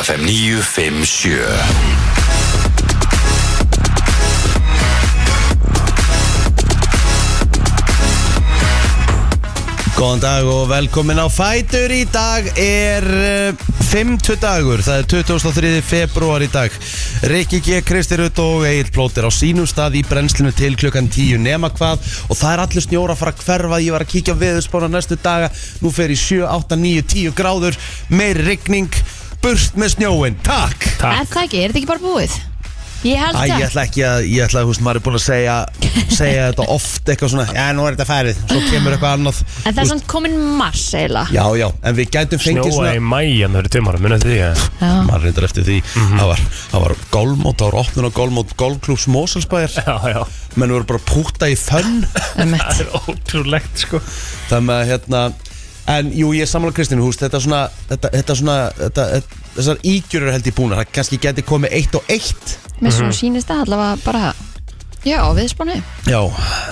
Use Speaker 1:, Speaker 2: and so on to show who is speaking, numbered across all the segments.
Speaker 1: FM 957
Speaker 2: Góðan dag og velkomin á Fætur í dag er eh, 50 dagur, það er 23. februar í dag Rikki G. Kristirut og Egil Plóter á sínum stað í brennslinu til klukkan 10 nema hvað og það er allir snjóra að fara að hverfa ég var að kíkja á veðurspána næstu daga nú fer í 7, 8, 9, 10 gráður meir rigning, burt með snjóin Takk!
Speaker 3: Er það ekki, er þetta ekki bara búið? Ég held
Speaker 2: Æ,
Speaker 3: það
Speaker 2: ég ætla ekki að, ég ætla að, þú veist, maður er búin að segja, segja þetta oft eitthvað svona, já, nú er þetta færið, svo kemur eitthvað annað.
Speaker 3: En það er svona komin mars eiginlega
Speaker 2: Já, já, en við gætum fengið
Speaker 4: Snjóa í
Speaker 2: svona
Speaker 4: mæjan, það eru tveimara, munið eftir því að
Speaker 3: Já.
Speaker 2: maður reyndar eftir því það var, það var gólmót, það var opnun á gólmót gólklús Moselsbæðir,
Speaker 4: Já, já,
Speaker 2: menn voru bara að púta í fönn
Speaker 3: einmitt.
Speaker 4: það er ótrúlegt sko
Speaker 2: þannig að hérna en jú, ég er sammála Kristínu, húst, þetta svona þetta, þetta svona, þetta, þetta, þessar ígjur eru held í búna, það kannski geti komið eitt og eitt
Speaker 3: Mér svona sýnist það allavega bara Já, viðspánu
Speaker 2: já,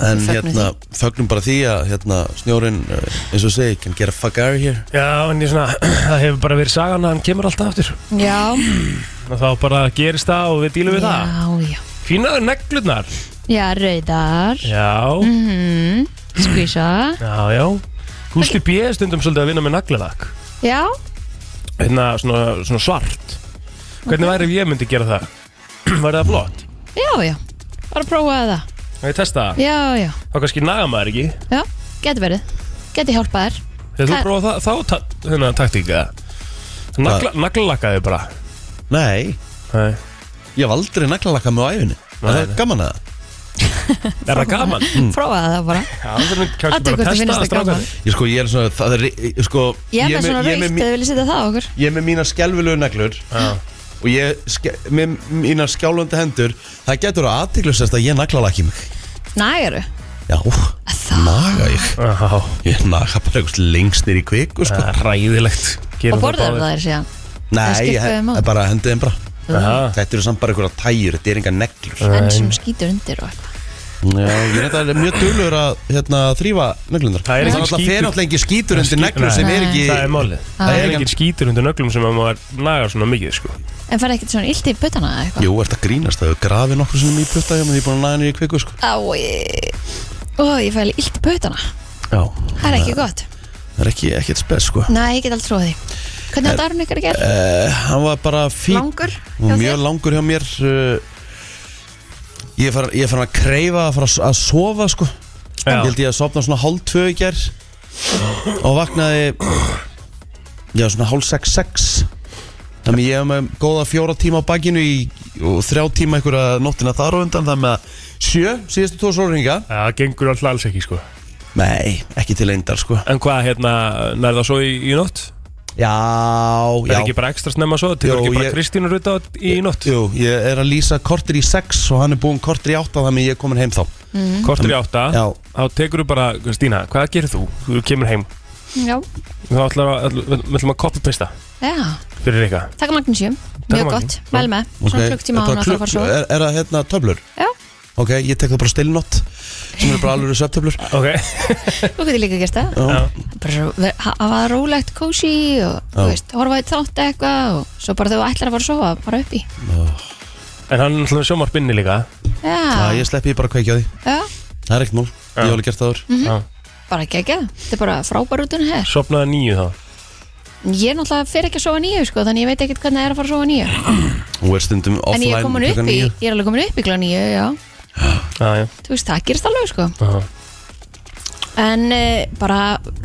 Speaker 2: en
Speaker 3: Fögnum
Speaker 2: hérna fögnum bara því að hérna snjórin, eh, eins og segi, can get a fuck out of here
Speaker 4: Já, en ég svona, það hefur bara verið sagan að hann kemur alltaf aftur
Speaker 3: Já,
Speaker 4: og þá bara gerist það og við dílum við það
Speaker 3: já, já
Speaker 4: Fínaður neglurnar
Speaker 3: Já, rauðar
Speaker 4: Já,
Speaker 3: mm, Skvísa
Speaker 4: já, já Gústi B. er stundum svolítið að vinna með naglalakk
Speaker 3: Já,
Speaker 4: Hérna, svona, svona svart Hvernig væri ef ég myndi gera það? Væri það flott?
Speaker 3: já, já Bara að prófa það
Speaker 4: Má Ég testa það,
Speaker 3: Já, já,
Speaker 4: þá kannski naga maður ekki
Speaker 3: já, geti verið Geti hjálpað þér
Speaker 4: Þegar þú
Speaker 3: Það-
Speaker 4: prófa það, þá ta- þennan taktík eða Nagla, Naglalakkaði bara
Speaker 2: nei,
Speaker 4: Nei.
Speaker 2: ég hef aldrei naglalakka með á æfinni,
Speaker 4: Nei,
Speaker 2: það er
Speaker 4: nei.
Speaker 2: gaman að það
Speaker 4: Er það gaman?
Speaker 3: Prófa það bara
Speaker 4: Já, það er kannski
Speaker 3: Athuga
Speaker 4: bara að
Speaker 3: hvort þið
Speaker 4: testa
Speaker 3: finnist
Speaker 4: það
Speaker 3: það gaman.
Speaker 4: strákar
Speaker 2: ég sko, ég er svona, það er, eh, sko
Speaker 3: Ég er
Speaker 2: ég
Speaker 3: með
Speaker 2: er
Speaker 3: svona
Speaker 2: ég er
Speaker 3: raukt
Speaker 2: mí-
Speaker 3: eða viljið setja það okkur
Speaker 2: ég er með mína skelvilegu neglur og ég ske, með mína skjálfandi hendur það getur að aðtiklusast að ég naglalaki mig
Speaker 3: Nægaru
Speaker 2: já, naga ég
Speaker 4: Já,
Speaker 2: ég naga bara eitthvað lengst nýri kviku sko.
Speaker 4: það er ræðilegt
Speaker 3: Og borðar það þér síðan það
Speaker 2: nei,
Speaker 3: skiptir
Speaker 2: ég
Speaker 3: þeim máli.
Speaker 2: ég bara hendi þeim bara
Speaker 4: það
Speaker 2: þetta eru samt bara einhverja tæjur, þetta er enga neglur
Speaker 3: En sem skýtur undir og eitthvað
Speaker 2: já, ég er þetta mjög dölur að hérna, þrýfa neglundar
Speaker 4: Það er engin
Speaker 2: alltaf
Speaker 4: skítur.
Speaker 2: fer alltaf engin skítur undir
Speaker 4: Skít-
Speaker 2: neglur sem
Speaker 4: Nei.
Speaker 2: er ekki
Speaker 4: Það er málið
Speaker 2: Það
Speaker 4: Það
Speaker 2: er
Speaker 4: er
Speaker 2: engin-
Speaker 4: engin skítur undir nöglum sem að maður nagar svona mikið sko.
Speaker 3: En færði ekkert svona illt í puttana eða eitthvað
Speaker 2: jú, ert að grínast, það er grafið nokkur sem ég plutta hjá mig, ég er búin að naga nýri kviku sko.
Speaker 3: Ái Ó, ég fæli illt í puttana
Speaker 2: já,
Speaker 3: Það er ekki gott
Speaker 2: það er ekki, ekkert spes sko.
Speaker 3: Nei, ég get aldrei trúið því Hvernig var dagurinn ykkur að gera?
Speaker 2: Uh, hann var bara fín
Speaker 3: Langur
Speaker 2: Hún
Speaker 3: hjá
Speaker 2: var
Speaker 3: þér?
Speaker 2: mjög langur hjá mér uh, Ég er farin- ég er farin að kreifa að fara að s- að sofa sko
Speaker 4: Já.
Speaker 2: Ég held ég að sofna svona hálf tvö í ger Og vaknaði Já svona hálf sex sex Þannig ég hef með góða fjóra tíma á bakinu í, Og þrjá tíma einhverja nóttina þar og undan Þannig að sjö síðustu tvo sólringa
Speaker 4: Það gengur alltaf alls ekki sko.
Speaker 2: Nei, ekki til eindar sko
Speaker 4: En hvað hérna, nærða svo í, í nótt?
Speaker 2: Já,
Speaker 4: Það er
Speaker 2: já
Speaker 4: ekki bara ekstra snemma svo?
Speaker 2: Jó,
Speaker 4: Tekur ekki bara
Speaker 2: ég-
Speaker 4: ég... Kristínur út á í nótt?
Speaker 2: Jú, ég er að lýsa kortir í sex Og hann er búinn kortir í átta Þannig að ég er komin heim þá
Speaker 4: Kortur í átta
Speaker 2: Já.
Speaker 4: Þá tekur þú bara, Stína, hvað gerir þú? Þú kemur heim
Speaker 3: Já,
Speaker 4: Þá ætlum að- ætlum- við ætlum að copy-pasta
Speaker 3: já
Speaker 4: fyrir eitthvað
Speaker 3: Takk Magnúsjum Mjög
Speaker 4: Magni.
Speaker 3: gott Mæl með Svona
Speaker 2: Ok,
Speaker 3: klukktíma á
Speaker 2: þetta
Speaker 3: hann að það fara
Speaker 2: klukk-
Speaker 3: svo
Speaker 2: er, er það hérna töflur?
Speaker 3: Já,
Speaker 2: Ok, ég tek það bara stillnott sem er bara alveg svefntöflur
Speaker 4: Ok,
Speaker 3: þú getur líka gert það
Speaker 2: Já.
Speaker 3: Bara svo ver- ha- hafa það rólegt, kósi og þú
Speaker 2: Já.
Speaker 3: veist, horfa í þátt eitthvað og svo bara þau ætlar að fara að sofa, bara upp í
Speaker 4: en hann ætlum að sjómarpinni líka
Speaker 2: Já,
Speaker 3: Já,
Speaker 2: ég sleppi ég bara að kveikja á því
Speaker 3: já,
Speaker 2: Það er ekkert mál, ég hef alveg gert það
Speaker 3: Mm.
Speaker 2: þar
Speaker 4: Já.
Speaker 3: bara gegja Þetta er bara frábær út unna her
Speaker 4: Sofnaði nýju þá
Speaker 3: Ég er náttúrulega fyrir ekki að sofa nýju, sko, þannig ég veit ekkert hvernig það er að fara að sofa nýju
Speaker 2: Hún er stundum
Speaker 3: En
Speaker 2: offline
Speaker 3: ég er komin upp
Speaker 2: klukkan
Speaker 3: í,
Speaker 2: níu.
Speaker 3: ég er alveg komin upp í klá nýju, já
Speaker 4: Já, já
Speaker 3: Þú veist, það gerist alveg, sko
Speaker 4: Já.
Speaker 3: En uh, bara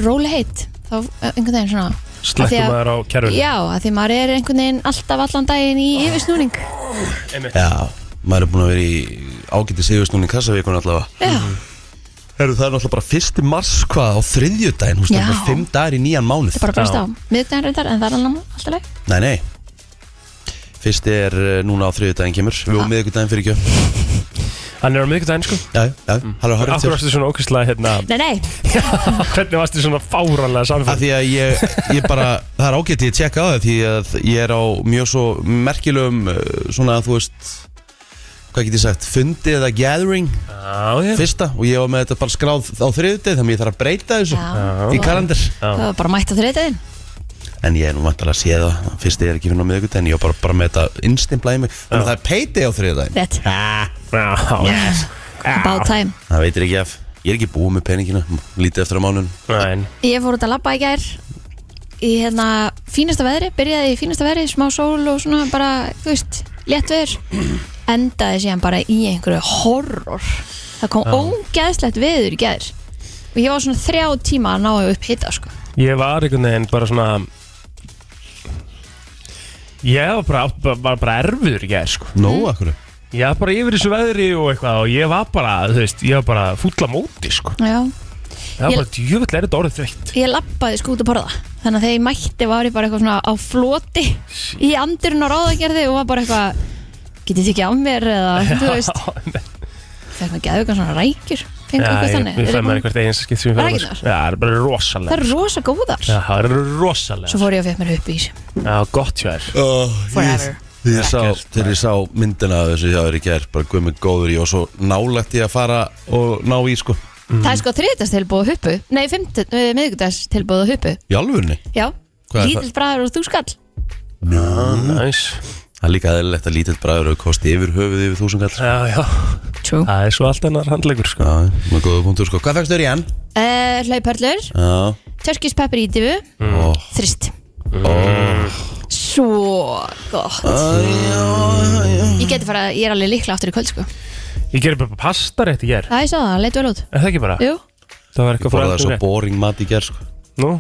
Speaker 3: róli heitt Þá eh, einhvern veginn svona Af því
Speaker 4: Slekkum
Speaker 3: að-
Speaker 4: maður á kerfinu
Speaker 3: Já, að því maður er einhvern veginn alltaf allan daginn í yfirsnúning
Speaker 4: Einmitt.
Speaker 2: Já, maður er búin að vera í ágæti sigjast núna í kassavíkun allavega
Speaker 3: Já,
Speaker 2: Heru, Það er náttúrulega bara 1. mars hvað á þriðjudaginn, hún
Speaker 3: Já.
Speaker 2: stundum 5 dagar í nýjan mánuð
Speaker 3: þetta er bara breyst
Speaker 4: Já.
Speaker 3: á Miðvikudaginn reyndar, en það er allan alltaf leið
Speaker 2: Nei, nei Fyrst er eh, núna á þriðjudaginn kemur Við
Speaker 3: Ah.
Speaker 2: vorum miðvikudaginn fyrir ekki Já,
Speaker 4: Hann er á miðvikudaginn sko
Speaker 2: já, það er hörð
Speaker 4: Akkur varstu svona ókvæslega hérna
Speaker 3: Nei, nei,
Speaker 4: Hvernig varstu svona fáranlega
Speaker 2: Af
Speaker 4: samfélag
Speaker 2: því að ég, ég bara, það er ágætt ég tjekka á það því að ég er á mjög svo merkilegum uh, svona þú veist hvað get ég sagt, fundi eða gathering
Speaker 4: Já, já
Speaker 2: fyrsta og ég var með þetta bara skráð á þriðuteg þannig að ég þarf að breyta þessu
Speaker 3: Já.
Speaker 2: í kalendar
Speaker 3: það var bara mætt á þriðdeginn
Speaker 2: En ég er nú vantar að sé það Fyrst ég er ekki fyrir á miðvikut En ég var bara, bara með þetta innstimpla í mig Þannig að það er peiti á þriðdæg
Speaker 3: Rétt.
Speaker 4: Já, yes.
Speaker 3: About time
Speaker 2: Það veitir ekki af Ég er ekki búið með peningina Lítið eftir á mánun
Speaker 4: Nein.
Speaker 3: Ég fór út að labba í gær í hérna fínasta veðri, byrjaði í fínasta veðri, smá sól og svona bara, þú veist, létt veður endaði síðan bara í einhverju horror. Það kom ógeðslegt veður í gær og ég var svona þrjá tíma að ná upp hita sko.
Speaker 4: Ég var einhvern veginn bara svona Ég var bara, bara, bara, bara erfiður í gær sko.
Speaker 2: Nó, akkur
Speaker 4: Ég var bara yfir þessu veðri og eitthvað Og ég var bara, þú veist, ég var bara fúll á móti sko.
Speaker 3: Já.
Speaker 4: Ég var
Speaker 3: Ég-
Speaker 4: bara djöfull er þetta orðið þreytt
Speaker 3: Ég labbaði sko út að borða þannig að þegar ég mætti var ég bara eitthvað svona á floti í andurinn og ráðagerði og var bara eitthvað getið þið ekki á mér eða þú veist, fekk maður geðu eitthvað svona rækjur fengur eitthvað
Speaker 4: Já,
Speaker 3: þannig.
Speaker 4: ég
Speaker 3: Eruð
Speaker 4: fæði
Speaker 3: þið
Speaker 4: maður
Speaker 3: búin-
Speaker 4: eitthvað einasta skipt sem ég
Speaker 3: Var
Speaker 4: fyrir
Speaker 3: ekki
Speaker 4: Já, það er bara
Speaker 3: Það
Speaker 4: rosalega
Speaker 3: eru rosa góðar
Speaker 4: Já, það er rosalega
Speaker 3: Svo fór ég og fekk mér upp í þessu
Speaker 4: Já, gott hjá þér
Speaker 3: Forever
Speaker 2: Þegar ég, sá, þegar ég sá myndina af þessu hjá þér í gær bara guð mig góður í og svo nálægt ég að fara og ná í sko í
Speaker 3: Það er sko þriðdags tilbúð huppu Nei, miðgudags tilbúð huppu
Speaker 2: alvörunni
Speaker 3: Já,
Speaker 2: Hvað er
Speaker 3: lítill bræður og þú skall
Speaker 4: Næs
Speaker 2: það er líka aðeinlegt að lítill bræður hefur kosti yfir höfuð yfir þúsund kall
Speaker 4: Já, já
Speaker 3: True
Speaker 4: Það er svo allt annar handlegur sko
Speaker 2: Já, með góða punktur sko Hvað fækst þér í enn?
Speaker 3: uh, Hlaupörlur,
Speaker 2: Já,
Speaker 3: törkis peppir í divu
Speaker 2: ó,
Speaker 3: Þrist Svo gott Ég geti fara, ég er alveg líkla aftur í kvöld sko
Speaker 4: Ég gerir bara pastarétt í gær
Speaker 3: Það ég sá það, leit vel út
Speaker 4: Er það ekki bara?
Speaker 3: Jú,
Speaker 4: Það var
Speaker 2: ég
Speaker 4: eitthvað frá
Speaker 2: fór það svo
Speaker 4: rétt.
Speaker 2: boring mat í gær sko
Speaker 4: Nú,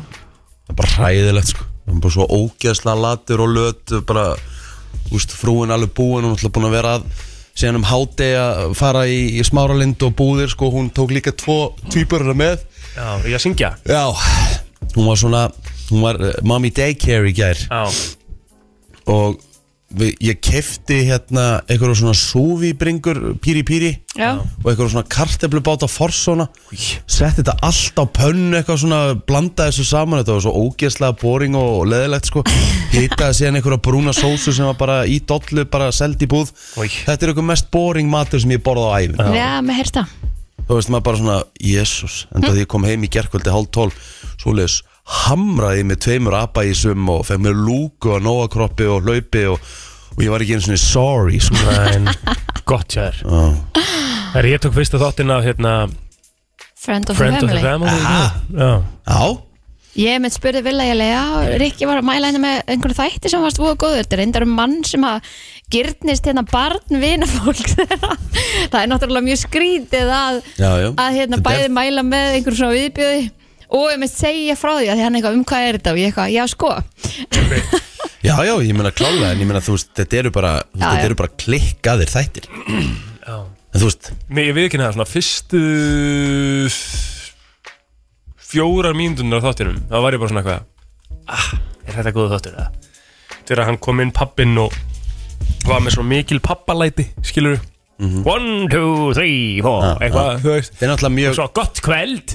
Speaker 2: Það er bara hræðilegt sko Það er bara svo ógeðslega latur og löt bara, úst, frúin alveg búin hún er alltaf búin að vera að síðan um háti að fara í, í smáralind og búðir sko hún tók líka tvo týpurina með
Speaker 4: já, ég að syngja
Speaker 2: Já, hún var svona hún var uh, mommy daycare í gær
Speaker 4: Já,
Speaker 2: og við, ég kefti hérna eitthvað svona súvíbringur píri píri
Speaker 3: já,
Speaker 2: og eitthvað svona karteblubát á forsona setti þetta allt á pönnu eitthvað svona blandaði þessu saman þetta var svo ógeðslega boring og leðilegt sko hitaði síðan einhverja brúna sósu sem var bara í dollu bara seld í búð
Speaker 4: Új.
Speaker 2: þetta er eitthvað mest boring matur sem ég borða á æfin
Speaker 3: já, með herta
Speaker 2: þá veist maður bara svona, jésús en
Speaker 3: Hm?
Speaker 2: það ég kom heim í gerkvöldi hálf tól svoleiðis hamraði ég með tveimur abægisum og fekk mér lúku og nóakroppi og hlaupi og, og ég var ekki einu svona sorry sko.
Speaker 4: en gott hjá þér
Speaker 2: Já.
Speaker 3: Hm.
Speaker 4: Herri, ég tók fyrsta þáttinn af hérna
Speaker 3: Friend of
Speaker 4: Friend
Speaker 3: the
Speaker 4: of the
Speaker 3: Family
Speaker 4: Family Já,
Speaker 2: Já,
Speaker 3: Ég mitt spurði vilja ég lega Rikki var að mæla henni með einhverju þætti sem varst búið góður Þetta er reyndar um mann sem að gyrnist hérna barn vina fólk þeirra Það er náttúrulega mjög skrítið að,
Speaker 2: já, já
Speaker 3: að hérna
Speaker 2: Þetta
Speaker 3: bæði
Speaker 2: er-
Speaker 3: mæla með einhverju svona viðbjöði og ég mitt segja frá því að því hann eitthvað um hvað er þetta og ég eitthvað, já sko
Speaker 2: Já, já, ég meina klálega en ég meina þú veist, þetta eru bara, þú veist,
Speaker 3: Já, já.
Speaker 2: þetta eru bara klikkaðir þættir
Speaker 4: já
Speaker 2: en þú veist,
Speaker 4: Mér ég við ekki neða svona fyrstu fjórar mínundunar á þáttinum þá var ég bara svona eitthvað ah, er þetta góða þáttur eða þegar hann kom inn pappinn og var með svo mikil pappalæti skilur one, two, three, four
Speaker 2: Mhm. Já,
Speaker 4: eitthvað, þú veist
Speaker 2: þetta er náttúrulega mjög
Speaker 4: svo gott kveld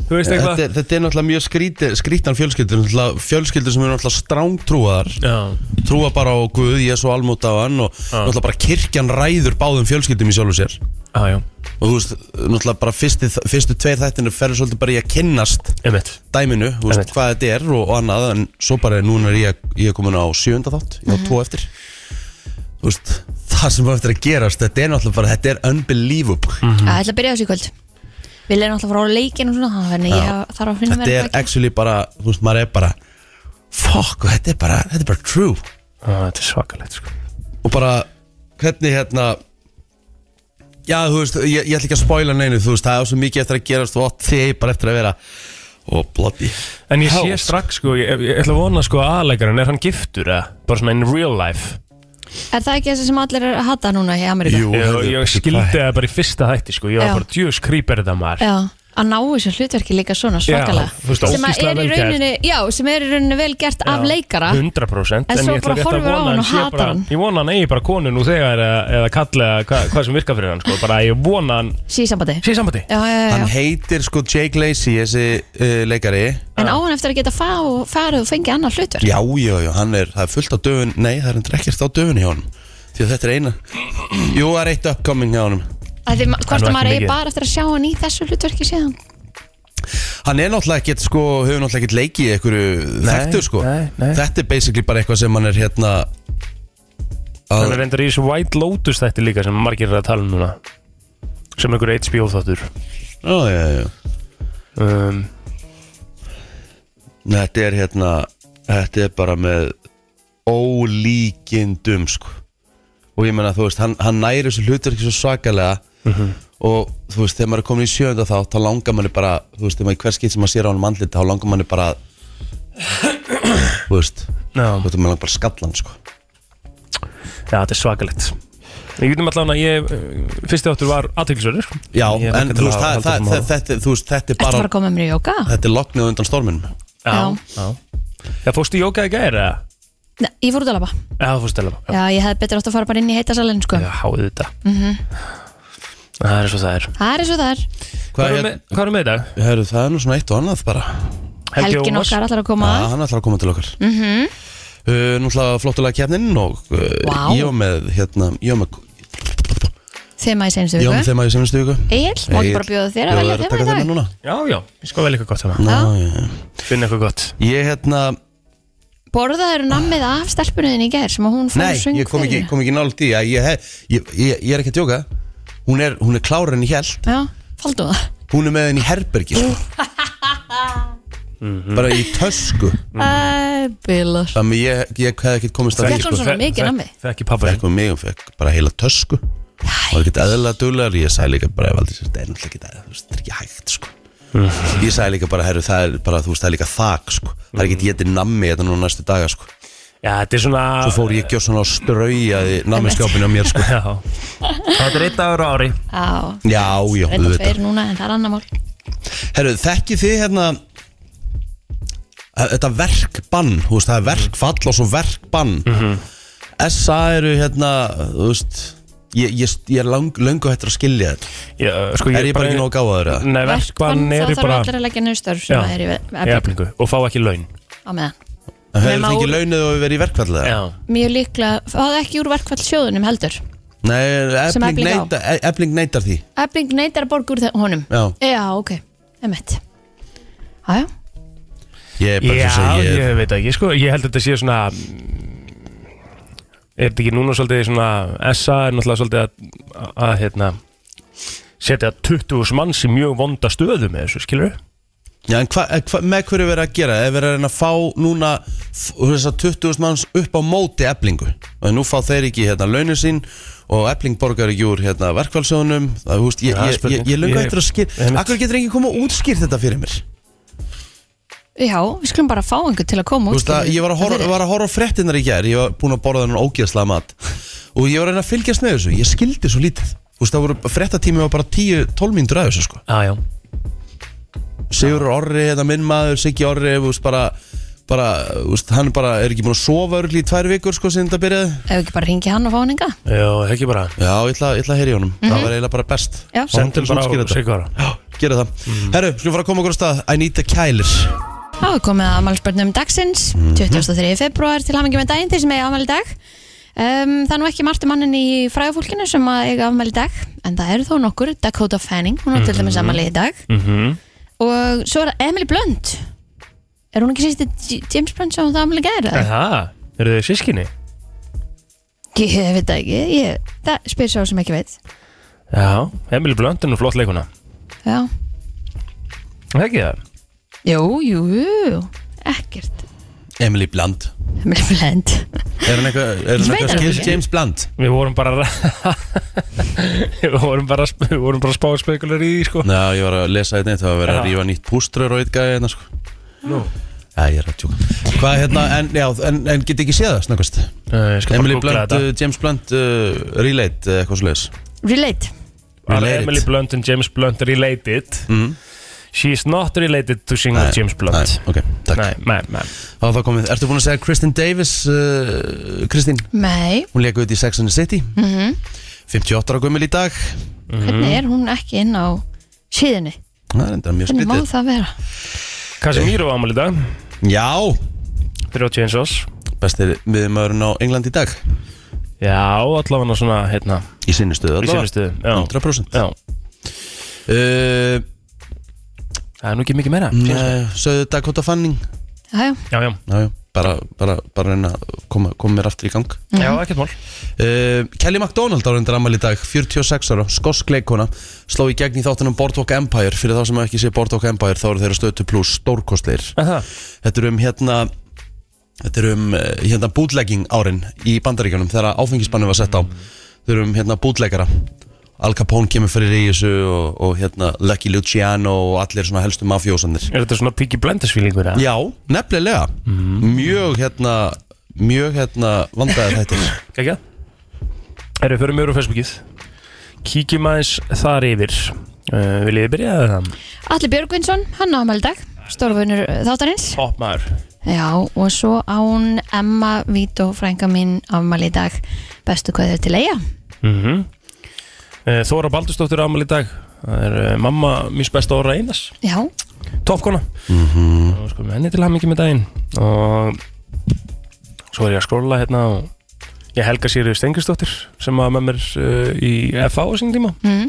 Speaker 4: þú veist
Speaker 2: þetta,
Speaker 4: eitthvað
Speaker 2: er- þetta er náttúrulega mjög skríti, skrítan fjölskyldur náttúrulega fjölskyldur sem eru náttúrulega strángtrúaðar
Speaker 4: já,
Speaker 2: trúa bara á Guð, Jésu almútt á hann og náttúrulega bara kirkjan ræður báðum fjölskyldum í sjálfu sér
Speaker 4: já, já,
Speaker 2: og þú veist, náttúrulega bara fyrsti, fyrstu tveir þættinu ferður svolítið bara í að kynnast
Speaker 4: einmitt
Speaker 2: dæminu, þú veist,
Speaker 4: Einmitt.
Speaker 2: hvað þetta er og, og annað en svo bara er núna er ég, ég er komin á sjönda þátt,
Speaker 3: Mhm.
Speaker 2: ég á tvo eftir þú veist, það sem var eftir að gerast þetta er náttúrulega bara, þetta er unbelievable
Speaker 3: Það ætla að byrja þessu í kvöld Vilja er náttúrulega frá leikin og svona þannig að ég þarf að finna
Speaker 2: þetta
Speaker 3: mér
Speaker 2: er actually bara, þú veist, maður er bara fuck, og þetta er bara, þetta er bara true
Speaker 4: ah, þetta er svakalegt sko
Speaker 2: og bara hvernig hérna já þú veist, ég, ég ætla ekki að spoila neinu þú veist, það er svo mikið eftir að gerast og átt þig bara eftir að vera og bloody
Speaker 4: En ég sé
Speaker 2: Hell.
Speaker 4: strax sko, ég, ég, ég ætla að vona sko aðleikarinn, er hann giftur eða? Bara svona in real life
Speaker 3: Er það ekki þessi sem allir er að hata núna í Ameríku?
Speaker 2: Jú,
Speaker 4: Ég,
Speaker 2: heyrðu,
Speaker 4: ég
Speaker 2: veistu
Speaker 4: skildi
Speaker 2: hvað?
Speaker 4: það bara í fyrsta hætti sko, ég var
Speaker 3: Já.
Speaker 4: bara djöðs krýper þetta maður
Speaker 3: Já, að ná þessu hlutverki líka svona svakalega
Speaker 4: þú veist,
Speaker 3: sem að
Speaker 4: ógeðslega
Speaker 3: er í
Speaker 4: vel gert.
Speaker 3: rauninni, já, sem er í rauninni vel gert af leikara
Speaker 4: 100%
Speaker 3: En svo
Speaker 4: ég ætla
Speaker 3: bara
Speaker 4: rétt að
Speaker 3: horfir á
Speaker 4: vona
Speaker 3: hann og
Speaker 4: sé
Speaker 3: hatar
Speaker 4: bara-
Speaker 3: hann.
Speaker 4: Ég vona hann eigi bara konu nú þegar eða, eða kalla eða hva, hvað sem virkar fyrir hann sko. bara ég vona hann
Speaker 3: síðsambandi
Speaker 4: sé sambandi
Speaker 3: já, já, já,
Speaker 2: hann
Speaker 3: já.
Speaker 2: heitir sko Jake Lacey þessi uh, leikari
Speaker 3: en á hann eftir að geta fá, farið og fengið annað hlutverk
Speaker 2: já, já, já, hann er, það er fullt á döfun nei, það er endur ekkert á döfun hjá hann því að þetta er eina jú, það er eitt upcoming hjá hann
Speaker 3: Af því ma-
Speaker 4: Það er
Speaker 3: hvort
Speaker 4: nú
Speaker 3: að maður
Speaker 4: ekki
Speaker 3: eigi
Speaker 4: mikið.
Speaker 3: bara eftir að sjá hann í þessu hlutverki síðan
Speaker 2: hann er náttúrulega ekkert sko, hefur náttúrulega ekkert leikið í einhverju þekktu sko
Speaker 4: nei, nei.
Speaker 2: Þetta er basically bara eitthvað sem hann er hérna að,
Speaker 4: Þannig reyndar í þessu White Lotus þætti líka sem margir er að tala um núna sem einhver HBO þáttur
Speaker 2: já, já, já.
Speaker 4: um,
Speaker 2: Nei, Þetta er hérna Þetta er bara með ólíkindum sko. Og ég meina þú veist Hann, hann næri þessu hlutverki svo svakalega
Speaker 4: Mhm.
Speaker 2: Og þú veist, þegar maður er komin í sjönda þá Þá langar manni bara, þú veist, þegar maður hver skipt sem maður sér á hann mannlit Þá langar manni bara að- Þú veist,
Speaker 4: Já,
Speaker 2: þú veist, maður langar bara að skalla hann sko.
Speaker 4: já, þetta er svakalegt Ég veitum allan að ég eh, fyrsti þáttur var aðtöklisverður
Speaker 2: Já,
Speaker 4: Ég er
Speaker 2: en
Speaker 4: ekki
Speaker 2: þú
Speaker 4: til
Speaker 2: veist,
Speaker 4: að
Speaker 2: það,
Speaker 4: halda
Speaker 2: það,
Speaker 4: áfram
Speaker 2: það, þetta, þú veist, þetta er
Speaker 3: Ertu
Speaker 2: bara
Speaker 3: bara að koma með mér í jóka?
Speaker 2: Þetta er loknið undan storminum
Speaker 3: Já.
Speaker 4: já Já, fórstu í jóka í gæri eða?
Speaker 3: Nei, ég fór út að labba
Speaker 4: Já, þú fórstu að
Speaker 3: Já, ég hefði betur átt að fara bara inn í heitasalinn sko.
Speaker 4: Já, háðu þetta
Speaker 3: Mhm.
Speaker 4: Það er svo það er
Speaker 3: Það er eins og það er
Speaker 4: Hvað
Speaker 2: Hvað
Speaker 4: erum
Speaker 2: er,
Speaker 4: við, hvað erum við í dag?
Speaker 2: heru, það er nú svona eitt og annað bara
Speaker 3: Helgin okkar allar að koma
Speaker 2: Já, Ah, hann ætlar að koma til okkar mm -hmm. uh, Nútla flottulega kefnin og uh,
Speaker 3: Mhm. Vá.
Speaker 2: ég var með, hérna, ég var með,
Speaker 3: Þeim að ég senstu
Speaker 2: ég var með
Speaker 3: viku
Speaker 2: þeim að ég sem vistu ykkur
Speaker 3: Egil, máttu bara bjóða þér að velja
Speaker 2: að
Speaker 3: þeim
Speaker 2: taka
Speaker 3: í
Speaker 2: þeim
Speaker 3: dag
Speaker 2: núna
Speaker 4: Já, já, ég sko vel eitthvað gott hérna
Speaker 2: Ná,
Speaker 3: Já.
Speaker 2: já.
Speaker 4: Finn eitthvað gott
Speaker 2: Ég, hérna,
Speaker 3: Borðaður nammið af stelpunniðin í ger sem að hún fór
Speaker 2: nei,
Speaker 3: og söng
Speaker 2: ég kom ekki,
Speaker 3: fyrir.
Speaker 2: kom ekki nált í að ég, hef- ég, ég, ég er ekki að djóka Hún er, hún er klárið henni hjælt
Speaker 3: Já, faldu það
Speaker 2: Hún er með henni í herbergi sko. Bara í tösku
Speaker 3: Æ, bilar
Speaker 2: Þannig að ég, ég hefði ekkert komist að
Speaker 3: Fékk hún svona mikið nammi?
Speaker 4: Þekki pappa
Speaker 2: Fekk hún mig, hún fekk bara heila tösku Það var ekkert eðla duglegar Ég sagði líka bara, ég valdi sér, það er náttúrulega ekkert eðla Það er ekki hægt, sko Ég sagði líka bara, herru, það er bara, þú veist, það er líka þak, sko Það er ekkert getið nammi þetta núna næstu daga, sko Svo
Speaker 4: Já, þetta er svona
Speaker 2: fór ég gjöð svona að strauja því nammiskjápinu á mér, sko
Speaker 4: Já Þetta er eitt dagur á ári
Speaker 3: Já,
Speaker 2: Já, já,
Speaker 3: reynda tveir núna en það er annar mál
Speaker 2: Herru, þekki þið hérna að- Þetta verkbann, þú veist, það er verkfall og svo verkbann SA eru hérna, þú veist Ég, ég, ég er lang, löngu hættur að skilja þetta
Speaker 4: Já, sko,
Speaker 2: Er ég bara ekki nóg gáðaður eða?
Speaker 4: Nei, verkbann
Speaker 3: þá
Speaker 4: er
Speaker 3: þarf
Speaker 4: bara
Speaker 3: allir að leggja niður störf
Speaker 4: Já,
Speaker 3: sem að er í
Speaker 4: í
Speaker 3: eflingu
Speaker 4: eflingu Og fá ekki laun
Speaker 3: á meðan
Speaker 2: Það hefur
Speaker 3: Nema
Speaker 2: fengið
Speaker 3: úr-
Speaker 2: launuð og verið í verkfall eða?
Speaker 3: Mjög líklega, það er ekki úr verkfall sjóðunum heldur
Speaker 2: Nei,
Speaker 3: Sem
Speaker 2: ebling,
Speaker 3: Efling á.
Speaker 2: neita, E- ebling neitar því
Speaker 3: Efling neitar að borga úr þe- honum
Speaker 2: Já,
Speaker 3: Já, ok, emitt Jájá,
Speaker 2: ég er bara
Speaker 4: Já,
Speaker 2: þess að
Speaker 4: ég
Speaker 2: ég
Speaker 4: veit ekki, sko Ég held að þetta sé svona mm, Er þetta ekki núna svolítið svona SA er náttúrulega svolítið að, að, að hérna, setja 20 manns í mjög vonda stöðu með þessu, skilur
Speaker 2: Já, en hva, eh, hva, með hverju verið að gera? Er verið að reyna að fá núna f- þess að 20.000 manns upp á móti eblingu og nú fá þeir ekki hérna launin sín og ebling borgar ekki úr hérna verkfallsjónum það, húst, ég,
Speaker 4: Já,
Speaker 2: ég, ég,
Speaker 4: spurning.
Speaker 2: ég löngu
Speaker 4: Ég-
Speaker 2: eftir að skýr
Speaker 4: Einmitt.
Speaker 2: Akkur getur enginn koma og útskýrt þetta fyrir mér
Speaker 3: Já, við skulum bara fá einhvern til að koma
Speaker 2: Þú
Speaker 3: út
Speaker 2: veist að ég var að horfa, var að horfa á fréttinnar í gær Ég var búin að borða þennan ógeðslega mat Og ég var að reyna að fylgjast með þessu Ég skildi svo lítið Þú veist það voru fréttatími var bara 10-12 mínútur að þessu sko
Speaker 4: Já, já
Speaker 2: Sigur Orri, þetta minn maður, Siggi Orri Þú veist bara, bara þú veist, Hann bara er ekki búin að sofa örgli í tvær vikur sko Sinn þetta byrjaði
Speaker 3: Ef við ekki bara ringi hann og fá hann enga
Speaker 4: Já, ekki bara
Speaker 2: Já, ég ætla, ég ætla að heyri honum Það var eiginlega bara best
Speaker 3: Mhm. Já.
Speaker 2: Fá hann til
Speaker 4: Sendum bara
Speaker 2: að
Speaker 4: á
Speaker 2: útskýra þetta.
Speaker 4: Sigvara
Speaker 2: Já, gera það Herru, skulum fara að koma okkur á stað I need the kælir
Speaker 3: Þá er komið að amælspörnum dagsins 23. februar til hamingi með daginn þeir sem eiga afmæli í dag um, Það er nú ekki margt um mannin í frægafólkinu sem að eiga afmæli í dag en það eru þó nokkur Dakota Fanning, hún er til dæmis afmæli í dag
Speaker 4: Mhm.
Speaker 3: og svo er það Emily Blunt Er hún ekki sýsti James Blunt sem hún það afmæli
Speaker 4: Eh.
Speaker 3: gæra?
Speaker 4: Aha, eru þið sískinni?
Speaker 3: Ég veit það ekki, ég, það spyr svo sem ekki veit
Speaker 4: Já, Emil Blönd er nú flott leikuna
Speaker 3: Já,
Speaker 4: Er Ekki það?
Speaker 3: jú, jú, jú ekkert
Speaker 2: Emily Blunt
Speaker 3: Emily Blunt
Speaker 2: Er hann eitthvað, er hann
Speaker 3: veit
Speaker 2: eitthvað
Speaker 3: það
Speaker 2: skil
Speaker 3: ekki.
Speaker 2: James Blunt?
Speaker 4: Við vorum bara að ræ- Við vorum bara, að sp- við vorum bara að spáða spekular í því sko
Speaker 2: Já, ég var að lesa þetta eitt, það var að vera að
Speaker 4: Já.
Speaker 2: rífa nýtt púströr og eitt gæði hérna sko
Speaker 4: Nú.
Speaker 2: Já, ég er að tjóka Hvað hérna, en, já, en, en get ekki séð það snakast
Speaker 4: Uh, Ég skal bara
Speaker 2: Emily
Speaker 4: googla
Speaker 2: Blunt,
Speaker 4: þetta
Speaker 2: uh, James Blunt, uh, Relate, uh, eitthvað svoleiðis
Speaker 3: Relate
Speaker 4: Are
Speaker 2: Related.
Speaker 4: Emily Blunt and James Blunt related
Speaker 2: Mhm.
Speaker 4: She is not related to single
Speaker 2: Nei,
Speaker 4: James Blunt
Speaker 2: Nei, ok, takk
Speaker 4: Nei, nei, nei
Speaker 2: Þá er það komið, ertu búin að segja Kristin Davis, uh, Kristin,
Speaker 3: Nei,
Speaker 2: hún leika út í Sex and the City
Speaker 3: mhm
Speaker 2: 58 ára gömul í dag
Speaker 3: hvernig er hún ekki inn á síðinni?
Speaker 2: Það er enda mjög
Speaker 3: Hvernig má
Speaker 2: skrítið
Speaker 3: það vera?
Speaker 4: Casemiro var ámæli í dag
Speaker 2: Já,
Speaker 4: 31 ás
Speaker 2: bestir miðmaðurinn á England í dag
Speaker 4: Já, allavega svona hérna
Speaker 2: Í sinni stöðu
Speaker 4: Í
Speaker 2: allavega. Uh,
Speaker 4: sinni stuðu Já,
Speaker 2: 100%
Speaker 4: já
Speaker 2: uh,
Speaker 4: Það er nú ekki mikið meira
Speaker 2: Nei, Söðu Dakota Fanning
Speaker 3: já, já,
Speaker 4: Já, já,
Speaker 2: já, já, bara, bara, bara reyna að koma, koma mér aftur í gang
Speaker 4: já, ekkert mál
Speaker 2: uh, Kelly MacDonald á reyndar ammæli í dag 46 ára, skosk leikona sló í gegn í þáttunum Boardwalk Empire fyrir þá sem ekki sé Boardwalk Empire þá eru þeirra stötu pluss stórkostleir
Speaker 4: Er Það,
Speaker 2: þetta er um hérna þetta er um eh, hérna bootlegging árin í bandaríkjunum þegar áfengisbannu var sett á þetta er um hérna bootleggara Al Capone kemur fyrir í þessu og, og hérna Lucky Luciano og allir svona helstu mafjósandir
Speaker 4: er þetta svona píki blendisfílingur eða?
Speaker 2: Já, nefnilega Mjög hérna Mjög hérna vandaði þetta
Speaker 4: Gækja Erum við fyrir mjög úr Facebookið Kíkjum aðeins þar yfir uh, Viljið þið byrja eða?
Speaker 3: Alli Björgvinsson, hann á ámæli í dag Stórfunur þáttarins
Speaker 4: Hopp maður
Speaker 3: Já, og svo á hún Emma Vító, frænka mín afmæli í dag, bestu hvað þau til eiga
Speaker 4: mm Eh, Þóra Baldursdóttir ámæli í dag Það er uh, mamma míns besta orra einas
Speaker 3: Já,
Speaker 4: toppkona mm -hmm. og sko með henni til hamingi með daginn og svo er ég að skrolla hérna og ég helga sér Stengusdóttir sem var með mér uh, í FH á sín tíma
Speaker 3: Mhm.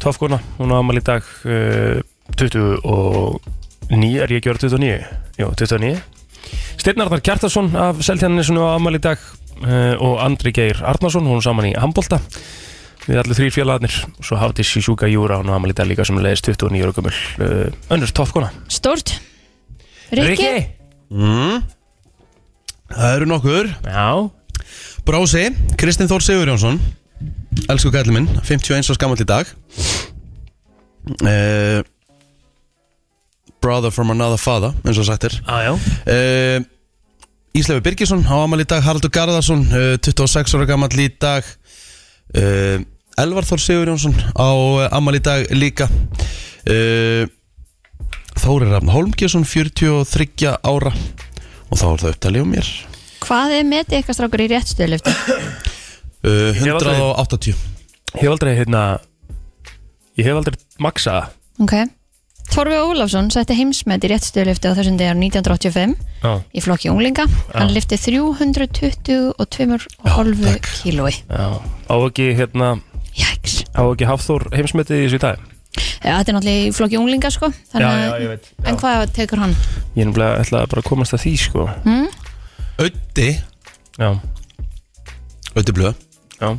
Speaker 4: toppkona, hún á amal í dag uh, 29 er ég ekki orðið 29? Jó, 29 Steinarðar Kjartason af Seltjarnisunu á amal í dag uh, og Andri Geir Arnason, hún er saman í Hambolta við allir þrýr félagarnir og svo Hafdís Sjúka Júra hún á amal í dag líka sem leiðist 29 ára gömul uh, önnur toppkona
Speaker 3: stórt Rikki,
Speaker 2: mm. Það eru nokkur
Speaker 4: Já
Speaker 2: Brósi, Kristinn Þór Sigurjónsson Elsku gæli minn, 51 og skamall í dag uh, Brother from another father eins og sagt er
Speaker 4: Já, já
Speaker 2: uh, Íslefi Birgisson á amal í dag, Haraldur Garðarsson uh, 26 ára gammal í dag uh, Elvar Þór Sigurjónsson á uh, amal í dag líka uh, Þóri Rafn Holmgjesson 43 ára og þá er það upptalið um mér
Speaker 3: hvað er metið eitthvað strákur í réttstöðlufti?
Speaker 2: uh,
Speaker 4: hef aldrei-
Speaker 2: 180
Speaker 4: Ég hef aldrei hérna Ég hef aldrei maksað það.
Speaker 3: Ok Torfi Ólafsson setti heimsmet í réttstöðlufti á þessum degar 1985
Speaker 4: Já
Speaker 3: í flokki unglinga Hann lifti 322,5
Speaker 2: takk.
Speaker 3: kílói
Speaker 4: Já Á ekki hérna
Speaker 3: Jæks
Speaker 4: Á ekki Hafþór heimsmetið í þessu í dag
Speaker 3: ja, Þetta er náttúrulega í flokki unglinga sko Þannig að-
Speaker 4: veit
Speaker 3: En hvað tekur hann?
Speaker 4: Ég er nefnilega ætlaði bara að komast að því sko
Speaker 2: Öddi,
Speaker 4: Já
Speaker 2: Öddi Blöð
Speaker 4: Já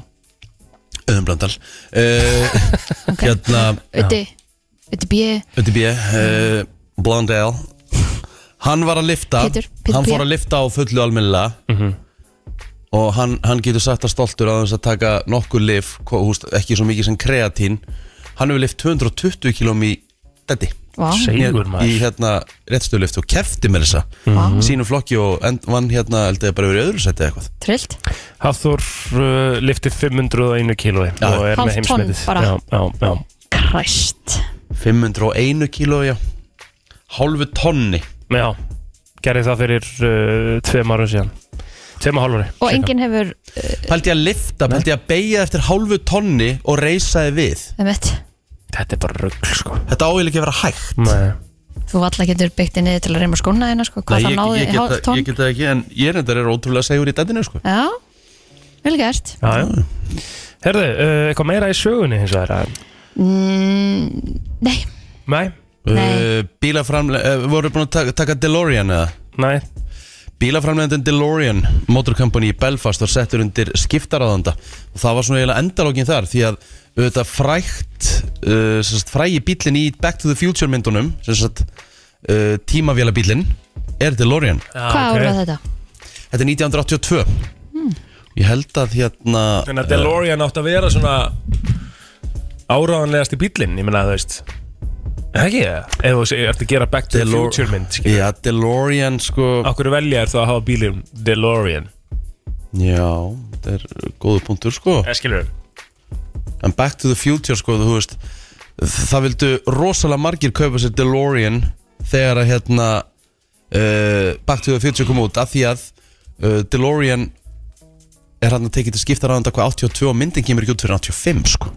Speaker 2: Öðum Blöndal uh, Hérna,
Speaker 3: Ötti, Ötti B
Speaker 2: Öddi B uh, Blondale Hann var að lifta
Speaker 3: Pétur, Pétur
Speaker 2: Hann
Speaker 3: B.
Speaker 2: fór að lifta á fullu almennilega Og hann, hann getur sagt að stoltur að hans að taka nokkur lif hva- húst, Ekki svo mikið sem kreatín Hann hefur lift 220 km í Detti
Speaker 3: Vá,
Speaker 4: Ah. Seigur
Speaker 2: Í
Speaker 4: maður
Speaker 2: hérna réttstöðlift og kefti með þessa
Speaker 3: Vá.
Speaker 2: Sínu flokki og end, vann hérna held ég bara verið öðru seti eitthvað
Speaker 3: trillt
Speaker 4: Hafþór uh, lifti 501 kílói
Speaker 2: Já.
Speaker 4: og er með
Speaker 3: Hálft tonn
Speaker 4: heimsmetið
Speaker 3: bara.
Speaker 4: Já, já, já
Speaker 3: Kræst
Speaker 2: 501 kíló, já Hálfu tonni
Speaker 4: Já Gerði það fyrir uh, tveim árum síðan Tveim og hálfari
Speaker 3: Og enginn hefur
Speaker 2: Pældi ég að lifta, pældi ég að beigja eftir hálfu tonni og reysaði við
Speaker 3: Emmett,
Speaker 4: Þetta er bara rugl sko
Speaker 2: Þetta áhuglega ekki að vera hægt
Speaker 4: Nei
Speaker 3: þú valla getur byggt í niður til að reyma skóna þína sko Hvað það
Speaker 2: ég,
Speaker 3: náði
Speaker 2: ég,
Speaker 3: í hálft
Speaker 2: get,
Speaker 3: tonn
Speaker 2: ég get það ekki en ég reyndar er ótrúlega segur í dættinu sko.
Speaker 3: Já, vel gert
Speaker 4: Já, já. Herðu, uh, eitthvað meira í sögunni hins vegar? eða?
Speaker 3: mm, Nei,
Speaker 4: Nei,
Speaker 2: uh,
Speaker 3: Nei.
Speaker 2: Bílaframlega, uh, voru búin að taka, taka DeLorean eða?
Speaker 4: nei,
Speaker 2: Bílaframlegandinn DeLorean Motor Company í Belfast var settur undir skiptaráðanda og það var svona eiginlega endalókin þar því að auðvitað frægt uh, sem sagt, frægi bílinn í Back to the Future myndunum sem sagt, uh, tímavéla bílinn er DeLorean
Speaker 4: já,
Speaker 3: hvað okay. voru þetta?
Speaker 2: Þetta er 1982
Speaker 3: Hmm.
Speaker 2: Ég held að hérna
Speaker 4: Þannig að DeLorean átti að vera svona áráðanlegast í bílinn, ég meina þú veist Ekki, eða þú segir, ertu að gera Back to the
Speaker 2: Delor-
Speaker 4: Future mynd skilur.
Speaker 2: Já, DeLorean sko
Speaker 4: Akkur velja er það að hafa bílinn DeLorean
Speaker 2: Já, þetta er góðu punktur sko
Speaker 4: Eða skilur
Speaker 2: En Back to the Future sko, þú veist Það vildu rosalega margir kaupa sér DeLorean Þegar að hérna uh, Back to the Future kom út Af því að uh, DeLorean Er hann að tekið til skipta ráðanda hvað 82 og myndin kemur ekki út fyrir 85 sko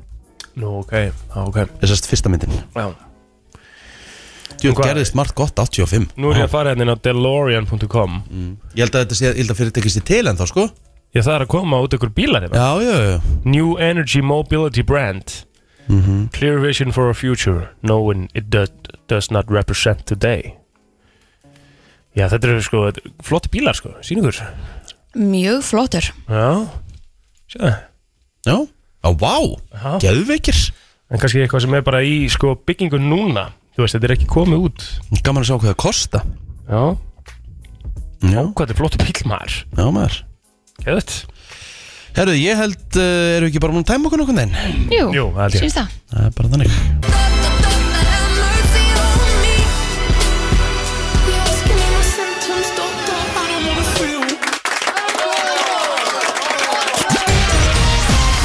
Speaker 4: Nú, ok, já, ok
Speaker 2: Þessast fyrsta myndin
Speaker 4: já.
Speaker 2: Jú,
Speaker 4: Hvað-
Speaker 2: gerðist margt gott 85
Speaker 4: Nú er ég að fara hérna á DeLorean.com
Speaker 2: Ég held að þetta sé, ég held að fyrirtekist í til en þá sko
Speaker 4: Ég það er að koma út ykkur bílar hérna
Speaker 2: Já, já, já
Speaker 4: New Energy Mobility Brand Clear vision for a future Knowing it do, does not represent today Já, þetta eru sko þetta eru flotti bílar sko, síningur
Speaker 3: Mjög flottur
Speaker 4: Já, sjáðu
Speaker 2: Já, á, vá,
Speaker 4: Já.
Speaker 2: geðveikir
Speaker 4: En kannski eitthvað sem er bara í sko byggingu núna Þú veist, þetta er ekki komið út
Speaker 2: Gaman að sjá hvað það kosta
Speaker 4: Já,
Speaker 2: Já,
Speaker 4: hvað þetta er flottu bíl maður
Speaker 2: já maður
Speaker 4: Geðvægt
Speaker 2: Herru, ég held, uh, eru ekki bara múin að tæma okkur nokkuð þeim?
Speaker 3: Jú,
Speaker 4: Jú, það held ég.
Speaker 3: sínst það
Speaker 2: Það er bara þannig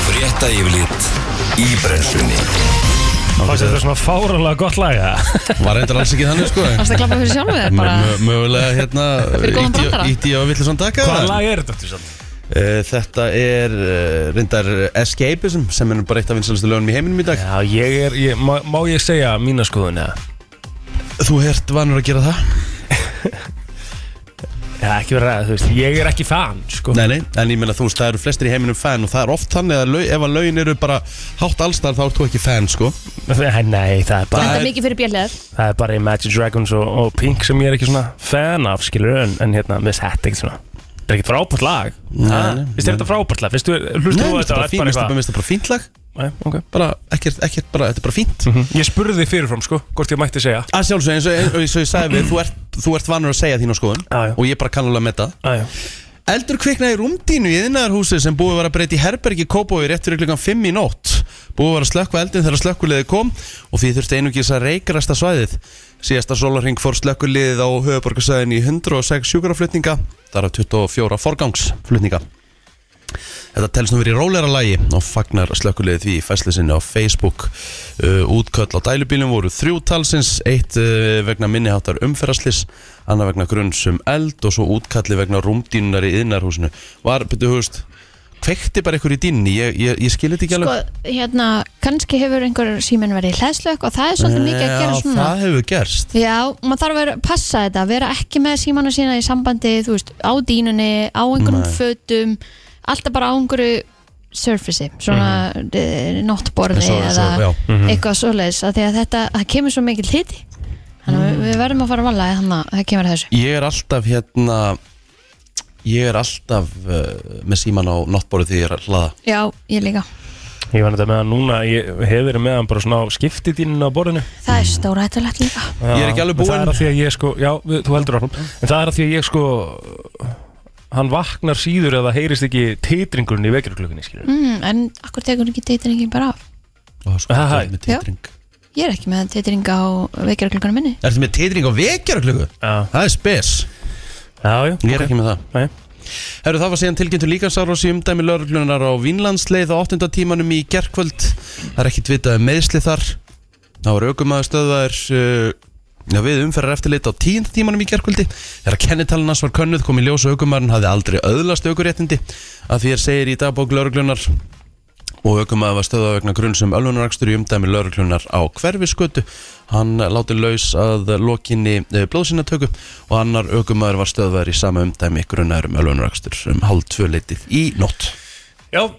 Speaker 1: Frétta yfirlit í brennslunni
Speaker 4: Fannst þetta svona fáranlega gott laga
Speaker 2: Var reyndar alls ekki þannig sko
Speaker 3: Það er að klappa fyrir sjálfu þér bara
Speaker 2: Mö- Mögulega hérna ítti
Speaker 3: Fyrir góðan
Speaker 2: ég-
Speaker 3: brandara.
Speaker 2: Ítti ég á villu samt taka
Speaker 4: Hvaða lag er þetta til samt?
Speaker 2: Uh, þetta er uh, reyndar Escapism sem er nú bara eitt af vinsalistu lögunum í heiminum í dag
Speaker 4: Já, ég er, ég, má, má ég segja mína skoðun eða?
Speaker 2: Þú ert vanur að gera það
Speaker 4: Já, ekki verið að ræða, þú veist, ég er ekki fan, sko
Speaker 2: Nei, nei, en ég meina þú veist, það eru flestir í heiminum fan og það er oft þannig að lög, ef að lögin eru bara hátt allstar þá ert þú ekki fan, sko
Speaker 4: Nei, það er bara,
Speaker 3: Þetta
Speaker 2: er-
Speaker 3: er mikið fyrir bjallið
Speaker 4: það er bara Imagine Dragons og, og Pink sem ég er ekki svona fan af, skilur en, en hérna, mér sett ekkert svona Þetta er ekkert frábært lag
Speaker 2: Nei,
Speaker 4: Ha?
Speaker 2: nei,
Speaker 4: Finnst þér þetta frábært lag? Finnst þú, hlustu þú
Speaker 2: Nei, mér
Speaker 4: á
Speaker 2: finnst
Speaker 4: þetta og
Speaker 2: það bara
Speaker 4: ert
Speaker 2: fín- mér
Speaker 4: bara eitthvað?
Speaker 2: finnst það bara, bara fínt lag
Speaker 4: Nei, ok
Speaker 2: bara, ekkert, ekkert, bara, þetta er bara fínt
Speaker 4: Ég spurði þig fyrirfram, sko, hvort ég mætti segja
Speaker 2: Að sjálfsög, eins og, eins og ég sagði við, þú ert, þú ert vanur að segja þín á skoðun
Speaker 4: Já, já.
Speaker 2: og ég bara kannulega með það
Speaker 4: Æja
Speaker 2: Eldur kviknaði í rúmdínu í innæðarhúsi sem búið var að breyta í herbergi Kópói rétt fyrir klukkan 5 í nótt. Búið var að slökkva eldin þegar slökkuliði kom og því þurfti einungis að reikrast að svæðið. Síðasta sólarhing fór slökkuliðið á höfuborgarsæðin í 106 sjúkraflutninga, þar af 24 forgangsflutninga. Þetta telst nú verið í rólera lagi og fagnar slökkuliðið því í fæsli sinni á Facebook. Uh, útköll á dælubílum voru þrjú talsins, eitt uh, vegna minniháttar umferðaslis, annað vegna grunns um eld og svo útkalli vegna rúmdínunar í yðnarhúsinu. Var, betur hugust, kveikti bara ykkur í dínni, ég, ég, ég skil þetta ekki
Speaker 3: Sko,
Speaker 2: alveg.
Speaker 3: hérna, kannski hefur einhver síminn verið hlæðslökk og það er svolítið mikið að gera
Speaker 2: Já,
Speaker 3: svona
Speaker 2: Það hefur gerst.
Speaker 3: Já, maður þarf að vera, passa þetta, vera ekki með símana sína í sambandi, þú veist, á dínunni, á einhverjum
Speaker 2: Nei.
Speaker 3: fötum, alltaf bara á einhverju surfaci, svona
Speaker 2: Mhm.
Speaker 3: mm nottborði
Speaker 2: Svo- svo-
Speaker 3: eða
Speaker 2: já. Mhm.
Speaker 3: eitthvað svoleiðis, af því að þetta, það kemur svo mikil hiti, þannig að við- við verðum að fara að vala, þannig að það kemur að þessu.
Speaker 2: Ég er alltaf hérna, ég er alltaf uh, með síman á náttbórið því ég er að hlaða.
Speaker 3: Já, ég líka.
Speaker 4: Ég var þetta með hann núna, ég hef verið með hann bara svona á skiptidíninu á borðinu
Speaker 3: Það er stóra hættulegt líka.
Speaker 4: Já,
Speaker 2: Ég er ekki alveg
Speaker 4: en Það
Speaker 2: búinn.
Speaker 4: er að því að ég sko, já, við, þú heldur áfram En það er að því að ég sko Hann vaknar síður eða heyrist ekki titringurinn í vekjarklukkunni, skilur
Speaker 3: Mm, en akkur tekur ekki teitingin bara af?
Speaker 2: Og það er svo
Speaker 4: Aha,
Speaker 2: gott með
Speaker 3: já.
Speaker 2: titring.
Speaker 3: Ég er ekki með teiting á vekjarklokkanum minni.
Speaker 2: Ertu með titring á vekjaraklöku?
Speaker 4: Já,
Speaker 2: Það er spes
Speaker 4: já, já
Speaker 2: Ég er ekki með það
Speaker 4: Nei.
Speaker 2: Herru, það var síðan tilkynntur líkansárós í umdæmi lauruglunar á Vínlandsleið á 8. tímanum í gerkvöld Það er ekkit vitað um meðsli þar Það var aukumæður stöðvar uh, já, við umferðar eftirlit á 10. tímanum í gerkvöldi Þegar kennitalinn hans var könnuð kom í ljós og aukumæðurinn hafði aldrei öðlast aukuréttindi að því er segir í dagbók lauruglunar og aukumæði var stöða vegna grunn sem ölvunarakstur í umdæmi lauruglunar á hverfiskötu hann láti laus að lokinni blóðsinatöku og annar aukumæður var stöðaður í sama umdæmi grunnar um ölvunarakstur um hálf tvö leitið í nótt
Speaker 4: Já,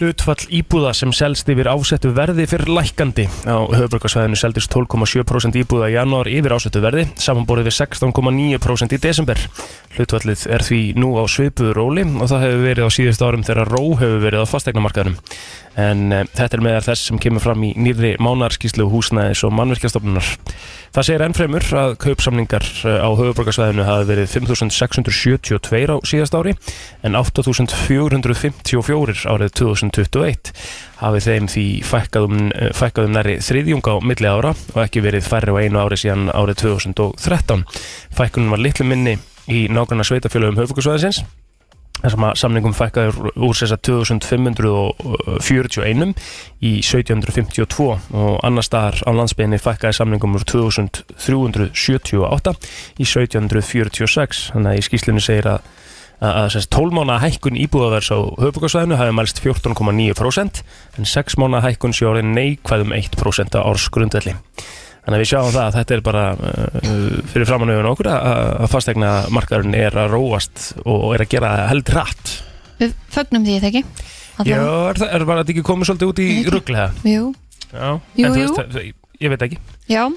Speaker 4: hlutfall íbúða sem selst yfir ásettu verði fyrir lækandi. Á höfbrukarsvæðinu seldist 12,7% íbúða í janúar yfir ásettu verði, samanborið við 16,9% í desember. Hlutfallið er því nú á svipuðu róli og það hefur verið á síðust árum þegar ró hefur verið á fastegnamarkaðunum. En e, þetta er meðar þess sem kemur fram í nýrri mánarskíslu húsnæðis og mannverkjastofnunar. Það segir ennfremur að kaupsamningar eh, á höfuborgarsvæðinu hafi verið 5.672 á síðast ári en 8.454 árið 2021 hafi þeim því um, eh, fækkaðum, fækkaðum næri þriðjung á milli ára og ekki verið færri á einu ári síðan árið 2013. Fækkunum var litlu minni í nágranna sveitafélögum höfuborgarsvæðisins þar sem að samningum fækkaði úr- úr sessa 2541 í 1752 og annar staðar á landsbygðinni fækkaði samningum úr 2378 í 1746 þannig að í skýslinu segir að að, að sess, 12 mánu hækkun íbúðavers á höfugarsvæðinu hafi mælst 14,9% en 6 mánu hækkun sé orðin neikvæðum 1% á ársgrundvelli Þannig að við sjáum það að þetta er bara uh, fyrir framanauðun okkur að, að fastegna markaðurinn er að róast og er að gera held rætt.
Speaker 3: Við fögnum því, þegar ekki?
Speaker 4: Já, er það er bara að þetta ekki komið svolítið út í
Speaker 3: Nei, ekki.
Speaker 4: rugglega.
Speaker 3: Jú,
Speaker 4: Já,
Speaker 3: Jú,
Speaker 4: en þú
Speaker 3: jú.
Speaker 4: veist, það- ég, ég veit ekki
Speaker 3: Já.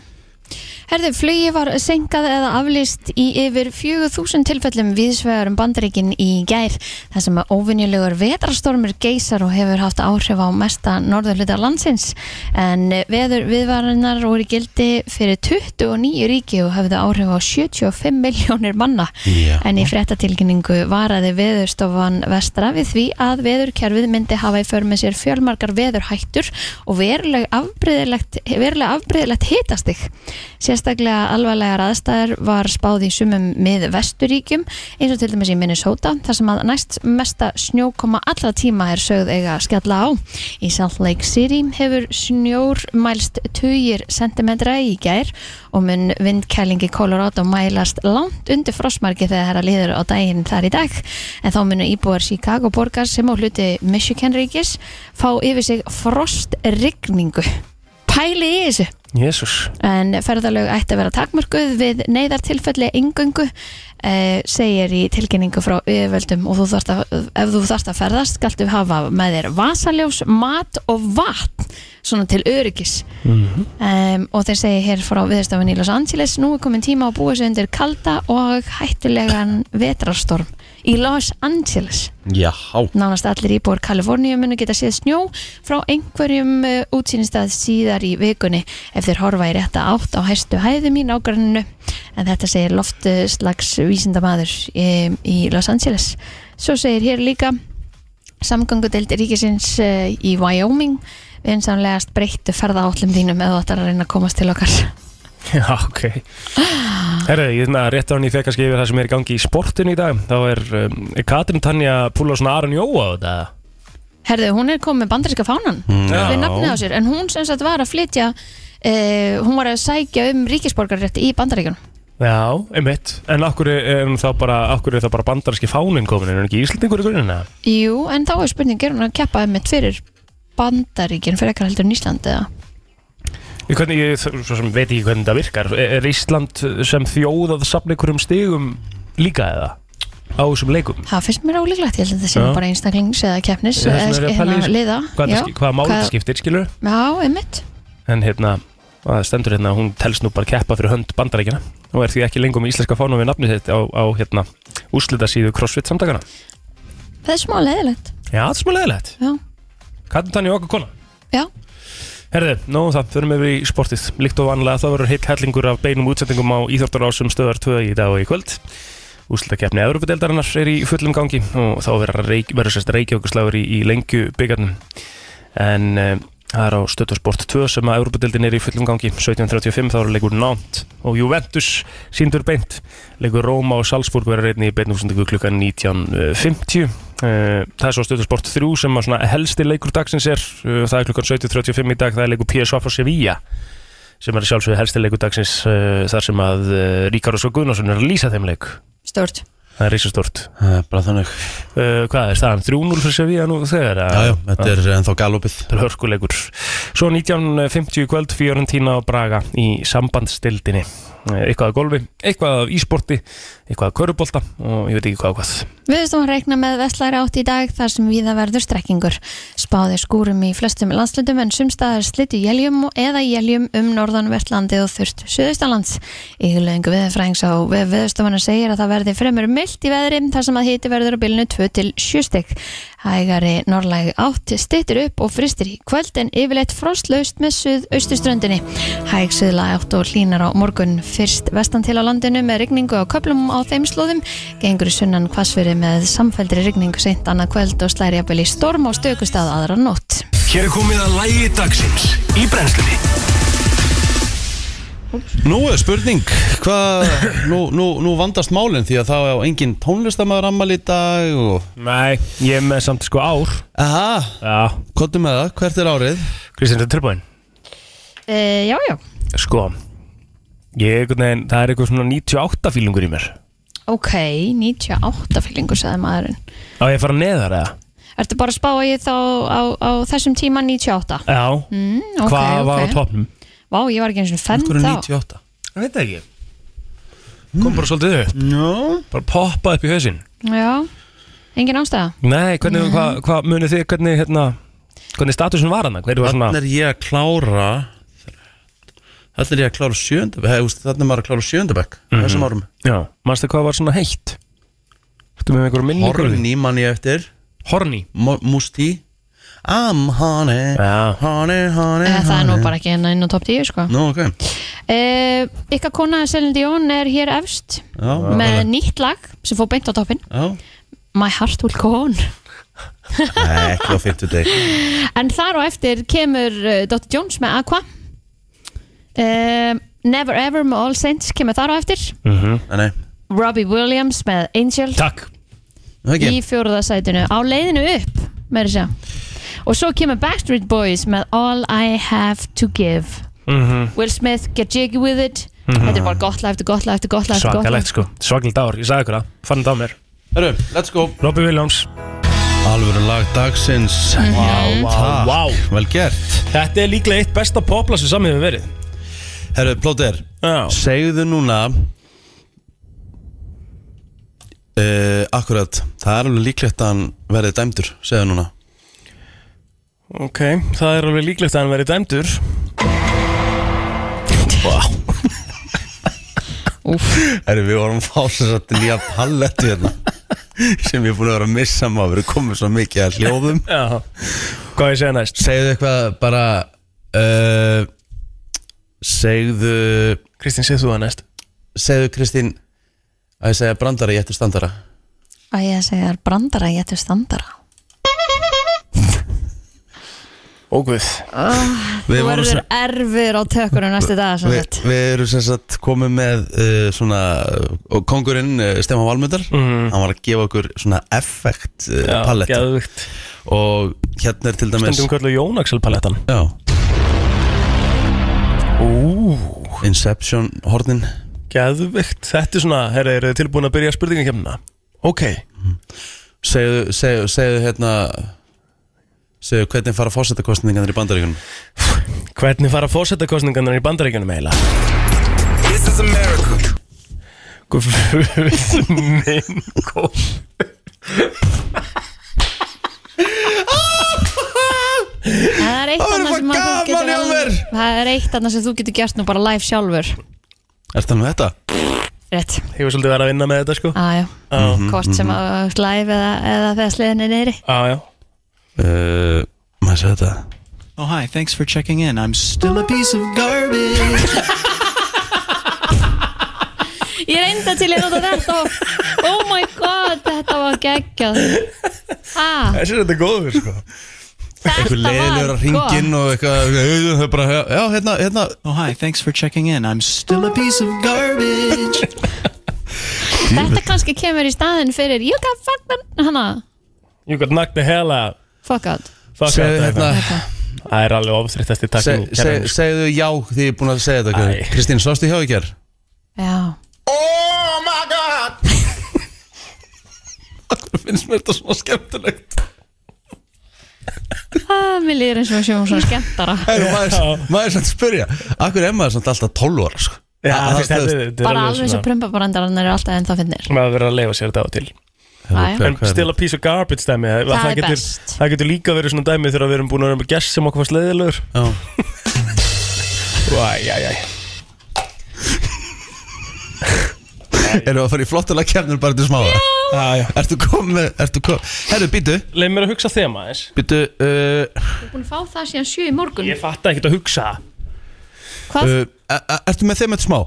Speaker 3: Herðu, flugi var senkað eða aflýst í yfir 4000 tilfellum viðsvegar um bandaríkin í gær þar sem að óvinjulegur vetrarstormur geysar og hefur haft áhrif á mesta norður hluta landsins en veður viðvarinnar voru í gildi fyrir 29 ríki og hefðu áhrif á 75 miljónir manna
Speaker 2: Já.
Speaker 3: en í fréttatilkynningu varaði veðurstofan vestra við því að veðurkerfið myndi hafa í för með sér fjölmargar veðurhættur og veruleg afbreyðilegt, veruleg afbreyðilegt hitastig. Sérstaklega alvarlegar aðstæður var spáð í sumum mið vesturíkjum eins og til dæmis í Minnesota þar sem að næst mesta snjókoma allra tíma er sögð eiga að skella á. Í Salt Lake City hefur snjór mælst 20 sentimetra í gær og mun vindkælingi Colorado mælast langt undir frostmarki þegar það er að liður á daginn þar í dag en þá munu íbúar Chicago borgar sem á hluti Michigan ríkis fá yfir sig frostrigningu pæli í þessu
Speaker 4: Jésús
Speaker 3: en ferðalög ætti að vera takmörkuð við neyðartilfelli yngöngu eh, segir í tilkynningu frá yfirvöldum og þú þarft að, ef þú þarft að ferðast skaltu hafa með þér vasaljós, mat og vatn svona til öryggis um, og þeir segja hér frá viðstafan í Los Angeles nú er komin tíma að búa sig undir kalda og hættulegan vetrarstorm í Los Angeles
Speaker 2: Jáhá
Speaker 3: nánast allir íbúar Kaliforníu munu geta séð snjó frá einhverjum eh, útsýnistað síðar í vikunni ef þeir horfa í rétta átt á hæstu hæðum í nágranninu en þetta segir loftslags vísindamaður í, í Los Angeles svo segir hér líka samgöngudeld ríkisins eh, í Wyoming einsamlegast breyttu ferða átlum þínum eða þú ætlar að reyna að komast til okkar
Speaker 4: Já, ok Herru, ég þarna rétt á hann í fekk kannski yfir það sem er í gangi í sportinu í dag Þá er um, er Katrín Tanja púla svona Aron Jóa á þetta
Speaker 3: Herðu, hún er komið bandaríska fánan
Speaker 4: Já.
Speaker 3: við nafnið á sér, en hún sem sagt var að flytja uh, hún var að sækja um ríkisborgarrétt í bandaríkjunum
Speaker 4: Já, einmitt En akkur er um, þá bara, akkur er það bara bandarski fánin komin Er hann ekki Íslandingur í grunnina?
Speaker 3: Jú, en þá er spurning, er hún að keppa einmitt fyrir bandaríkinn fyrir ekkert heldur en Ísland eða?
Speaker 4: Ég, hvernig, ég svo sem veit ekki hvernig það virkar Er, er Ísland sem þjóð að safna einhverjum stigum líka eða? Á þessum leikum?
Speaker 3: Það finnst mér ólíklegt, ég held að það sé
Speaker 4: Já.
Speaker 3: bara einstaklings eða keppnis
Speaker 4: Ég, það sem er
Speaker 3: eða
Speaker 4: að pæla í
Speaker 3: hérna
Speaker 4: þessu.
Speaker 3: liða
Speaker 4: Hvað,
Speaker 3: Já,
Speaker 4: það ski- hvaða máli
Speaker 3: hvað-
Speaker 4: það skiptir, skilur?
Speaker 3: Já, einmitt
Speaker 4: en hérna að það stendur hérna, hún telst nú bara keppa fyrir hönd bandarækjana og er því ekki lengur með íslenska fánum við nafnið þitt á, á hérna úslitasíðu CrossFit samtakana.
Speaker 3: Það er smá leiðilegt
Speaker 4: Já, það er smá leðilegt.
Speaker 3: Já,
Speaker 4: Katrin Tanja okkar kona.
Speaker 3: já,
Speaker 4: Herðu, nóðum það, förum yfir í sportið. Líkt og vanlega þá verður heitt hellingur af beinum útsendingum á Íþórtarásum stöðar 2 í dag og í kvöld. Úslitakefni Európa-deildarinnar er í fullum gangi og þá verður reik, verður sérst reykjókuslagur í, í lengju byggarnum. En eh, það er á stöðarsport 2 sem að Európa-deildin er í fullum gangi. 1735 þá er leikur Nánt og Juventus síndur beint. Leikur Róma og Salzburg verður einnig í beinum útsendingu klukkan 19.50. Eh, það er svo stöðusport 3 sem að svona helsti leikur dagsins er Eh, það er klukkan 17.35 í dag það er leikur PSV og Sevilla sem er að sjálfsögðu helsti leikur dagsins eh, þar sem að eh, Ríkard Óskar Guðnarsson er að lýsa þeim leik
Speaker 3: stort
Speaker 4: það er reysastort
Speaker 2: Það er bara þannig
Speaker 4: uh, hvað er staðan 3-0 fyrir Sevilla nú þegar að-
Speaker 2: Jájá, þetta er ennþá galopið
Speaker 4: Þetta er hörkuleikur Svo 19.50 í kvöld Fiorentina og Braga í sambandstildinni Eh, Eitthvað af golfi, eitthvað af ísporti eitthvað af körubolta og ég veit ekki hvað og hvað
Speaker 3: Viðstofan reikna með vestlæri átt í dag þar sem viða verður strekkingur. Spáði skúrum í flestum landslutum en sumstaðar slittu jéljum og eða jéljum um norðanvertlandi og þurft suðustalands. Ígulöngu viðfræðings á viðstofana segir að það verði fremur myllt í veðri þar sem að hiti verður á bylnu 2 til 7 stygg. Hægari norðlæg átt stittur upp og fristir í kvöld en yfirleitt frostlaust með suðaustuströndinni. Hæg suðlæg átt og hlínar á morgun fyrst vestan til á landinu með rigningu á köplum á þeim slóðum gengur í sunnan hvassfyrir með samfældri rigningu seint annað kvöld og slæri jafnvel í storm á stökustað aðra nótt.
Speaker 1: Hér er komið að lægi dagsins í brennslunni
Speaker 2: Nú er spurning Hvað, nú, nú, nú vandast málinn Því að það er engin tónlistamæður ammali í dag og...
Speaker 4: Nei, ég er með samt sko ár
Speaker 2: Aha,
Speaker 4: Já,
Speaker 2: kottu með það, hvert er árið?
Speaker 4: Kristján, þetta er tilbúin
Speaker 3: E, já, já.
Speaker 4: Sko Ég, einhvern veginn, það er eitthvað svona 98 fílingur í mér
Speaker 3: Ok, 98 fyllingu sagði maðurinn.
Speaker 4: Á ég að fara neðar eða?
Speaker 3: Ertu bara að spá að ég þá á, á þessum tíma 98?
Speaker 4: Já
Speaker 3: Mm, ok,
Speaker 4: Hvað
Speaker 3: ok.
Speaker 4: var á toppnum?
Speaker 3: Vá, ég var ekki eins og fenn
Speaker 2: Hvað er
Speaker 3: þá.
Speaker 2: 98?
Speaker 4: Ég veit það ekki Kom bara svolítið upp
Speaker 2: No.
Speaker 4: Bara poppa upp í hausinn
Speaker 3: Já, engin ástæða. Mm.
Speaker 4: Nei, hvernig, hvað hva munið þið, hvernig hérna hvernig statusin var hann hvernig var
Speaker 2: Þannig
Speaker 4: svona
Speaker 2: er ég að klára Þannig er ég að klára sjöndabæk Þannig er maður að klára sjöndabæk mm
Speaker 4: Mhm.
Speaker 2: -hmm. Þessum árum
Speaker 4: já mannstu hvað var svona heitt Ertu með einhverjum minningur
Speaker 2: Horni mann ég eftir
Speaker 4: Horni
Speaker 2: Mo- Musti I'm honey
Speaker 4: Já.
Speaker 2: Honey, honey,
Speaker 3: Eh, Það er nú
Speaker 2: honey.
Speaker 3: bara ekki hérna inn á top 10 sko.
Speaker 2: Nú, ok
Speaker 3: uh, Ykkar kona Selin Dion er hér efst
Speaker 2: Já,
Speaker 3: með nýtt lag sem fór beint á toppin
Speaker 2: já.
Speaker 3: My Heart Will Go On
Speaker 2: Nei, ekki á 50 deg
Speaker 3: En þar og eftir kemur uh, Dr. Jones með Aqua uh, Never Ever með All Saints kemur þar og eftir
Speaker 4: Mhm.
Speaker 2: Nei,
Speaker 3: Robbie Williams með Angel
Speaker 4: takk
Speaker 2: það
Speaker 3: í
Speaker 2: ekki
Speaker 3: fjórðasætinu á leiðinu upp með þess að og svo kemur Backstreet Boys með All I Have To Give
Speaker 4: Mhm.
Speaker 3: Will Smith, Get Jiggy With It þetta er bara gott lag eftir gott lag eftir gott lag eftir gott lag
Speaker 4: svakalegt sko svakalegt ár ég sagði ykkur það fann þetta á mér
Speaker 2: Hörru, let's go
Speaker 4: Robbie Williams
Speaker 2: Alvöru lag dagsins Vá,
Speaker 4: Vá, vá.
Speaker 2: Vel gert
Speaker 4: Ah. þetta er líklega eitt besta popla sem samið hefur verið
Speaker 2: Herru, plóter
Speaker 4: já
Speaker 2: Segðu núna uh, Akkurat Það er alveg líklegt að hann verði dæmdur Segðu núna
Speaker 4: Ok, það er alveg líklegt að hann verið dæmdur
Speaker 2: Herru, við vorum fásinsagt nýja pallettu hérna Sem ég er búin að vera að missa maður Við erum komið svo mikið að hljóðum
Speaker 4: Já Hvað ég segja næst?
Speaker 2: Segðu eitthvað bara uh, Segðu
Speaker 4: Kristín, segð þú það næst
Speaker 2: Segðu Kristín Að ég segja brandara, ég ætti standara
Speaker 3: Æ, ég segi það er brandara, ég ætti standara
Speaker 4: Ógvið
Speaker 3: Þú
Speaker 2: Við vorum
Speaker 3: verður erfur á tökkunum næstu dag sem
Speaker 2: Við,
Speaker 3: þetta
Speaker 2: við erum sem sagt komið með uh, svona, uh, kongurinn uh, Stefán Valmundar, hann var að gefa okkur svona effekt uh, palett
Speaker 4: Gæðvikt
Speaker 2: og hérna er til dæmis
Speaker 4: Stundum kallu Jón Axel palettan
Speaker 2: já,
Speaker 4: Ú
Speaker 2: Inception hornin
Speaker 4: Gæðvikt Þetta er svona, herra, eru þið tilbúin að byrja hérna? spurningakemna? Ok
Speaker 2: segðu, segðu, segðu hérna segðu hvernig fara fósettakostningarnir í bandaríkunum
Speaker 4: Hvernig fara fórsetakostningarnar í bandaríkjunum eiginlega?
Speaker 1: This is America
Speaker 4: Guð minn góð
Speaker 3: Það er eitt
Speaker 2: Það verður
Speaker 3: annað sem
Speaker 2: bara
Speaker 3: að þú
Speaker 2: gaman
Speaker 3: getur
Speaker 2: hjá mér.
Speaker 3: ráð- Það er eitt annað sem þú getur gert nú bara live sjálfur
Speaker 2: Er það nú um þetta?
Speaker 3: Rétt,
Speaker 4: Ég var svolítið verið að vinna með þetta sko
Speaker 3: aðjá
Speaker 2: Mhm,
Speaker 3: Hvort sem að live eða, eða þegar sliðin er neyri
Speaker 4: Ah, Já, já
Speaker 2: Uh, maður segði þetta
Speaker 5: Oh, hi. Thanks for checking in. I'm still a piece of garbage.
Speaker 3: Ég reynda til ég nota þetta og oh my god, þetta var geggjað ah,
Speaker 4: Þessi er þetta góður sko
Speaker 3: Þetta
Speaker 2: Einhver leiðilegur
Speaker 3: var
Speaker 2: að ringin og eitthvað eh, þau bara, já, hérna, hérna
Speaker 5: Oh, hi. Thanks for checking in. I'm still a piece of garbage.
Speaker 3: Þetta kannski kemur í staðin fyrir You got fucked hana,
Speaker 4: You got knocked the hell out
Speaker 3: fuck out
Speaker 4: Fuck
Speaker 2: segðu,
Speaker 4: out
Speaker 2: hérna,
Speaker 4: Það er alveg ofþreyttast í
Speaker 2: seg,
Speaker 4: takkinu
Speaker 2: seg, segðu já því ég er búin að segja
Speaker 4: Æ.
Speaker 2: þetta okkur. Kristín, sástu hjá ekki hér?
Speaker 3: Já,
Speaker 2: finnst mér þetta svona skemmtilegt
Speaker 3: ah, mér líður eins og að sjóum svona skemmtara
Speaker 2: Heru, maður, maður er samt að spyrja Akkur er maður samt alltaf 12 ára sko?
Speaker 4: Já,
Speaker 2: Það-
Speaker 4: fyrst,
Speaker 2: það-
Speaker 4: þetta þetta er alveg
Speaker 3: Bara alveg eins og
Speaker 4: svona
Speaker 3: prumpabrandarinn eru alltaf ennþá finnir
Speaker 4: maður verður að leifa sér þetta á til
Speaker 3: Æ.
Speaker 2: Hvað-
Speaker 4: en
Speaker 2: hvað er
Speaker 4: still a piece of garbage dæmi það,
Speaker 3: Það er
Speaker 4: getur,
Speaker 3: best.
Speaker 4: það getur líka verið svona dæmi þegar við erum búin að vera með gest sem okkur fannst leiðilegur
Speaker 2: Já.
Speaker 4: Æjæjæj
Speaker 2: Erum við að fara í flottulega kemnur bara til smáða? Ertu komið, ertu komið Herru, býtu,
Speaker 4: leið mér að hugsa þema eins
Speaker 2: býtu uh,
Speaker 3: Þú er búin að fá það síðan sjö í morgun
Speaker 4: ég fatt ekkert að hugsa það.
Speaker 3: Hvað?
Speaker 2: uh, e- e- Ertu með þeim eftir smá?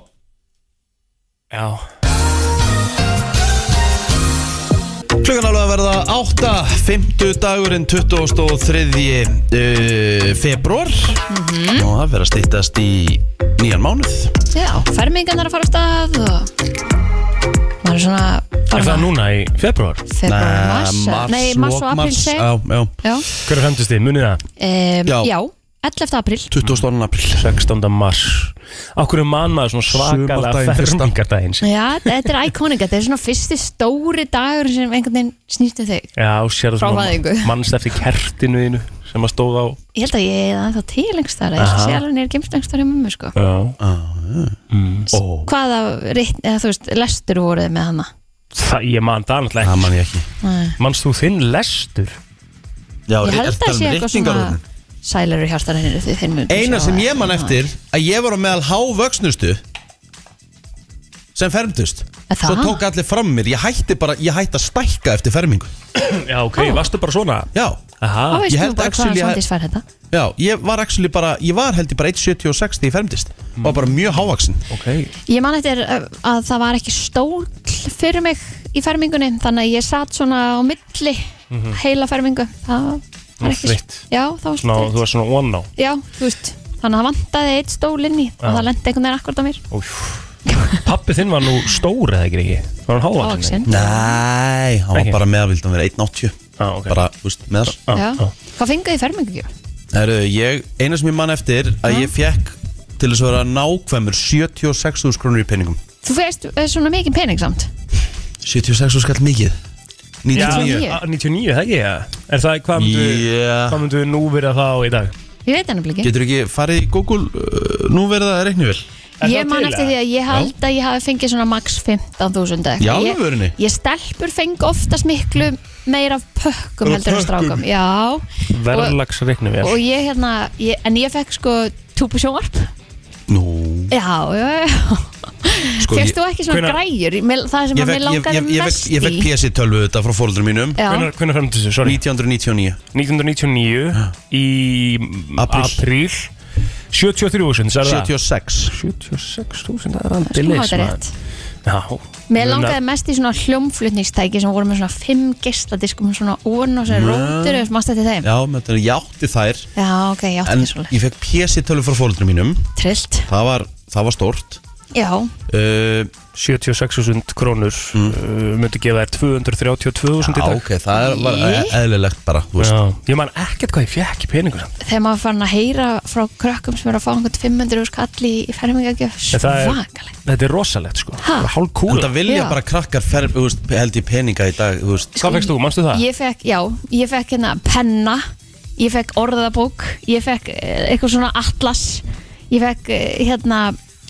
Speaker 4: já
Speaker 2: Klukkan alveg að verða 8, 50 dagurinn 23. Uh, februar
Speaker 3: Mhm.
Speaker 2: og það verður að stýttast í nýjan mánuð
Speaker 3: Já, fermingan er að fara af stað og maður er svona
Speaker 4: er
Speaker 3: bara
Speaker 4: það núna í februar
Speaker 3: februar, mars,
Speaker 2: Mars,
Speaker 3: nei, mars og
Speaker 2: lok
Speaker 3: april
Speaker 2: mars,
Speaker 3: seg
Speaker 2: Já, já,
Speaker 3: Já,
Speaker 4: hver er fremdist þið, munið það
Speaker 3: um,
Speaker 2: Já.
Speaker 3: já. 11. april
Speaker 2: 22. april
Speaker 4: 16. mars okkur er mann maður svona svakalega
Speaker 2: Sumardaginn fyrsta.
Speaker 4: fermingardaginn
Speaker 3: Já, þetta er iconic, þetta er svona fyrsti stóri dagur sem einhvern veginn snýstu þig
Speaker 4: já, sér
Speaker 3: Frá
Speaker 4: svona
Speaker 3: fæðingu.
Speaker 4: mannst eftir kertinu þínu sem að stóð á
Speaker 3: Ég held að ég er ennþá til lengst þar ég sé alveg nýr gemst lengst þar hjá mömmu sko
Speaker 4: já.
Speaker 3: Hvaða, rit, eða, þú veist, lestur voruð þið með hana?
Speaker 4: Það, ég man það náttúrulega
Speaker 2: Það
Speaker 4: ekki
Speaker 2: man ég ekki
Speaker 4: manst þú þinn lestur
Speaker 2: Já,
Speaker 3: Ég
Speaker 2: ertu
Speaker 3: held
Speaker 2: að
Speaker 3: að
Speaker 2: tala
Speaker 3: það
Speaker 2: um
Speaker 3: sé eitthvað svona
Speaker 2: riftingarúrnin?
Speaker 3: sælaru hjartarannir því þeir mjög
Speaker 2: Eina sem ég man eftir að ég var á meðal hávöksnustu sem fermdust
Speaker 3: Er það?
Speaker 2: Svo tók allir fram um mér, ég hætti bara, ég hætti að stækka eftir fermingu
Speaker 4: Já, ok,
Speaker 3: Ah.
Speaker 4: varstu bara svona?
Speaker 2: Já,
Speaker 3: Þá
Speaker 4: Aha,
Speaker 2: ég
Speaker 3: veist
Speaker 2: held
Speaker 3: þú bara
Speaker 2: actually
Speaker 3: hvaðan
Speaker 2: að-
Speaker 3: Svandís fær þetta
Speaker 2: já, ég var actually bara, ég var held ég bara 1.76 þegar ég fermdist Var bara mjög hávaksin
Speaker 4: ok
Speaker 3: Ég man eftir uh, að það var ekki stól fyrir mig í fermingunni þannig að ég satt svona á milli heila fermingu það var ekki
Speaker 4: þreytt.
Speaker 3: Já, það var
Speaker 4: Svona, þú
Speaker 3: svolítið
Speaker 4: varst svona one á
Speaker 3: Já, þú veist þannig að það vantaði eitt stól inn í og
Speaker 4: Já.
Speaker 3: það lendi einhvern veginn akkurat á mér
Speaker 4: Pappi þinn var nú stór eða ekki ekki? Var hann hávaxin?
Speaker 3: Ávaxin
Speaker 2: Nei, hann var
Speaker 4: Ekki.
Speaker 2: bara meðavild, hann verið 1.80
Speaker 4: Já, ok.
Speaker 2: Bara, þú veist, meðal
Speaker 3: Já,
Speaker 4: já.
Speaker 3: hvað fenguði fermingu ekki?
Speaker 2: Herru, ég, eina sem ég man eftir að ég fekk til þess að vera nákvæmur 76.000 krónur í peningum
Speaker 3: Þú veist eh, svona mikið pening samt
Speaker 2: 76.000 skall mikið 99
Speaker 3: 99.
Speaker 4: Já, Ah, 99, það ekki, já Er það, hvað myndu,
Speaker 2: Já.
Speaker 4: hvað myndu nú verið að það á í dag?
Speaker 3: Ég veit hann ekki
Speaker 2: Getur ekki farið í Google uh, nú verða það reiknivel
Speaker 4: Er
Speaker 3: Ég
Speaker 4: það
Speaker 3: man
Speaker 4: til,
Speaker 3: eftir
Speaker 4: eða?
Speaker 3: því að ég held að ég hafi fengið svona max 15.000 eða
Speaker 2: Í
Speaker 3: eitthvað. Ég-
Speaker 2: alvörunni?
Speaker 3: Ég stelpur feng oftast miklu meira af pökkum heldur en strákum Já
Speaker 4: Verðlagsreikni vel
Speaker 3: Og ég hérna, ég, en ég fekk sko túpu sjónvarp
Speaker 2: Nú
Speaker 3: Já, já, já
Speaker 2: Sko, ég,
Speaker 3: Fekst þú ekki svona
Speaker 4: hvenær-
Speaker 3: græjur Mér- Það sem
Speaker 2: ég fekk,
Speaker 3: að mér
Speaker 2: ég,
Speaker 3: langaði
Speaker 2: ég, ég fekk,
Speaker 3: mest
Speaker 2: ég fekk
Speaker 3: í
Speaker 2: PSI tölvu þetta frá fólundur mínum
Speaker 3: Já,
Speaker 4: Hvernig fremdu þessu, sorry?
Speaker 2: 1999
Speaker 4: 1999 í mm,
Speaker 2: Ah. Apríl.
Speaker 4: apríl 73.000, sagði það?
Speaker 2: 76
Speaker 4: 76.000, það er hann
Speaker 3: sko, það er rétt
Speaker 4: Já
Speaker 3: Mér
Speaker 4: Munar-
Speaker 3: langaði mest í svona hljómflutningstæki sem voru með svona fimm gistadiskum svona ón og svona rótur eða smast eftir þeim
Speaker 2: Já, með þetta ég átti þær
Speaker 3: Já, ok, ég átti
Speaker 2: En
Speaker 3: mér svolítið
Speaker 2: ég fekk PSI tölvu frá fólundur mínum
Speaker 3: Trillt,
Speaker 2: Það var, það var stort
Speaker 3: já,
Speaker 2: uh,
Speaker 4: 76.000 krónur uh, myndi gefa þær 232.000 í
Speaker 2: Já,
Speaker 4: dag
Speaker 2: ok, það er, var e-
Speaker 3: Í?
Speaker 2: eðlilegt bara Þú veist
Speaker 4: Já, ég man ekkert hvað ég fekk í peningur samt.
Speaker 3: þegar maður fann að heyra frá krökkum sem eru að fá einhvern 500 úr skall í, í fermingagjöf,
Speaker 4: En það er-
Speaker 3: svakalegt
Speaker 4: Þetta er rosalegt sko
Speaker 3: Ha?
Speaker 4: Bara Hálf
Speaker 2: En
Speaker 4: kúla
Speaker 2: það vilja
Speaker 3: Já.
Speaker 2: bara krakkar fer, þú veist, held í peninga í dag þú veist.
Speaker 4: Hvað fegst þú, manstu það?
Speaker 3: Ég fekk, já, ég fekk hérna penna, ég fekk orðabók, ég fekk eh, eitthvað svona atlas, ég fekk eh, hérna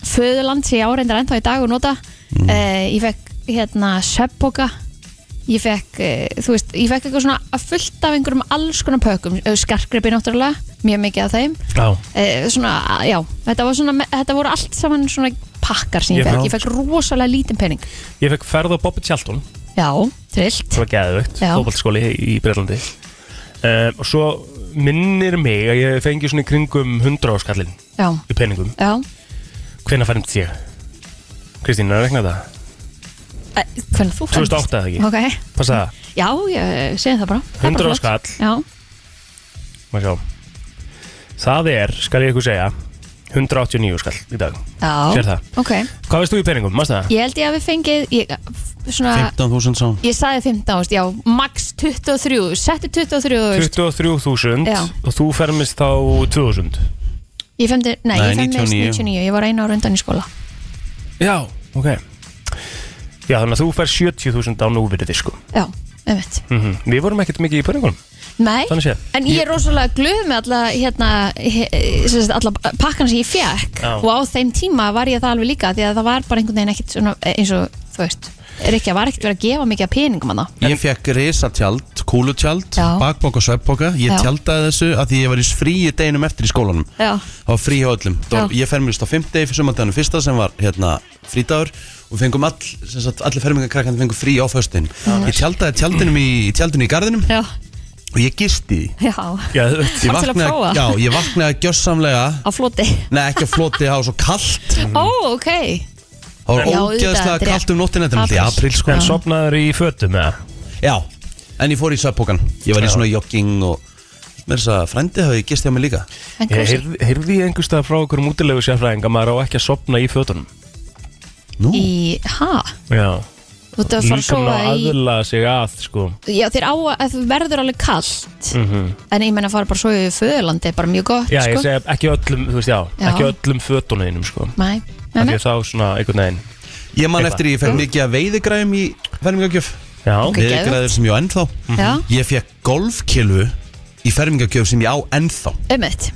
Speaker 3: föðuland sem ég áreindar ennþá í dag og nota, mm. ég fekk hérna söpbóka, ég fekk, eh, þú veist, ég fekk eitthvað svona fullt af einhverjum alls konar pökum, skarkrippi náttúrulega, mjög mikið af þeim.
Speaker 4: Já
Speaker 3: Eh, svona, já, þetta, var svona, þetta voru allt saman svona pakkar sem ég
Speaker 4: Ég
Speaker 3: fekk,
Speaker 4: fekk-
Speaker 3: ég fekk rosalega lítinn pening
Speaker 4: Ég fekk ferð á Bobby Tjaldun
Speaker 3: já, trillt
Speaker 4: Það var geðvögt
Speaker 3: Já.
Speaker 4: Fóbaltskóli í Breitlandi um, Og svo minnir mig að ég fengi svona í kringum 100 áskallin
Speaker 3: já,
Speaker 4: í peningum
Speaker 3: já,
Speaker 4: Hvenær færðum ég? Kristín, er að regna það?
Speaker 3: Eh, hvernig þú
Speaker 4: 2008 eða ekki?
Speaker 3: okay.
Speaker 4: Passa það
Speaker 3: já, ég segi það bara Það er
Speaker 4: 100
Speaker 3: bara
Speaker 4: á
Speaker 3: flott.
Speaker 4: skall.
Speaker 3: já,
Speaker 4: Má sjá Það er, skal ég ykkur segja 189 skall í dag Sér
Speaker 3: já,
Speaker 4: það.
Speaker 3: ok
Speaker 4: Hvað veist þú í peningum, mást það?
Speaker 3: ég held ég að við fengið ég, svona,
Speaker 2: 15.000 sá
Speaker 3: ég sagði 15 ást, já, max 23, setti 23 þú veist.
Speaker 4: 23.000
Speaker 3: Já.
Speaker 4: og þú fermist þá 2.000
Speaker 3: ég femdi, nei,
Speaker 2: Nei,
Speaker 3: ég femdi
Speaker 2: 99.
Speaker 3: 99 ég var einu ára undan í skóla
Speaker 4: Já, ok Já, þannig að þú fær 70.000 á núvirði sko.
Speaker 3: já, einmitt
Speaker 4: mm Við vorum ekkert mikið í peningum
Speaker 3: Nei,
Speaker 4: Þannig séð.
Speaker 3: en ég er rosalega glöð með alla, hérna, he, sem sagt, alla pakkana sem ég fekk
Speaker 4: Já.
Speaker 3: og á þeim tíma var ég það alveg líka því að það var bara einhvern veginn ekkert svona, eins og þú veist, Rikki var ekkert verið að gefa mikið af peningum hann
Speaker 2: Ég fekk risatjald, kúlutjald,
Speaker 3: Já.
Speaker 2: bakbók og svefbóka Ég
Speaker 3: Já.
Speaker 2: tjaldaði þessu að því ég var í fríi deginum eftir í skólanum
Speaker 3: Já,
Speaker 2: Það var frí hjá öllum Það var-
Speaker 3: Já.
Speaker 2: Ég fermist á 5 degi fyrir sumandaganum fyrsta sem var hérna frítagur og fengum all, sem sagt, allir fermingarkrakkandi fengum frí á föstin Ég tjaldaði tjaldinum í, í tjaldinu í garðinum
Speaker 3: já,
Speaker 2: og ég gisti í því.
Speaker 3: já,
Speaker 4: Já,
Speaker 2: Ég
Speaker 3: Bara til að prófa.
Speaker 2: já, ég vaknaði gjössamlega
Speaker 3: á floti
Speaker 2: Nei, ekki á floti, það var svo kallt
Speaker 4: Mm.
Speaker 3: Ó, ok,
Speaker 2: Það var
Speaker 3: Já,
Speaker 2: ógeðslega
Speaker 3: auðvitað,
Speaker 2: kallt um nóttina Þetta er
Speaker 3: Apríl.
Speaker 2: náttúrulega í april sko
Speaker 4: En sopnaður í fötum eða?
Speaker 2: Já, en ég fór í sveppokan Ég var í svona jogging og Mér þess að frændi hafi gist hjá mig líka
Speaker 3: en
Speaker 4: Ég
Speaker 3: kósi
Speaker 4: heyrði, heyrði ég einhverstað frá okkur mútilegu sérfræðing að maður á ekki að sopna í fötunum
Speaker 2: Nú,
Speaker 3: Í, ha,
Speaker 4: Já,
Speaker 3: þú ert að fara að
Speaker 4: líkam
Speaker 3: sofa
Speaker 4: að
Speaker 3: í
Speaker 4: aðla sig að sko.
Speaker 3: Já, þér á að þú verður alveg kallt En ég menna að fara bara að sofa í föðurlandi er bara mjög gott,
Speaker 4: Mhm. Já, ég
Speaker 3: sko
Speaker 4: segi ekki öllum, þú veist, já,
Speaker 3: Já.
Speaker 4: ekki öllum fötuninum sko.
Speaker 3: Nei, nei,
Speaker 4: Af
Speaker 3: nei.
Speaker 4: því að þá svona einhvern veginn
Speaker 2: ég man
Speaker 4: eitthvað.
Speaker 2: eftir ég fekk mikið að veiðigræðum í fermingagjöf
Speaker 4: Já,
Speaker 3: Ok. geðveikt.
Speaker 2: Veiðigræður sem ég á ennþá
Speaker 3: Já,
Speaker 4: Mhm.
Speaker 2: Ég fekk golfkilu í fermingagjöf sem ég á ennþá
Speaker 3: ummitt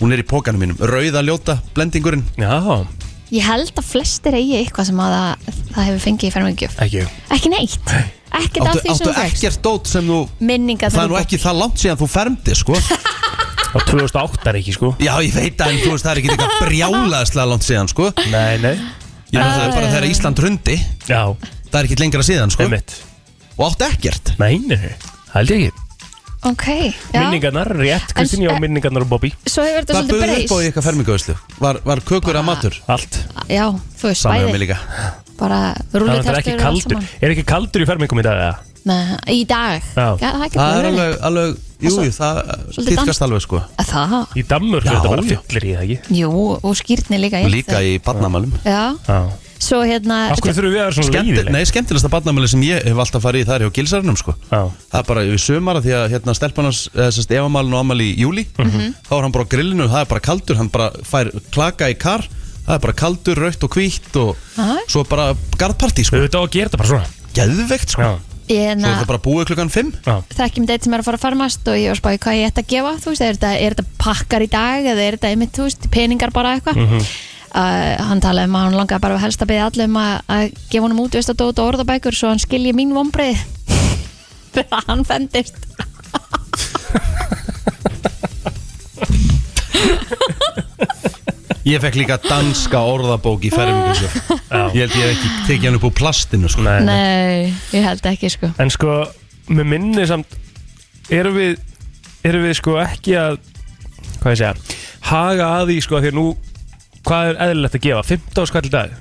Speaker 2: Hún er í pókanum mínum, rauða ljóta, blendingurinn
Speaker 4: já,
Speaker 3: Ég held að flestir eigi eitthvað sem að það, það hefur fengið í fermingjöf
Speaker 4: ekki
Speaker 3: Ekki neitt ekkert af
Speaker 2: Áttu,
Speaker 3: því sem
Speaker 2: áttu
Speaker 3: þú fegst
Speaker 2: ekkert dót sem þú
Speaker 3: minningar
Speaker 2: Það
Speaker 3: þegar
Speaker 2: er nú
Speaker 3: þú-
Speaker 2: ekki það langt síðan þú fermdi sko
Speaker 4: Á 2008 er ekki sko
Speaker 2: Já ég veit að en þú veist það er ekki eitthvað brjálaðslega langt síðan sko
Speaker 4: Nei, nei
Speaker 2: Ég meina það er bara þegar Ísland rundi
Speaker 4: Já,
Speaker 2: Það er ekki lengra síðan sko
Speaker 4: einmitt
Speaker 2: Og áttu ekkert
Speaker 4: Nei, nei, nei, held ég ekki
Speaker 3: ok, já
Speaker 4: Minningarnar, rétt, Kristín, já,
Speaker 3: eh,
Speaker 4: minningarnar og Bobby
Speaker 3: svo hefur þetta
Speaker 2: Hvað
Speaker 3: svolítið
Speaker 2: böður upp á í
Speaker 3: breyst
Speaker 2: eitthvað fermingauslu? Var, var kökur að matur?
Speaker 4: Allt
Speaker 3: já, þú veist,
Speaker 2: Samið mig
Speaker 3: bæði
Speaker 2: líka
Speaker 3: bara
Speaker 4: Þannig
Speaker 3: rúlið
Speaker 4: að það er ekki kaldur Er ekki kaldur í fermingum í dag, eða?
Speaker 3: Nei, í dag
Speaker 4: Já.
Speaker 3: Já, það er ekki
Speaker 2: Það er
Speaker 3: alveg
Speaker 2: alveg, alveg jú,
Speaker 3: Það er
Speaker 2: jú, það
Speaker 3: svolítið
Speaker 2: týrkast alveg sko
Speaker 3: Að Það,
Speaker 4: Í Dammur,
Speaker 2: Já,
Speaker 4: þetta bara
Speaker 2: já.
Speaker 4: fyllir í það ekki
Speaker 3: jú, og skýrtni líka í
Speaker 2: Líka í barnamælum
Speaker 3: Já,
Speaker 4: Já
Speaker 3: svo hérna
Speaker 4: Af hverju þurfum við að vera svona
Speaker 2: Skemmti,
Speaker 4: leiðileg?
Speaker 2: Nei, skemmtilegsta barnamæli sem ég hef alltaf farið í það er hjá gilsarinnum sko
Speaker 4: Já,
Speaker 2: Það er bara við sumara því að hérna stelpanans, þessast efamælin og ammæli í júli
Speaker 3: Mhm.
Speaker 2: Þá er hann bara á grillinu, það er bara kaldur, hann bara fær klaka í kar Það er bara kaldur, rautt og hvítt og
Speaker 3: Aha.
Speaker 2: svo bara garðpartí sko
Speaker 4: auðvitað á að gera þetta bara svona
Speaker 2: Geðvegt sko,
Speaker 4: Já,
Speaker 2: svo er það
Speaker 3: hérna,
Speaker 2: bara búið klukkan 5
Speaker 4: já
Speaker 3: þekkjum deitt sem er að fara að farmast og ég var spáði hvað ég ætti að gefa þú veist, er þetta, er þetta pakkar í dag eða er þetta einmitt, þú veist, peningar bara eitthvað mm
Speaker 4: Mhm.
Speaker 3: hann talaði um að hann langaði bara helst að beða allum að, að gefa honum út veist að dóta orðabækur svo hann skilji mín vombrið þegar hann fendist
Speaker 2: Ég fekk líka danska orðabók í fermingu sko.
Speaker 4: Já.
Speaker 2: Ég held ég hef ekki tekið hann upp úr plastinu sko.
Speaker 4: Nei, nei.
Speaker 3: Nei, ég held ekki sko
Speaker 4: En sko, með minni samt Erum við, erum við sko ekki að Hvað ég segja Haga að því sko, af því að nú Hvað er eðlilegt að gefa? 15 skall í dag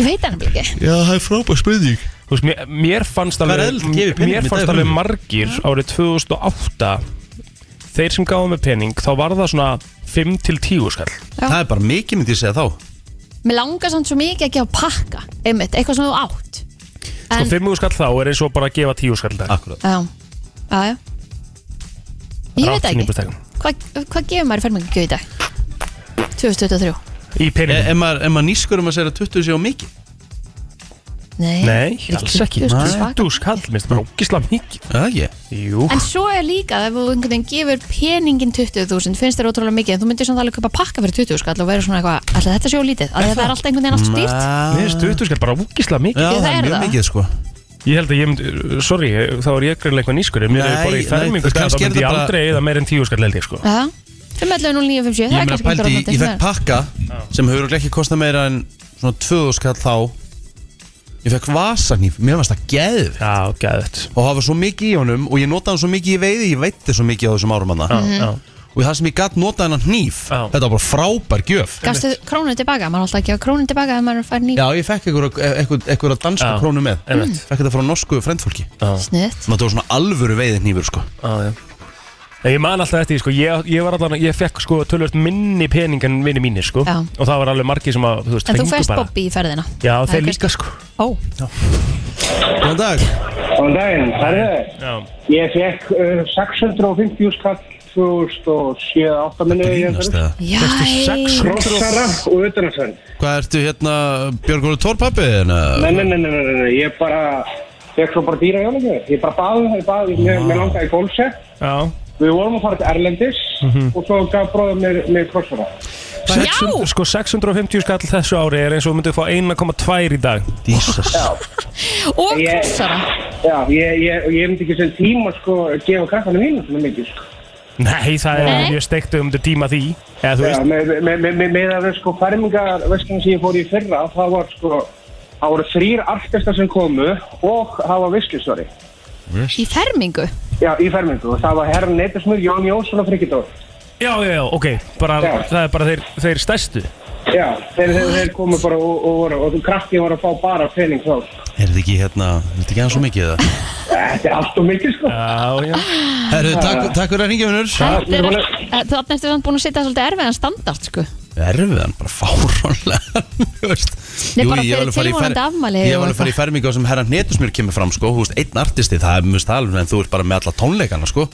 Speaker 3: Ég veit hann ekki
Speaker 2: Já, það er frábær spurning
Speaker 4: Þú veist, mér, mér fannst
Speaker 2: Hvað er
Speaker 4: alveg,
Speaker 2: eðlilegt að gefa í peningum
Speaker 4: mér
Speaker 2: í dag
Speaker 4: fannst
Speaker 2: fyrir
Speaker 4: alveg
Speaker 2: mig?
Speaker 4: margir árið 2008 þeir sem gáðu með pening þá var það svona 5 til 10 skall
Speaker 3: Já.
Speaker 2: Það er bara mikið myndi ég segja þá
Speaker 3: Mér langar samt svo mikið að gefa pakka einmitt, eitthvað sem þú átt
Speaker 4: sko
Speaker 3: En,
Speaker 4: 5 skall þá er eins og bara að gefa 10 skall í dag
Speaker 2: Akkurat
Speaker 3: já, já, já Ég veit það ekki
Speaker 4: Rátt
Speaker 3: Hvað hva gefur maður í fermingugjöf í dag? 2023
Speaker 4: í
Speaker 3: Eh,
Speaker 4: peningum
Speaker 2: Ef maður, ef maður nýskur um að segja að 20 sé á mikið
Speaker 3: Nei,
Speaker 4: Nei, alls ekki
Speaker 3: Nei.
Speaker 4: 20 skall, minnst það bara ógislega mikið
Speaker 2: Já, ég
Speaker 4: Jú,
Speaker 3: En svo er líka, ef þú einhvern veginn gefur peningin 20.000, finnst þér ótrúlega mikið en þú myndir samt alveg kaupa pakka fyrir 20 skall og verður svona eitthvað, ætla þetta sjó lítið, að þetta er alltaf einhvern veginn allt stýrt
Speaker 4: minnst 20 skall bara ógislega mikið
Speaker 2: Já,
Speaker 3: Ég,
Speaker 2: það
Speaker 3: það
Speaker 2: er
Speaker 3: er
Speaker 2: mjög
Speaker 3: það.
Speaker 2: mikið sko
Speaker 4: Ég held að ég myndi, sorry, þá er ég greinlega eitthvað nýskur en mér
Speaker 2: Nei,
Speaker 4: er bara í
Speaker 2: nei,
Speaker 4: fermingu skall,
Speaker 2: kannski
Speaker 4: þá myndi
Speaker 2: er
Speaker 4: ég
Speaker 2: þetta bara-
Speaker 4: aldrei eða meir en 10 skall held ég sko
Speaker 3: Já, 5.11.09.57, það
Speaker 2: Ég
Speaker 3: er
Speaker 2: meina
Speaker 3: kannski
Speaker 2: pældi, ég,
Speaker 3: ekki
Speaker 2: ég fekk pakka sem hefur örugglega ekki kostað meira en svona 20 skall þá Ég fekk vasagnýf, mér fannst það geð
Speaker 4: Já, gæðið
Speaker 2: og hafa svo mikið í honum og ég notaði hann svo mikið í veiði, ég veitti svo mikið á þessum árum hann
Speaker 3: Mhm.
Speaker 4: Já, já
Speaker 2: og það sem ég gatt notaði hann hníf
Speaker 4: Já.
Speaker 2: þetta var bara frábær gjöf
Speaker 3: Gastu krónu tilbaka, maður er alltaf að gefa krónu tilbaka ef maður fær nýja
Speaker 2: Já, ég fekk eitthvað að danska
Speaker 4: Já.
Speaker 2: krónu með
Speaker 4: Einmitt.
Speaker 2: fekk þetta frá norsku frendfólki
Speaker 3: snitt
Speaker 2: Þetta var svona alvöru veiði hnífur sko
Speaker 4: Já, já. Nei, Ég man alltaf eftir, því, sko, ég, ég var allan, ég fekk sko tölvöld minni pening en vinni mínir sko
Speaker 3: Já.
Speaker 4: og það var alveg margir sem að, þú veist,
Speaker 3: En þú
Speaker 4: fengu
Speaker 3: fæst
Speaker 4: bara
Speaker 3: Bobby í ferðina
Speaker 4: Já,
Speaker 3: Það
Speaker 4: þeir
Speaker 3: er
Speaker 4: líka sko
Speaker 3: Ó,
Speaker 2: Góðan dag
Speaker 6: Góðan daginn, herðu,
Speaker 4: Já,
Speaker 6: ég fekk uh, 650 skall 2007-2008 minni
Speaker 2: Grínast eða
Speaker 3: jæ
Speaker 6: Krossara og utanhansvenn
Speaker 2: Hvað ertu hérna Björgólu Tórpappi?
Speaker 6: nei, nei, nei, nei, nei, nei, ég bara fekk svo bara dýra jólagjöf Ég bara baði, ég baði, mér, mér langaði í golfsett
Speaker 4: já,
Speaker 6: Við vorum að fara til Erlendis og svo gaf bróðum mér, mér krossara
Speaker 4: Sexun- sko 650 skall þessu ári er eins og myndið fá 1,2 í dag
Speaker 2: Jesus
Speaker 3: Og
Speaker 6: Ég-
Speaker 3: krossara
Speaker 6: Já, ég, ég, ég myndi ekki sem tíma sko að gefa krakkanu mínu svona mikið sko
Speaker 4: Nei, það er
Speaker 3: Nei.
Speaker 4: mjög steikt um þetta tíma því eða þú
Speaker 6: Já,
Speaker 4: veist,
Speaker 6: með, með, með, með, með að sko fermingar vestlunum sem ég fór í fyrra það var sko það voru þrýr artistar sem komu og það var vislisvari
Speaker 3: í fermingu
Speaker 6: Já, í fermingu. Það var herran Neytismur, Jón Jónsson og Frikidór.
Speaker 4: já, já, já, ok bara,
Speaker 6: Já.
Speaker 4: það er bara þeir, þeir stærstu
Speaker 6: Já, þeir, þeir, þeir komu bara og, og, voru, og krakkið voru að fá bara pening þá.
Speaker 2: Er þetta ekki hérna, er þetta ekki hann svo mikið eða?
Speaker 6: Þetta er allt og mikið, sko.
Speaker 4: Já, já,
Speaker 2: Herru, takk, takk fyrir að ringja húnur
Speaker 3: Þetta er
Speaker 6: ég
Speaker 3: all- Eh, Þarna ertu samt búin að setja svolítið erfiðan standart sko
Speaker 2: Erfiðan, bara fárónlega Þú veist
Speaker 3: Nei,
Speaker 2: Jú,
Speaker 3: bara
Speaker 2: ég hef
Speaker 3: fyrir
Speaker 2: alveg farið í
Speaker 3: tilvonandi afmæli
Speaker 2: Ég hef
Speaker 3: og
Speaker 2: alveg farið í fermingu á sem herra hnetusmjör kemur fram sko Þú veist, einn artisti, það er mjög stalun En þú ert bara með alla tónleikana sko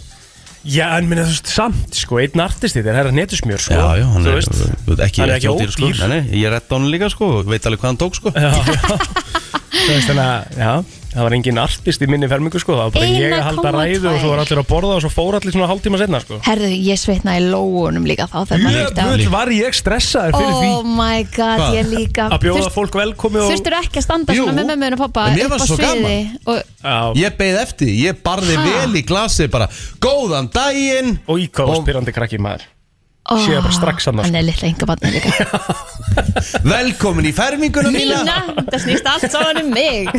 Speaker 4: já, en minna þú veist samt sko, einn artisti, þeir herra netusmjör sko
Speaker 2: Já, já, hann
Speaker 4: þú
Speaker 2: er,
Speaker 4: veist
Speaker 2: þú veist, ekki,
Speaker 4: hann er
Speaker 2: ekki
Speaker 4: ekki
Speaker 2: ódýr, sko.
Speaker 4: ódýr.
Speaker 2: Nei, nei, ég er rétt á hann líka sko, og veit alveg hvað hann tók sko
Speaker 4: Já, já. Þú veist, þannig að, já, það var engin artist í minni fermingu sko, það var bara ég að halda
Speaker 3: 1,2.
Speaker 4: ræðu og svo var allir að borða og svo fór allir svona hálftíma setna sko.
Speaker 3: Herðu, ég sveitna í lóunum líka þá þegar maður hýtti á
Speaker 4: Jöfull var ég stressaður fyrir
Speaker 3: Oh my god,
Speaker 2: Hvað?
Speaker 3: ég líka
Speaker 4: því að bjóða fólk velkomi og
Speaker 3: Þurftur ekki að standa
Speaker 2: Jú.
Speaker 3: svona með mömmu og pappa
Speaker 2: En mér
Speaker 3: upp á
Speaker 2: fannst svo
Speaker 3: sviði og,
Speaker 4: Já,
Speaker 2: Ég beigð eftir, því, ég barði
Speaker 3: Ha?
Speaker 2: vel í glasi bara Góðan daginn
Speaker 4: og íká spyrandi krakki maður
Speaker 3: oh,
Speaker 4: Sé það bara strax sko. annars.
Speaker 3: Hann er litla enga barnið líka
Speaker 2: Velkomin í ferminguna mína
Speaker 3: Mína, þetta snýst allt saman um mig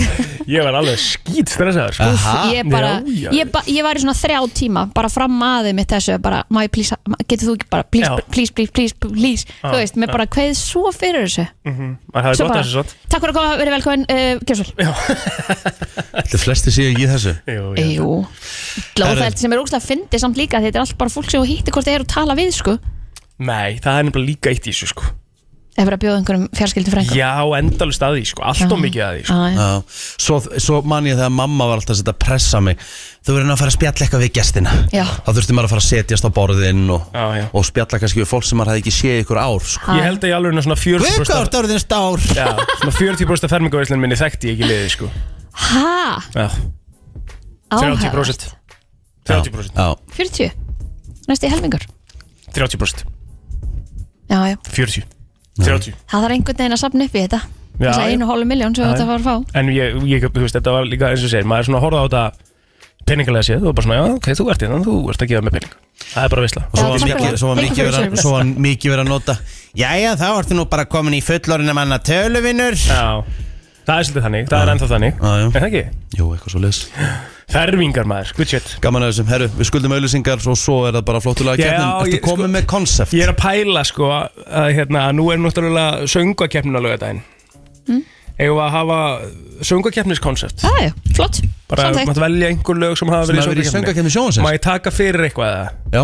Speaker 4: Ég var alveg skýt stressaður sko.
Speaker 2: Aha,
Speaker 3: ég, bara,
Speaker 4: já, já.
Speaker 3: Ég, ba ég var í svona þrjá tíma bara fram aðeim mitt þessu bara, má ég please, ma- getur þú ekki bara please,
Speaker 4: Já.
Speaker 3: please, please, please, please þú veist, mér bara kveðið svo fyrir þessu
Speaker 4: maður hefði
Speaker 3: svo
Speaker 4: gott að
Speaker 3: bara,
Speaker 4: þessu svont
Speaker 3: takk fyrir að koma, verið velkomin uh, Gjörsvöld,
Speaker 2: Þetta flesti séu í þessu
Speaker 3: jú
Speaker 2: Herru.
Speaker 3: Lóðfælt sem er ógst að fyndi samt líka því þetta er allt bara fólk sem þú hýtti hvort þið eru að tala við sko,
Speaker 4: Nei, það er nefnilega líka eitt í þessu sko.
Speaker 3: ef verið að bjóða einhverjum Ah. fjarskildu frængum
Speaker 4: Já, endalust að því, sko. allt og mikið að því sko.
Speaker 2: Já, svo, svo man ég þegar mamma var alltaf að setja að pressa mig Þú verður nú að fara að spjalla eitthvað við gestina
Speaker 3: Já.
Speaker 2: Þá þurfti maður að fara að setjast á borðin og,
Speaker 4: Já, já.
Speaker 2: og spjalla kannski við fólk sem maður hefði ekki séð í ykkur ár sko.
Speaker 4: Ég held að ég alveg er svona 40%
Speaker 2: Við hvað orðin stár
Speaker 4: Já, svona 40% fermingavæslinn minni þekkti ég ekki liðið sko
Speaker 3: Hæ?
Speaker 4: Já, 30% 30%
Speaker 2: Já,
Speaker 3: 40? Næsti helmingur?
Speaker 4: 30%
Speaker 3: Já, já,
Speaker 4: 40 30
Speaker 3: það þarf einhvern veginn að safna upp í þetta
Speaker 4: Já,
Speaker 3: Þess að
Speaker 4: já.
Speaker 3: einu hólu miljón sem
Speaker 4: Já,
Speaker 3: þetta var að fá
Speaker 4: En ég, ég, þú veist, þetta var líka eins og segir Maður er svona að horfa á þetta peningalega séð Og bara svona, já, ok, þú ert innan, þú ert að gefa mér pening Það er bara veisla
Speaker 2: og svo
Speaker 3: Já,
Speaker 2: var
Speaker 3: takk
Speaker 2: mikið,
Speaker 3: fyrir.
Speaker 2: svo var
Speaker 3: Thank
Speaker 2: mikið
Speaker 3: you for
Speaker 2: verið
Speaker 3: your
Speaker 2: að- svo var mikið verið að nota Jæja, þá ertu nú bara komin í fullorinn að manna töluvinur
Speaker 4: Já, það er svolítið þannig, það er ennþá þannig
Speaker 2: Já, já.
Speaker 4: En það ekki,
Speaker 2: Jú, eitthvað svo leys
Speaker 4: fermingar maður, good shit
Speaker 2: Gaman að þessum, herru, við skuldum auðlýsingar og svo er það bara flottulega
Speaker 4: Já,
Speaker 2: kefnin Ertu
Speaker 4: ég- sko-
Speaker 2: komið með konsept?
Speaker 4: Ég er að pæla sko að hérna, nú er náttúrulega söngakeppnin á laugardaginn mm?
Speaker 3: Hm?
Speaker 4: Eigum við að hafa söngakeppniskoncept
Speaker 3: Já, já, flott,
Speaker 4: bara
Speaker 3: samþykkt.
Speaker 4: maður velja einhver lög sem hafa
Speaker 2: Sem
Speaker 4: verið
Speaker 2: hafa verið í söngvakeppni sjónvarpsins?
Speaker 4: Má ég taka fyrir eitthvað eða?
Speaker 2: Já,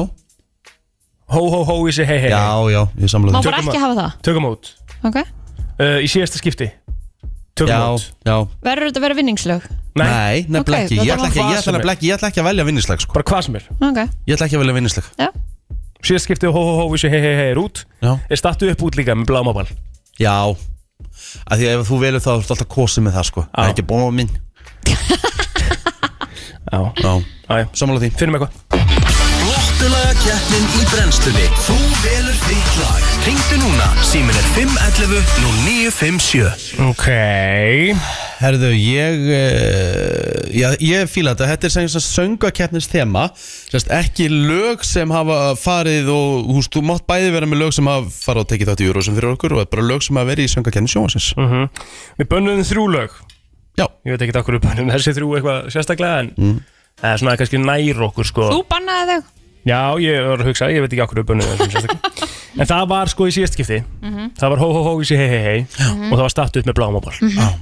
Speaker 4: Hó hó hó í sig hei hei
Speaker 2: já, já, ég samla
Speaker 3: Má
Speaker 2: það
Speaker 3: bara
Speaker 4: Tökum
Speaker 3: ekki
Speaker 4: að-
Speaker 3: hafa það
Speaker 4: Tökum út
Speaker 3: Ok
Speaker 4: uh, Í síðasta skipti Tökum
Speaker 2: Já,
Speaker 4: út
Speaker 2: já,
Speaker 3: Verður þetta að vera vinningslög?
Speaker 4: Nei,
Speaker 2: nei,
Speaker 3: Ok,
Speaker 2: nefnilega ekki
Speaker 3: þetta
Speaker 2: Ég ætla
Speaker 3: var
Speaker 2: ekki-
Speaker 4: hvað
Speaker 2: ég
Speaker 4: sem
Speaker 2: ætla nefnilega ekki- ég ætla ekki að velja vinnisleg sko.
Speaker 4: bara hvað sem er
Speaker 3: Ok,
Speaker 2: Ég ætla ekki að velja vinnisleg
Speaker 3: já
Speaker 4: Síðasta skipti hó hó hó í sig hei hei hei er út
Speaker 2: Já,
Speaker 4: Er stattu upp út líka með blámabal
Speaker 2: já Af Því að ef þú velur það, þú ert alltaf kosið með það sko Það er ekki bóma minn
Speaker 4: Já,
Speaker 2: Já,
Speaker 4: já, já
Speaker 2: samla því
Speaker 4: Finnum eitthvað
Speaker 7: Flottulaga keppnin í brennslunni Þú velur þitt lag Ringdu núna, símin er 511 0957
Speaker 4: Ok
Speaker 2: Herðu, ég, uh, já, ég fíla þetta, þetta er sem sagt söngakeppnins þema, Sest, ekki lög sem hafa farið og húst, þú mátt bæði vera með lög sem hafa farið og tekið þátt í Eurovision fyrir okkur og bara lög sem hafa verið í söngakeppnins sjónvarsins.
Speaker 4: Mm. Við bönnuðum þrjú lög
Speaker 2: Já.
Speaker 4: Ég veit ekki okkur við bönnum þessi þrjú eitthvað sérstaklega en
Speaker 2: Mm.
Speaker 4: Það er svona kannski nær okkur sko
Speaker 3: Þú bannaði þau
Speaker 4: Já, ég var að hugsa, ég veit ekki okkur uppbönnið þessum sérstaklega En það var sko í síðast skipti Það var hó hó hó í sig hei hei hei Og það var stattu upp með blámabal mm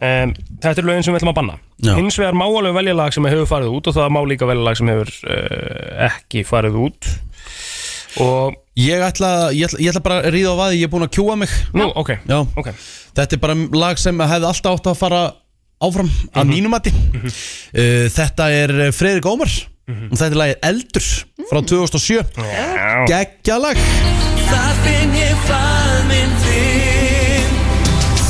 Speaker 4: Þetta er lögin sem við ætlum að banna
Speaker 2: Já.
Speaker 4: Hins vegar má alveg velja lag sem hefur farið út Og það má líka velja lag sem hefur uh, ekki farið út Og,
Speaker 2: Ég ætla, ég, ætla, ég ætla bara að ríða á vaði, ég er búin að kjúa mig.
Speaker 4: nú, ok,
Speaker 2: Já,
Speaker 4: ok
Speaker 2: þetta er bara lag sem hefði alltaf átt að fara áfram
Speaker 4: Mhm.
Speaker 2: að mínum mati. uh, þetta er Fredrik Ómar og þetta er lagið Eldur frá 2007.
Speaker 4: Mhm. Mm. Já.
Speaker 2: Gekkja lag.
Speaker 7: Það finn ég faðminn þinn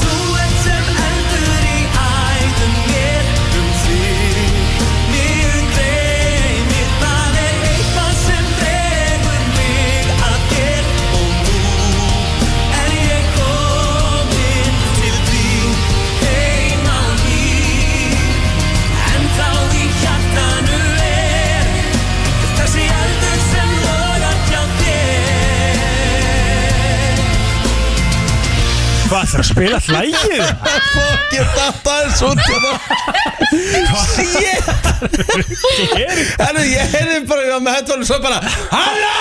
Speaker 7: Þú ert sem eldur í æðum mér um þig Mér gleymir það er eitthvað sem dregur mig að þér Og nú er ég komin til þín heim á ný En þá í hjartanu er Þessi eldur sem logar hjá þér
Speaker 4: Hvað þarf að spila hlægið?
Speaker 2: Fucking þetta er svo tjóða Shit Herru, ég heyrði bara með hættunum svo bara Halló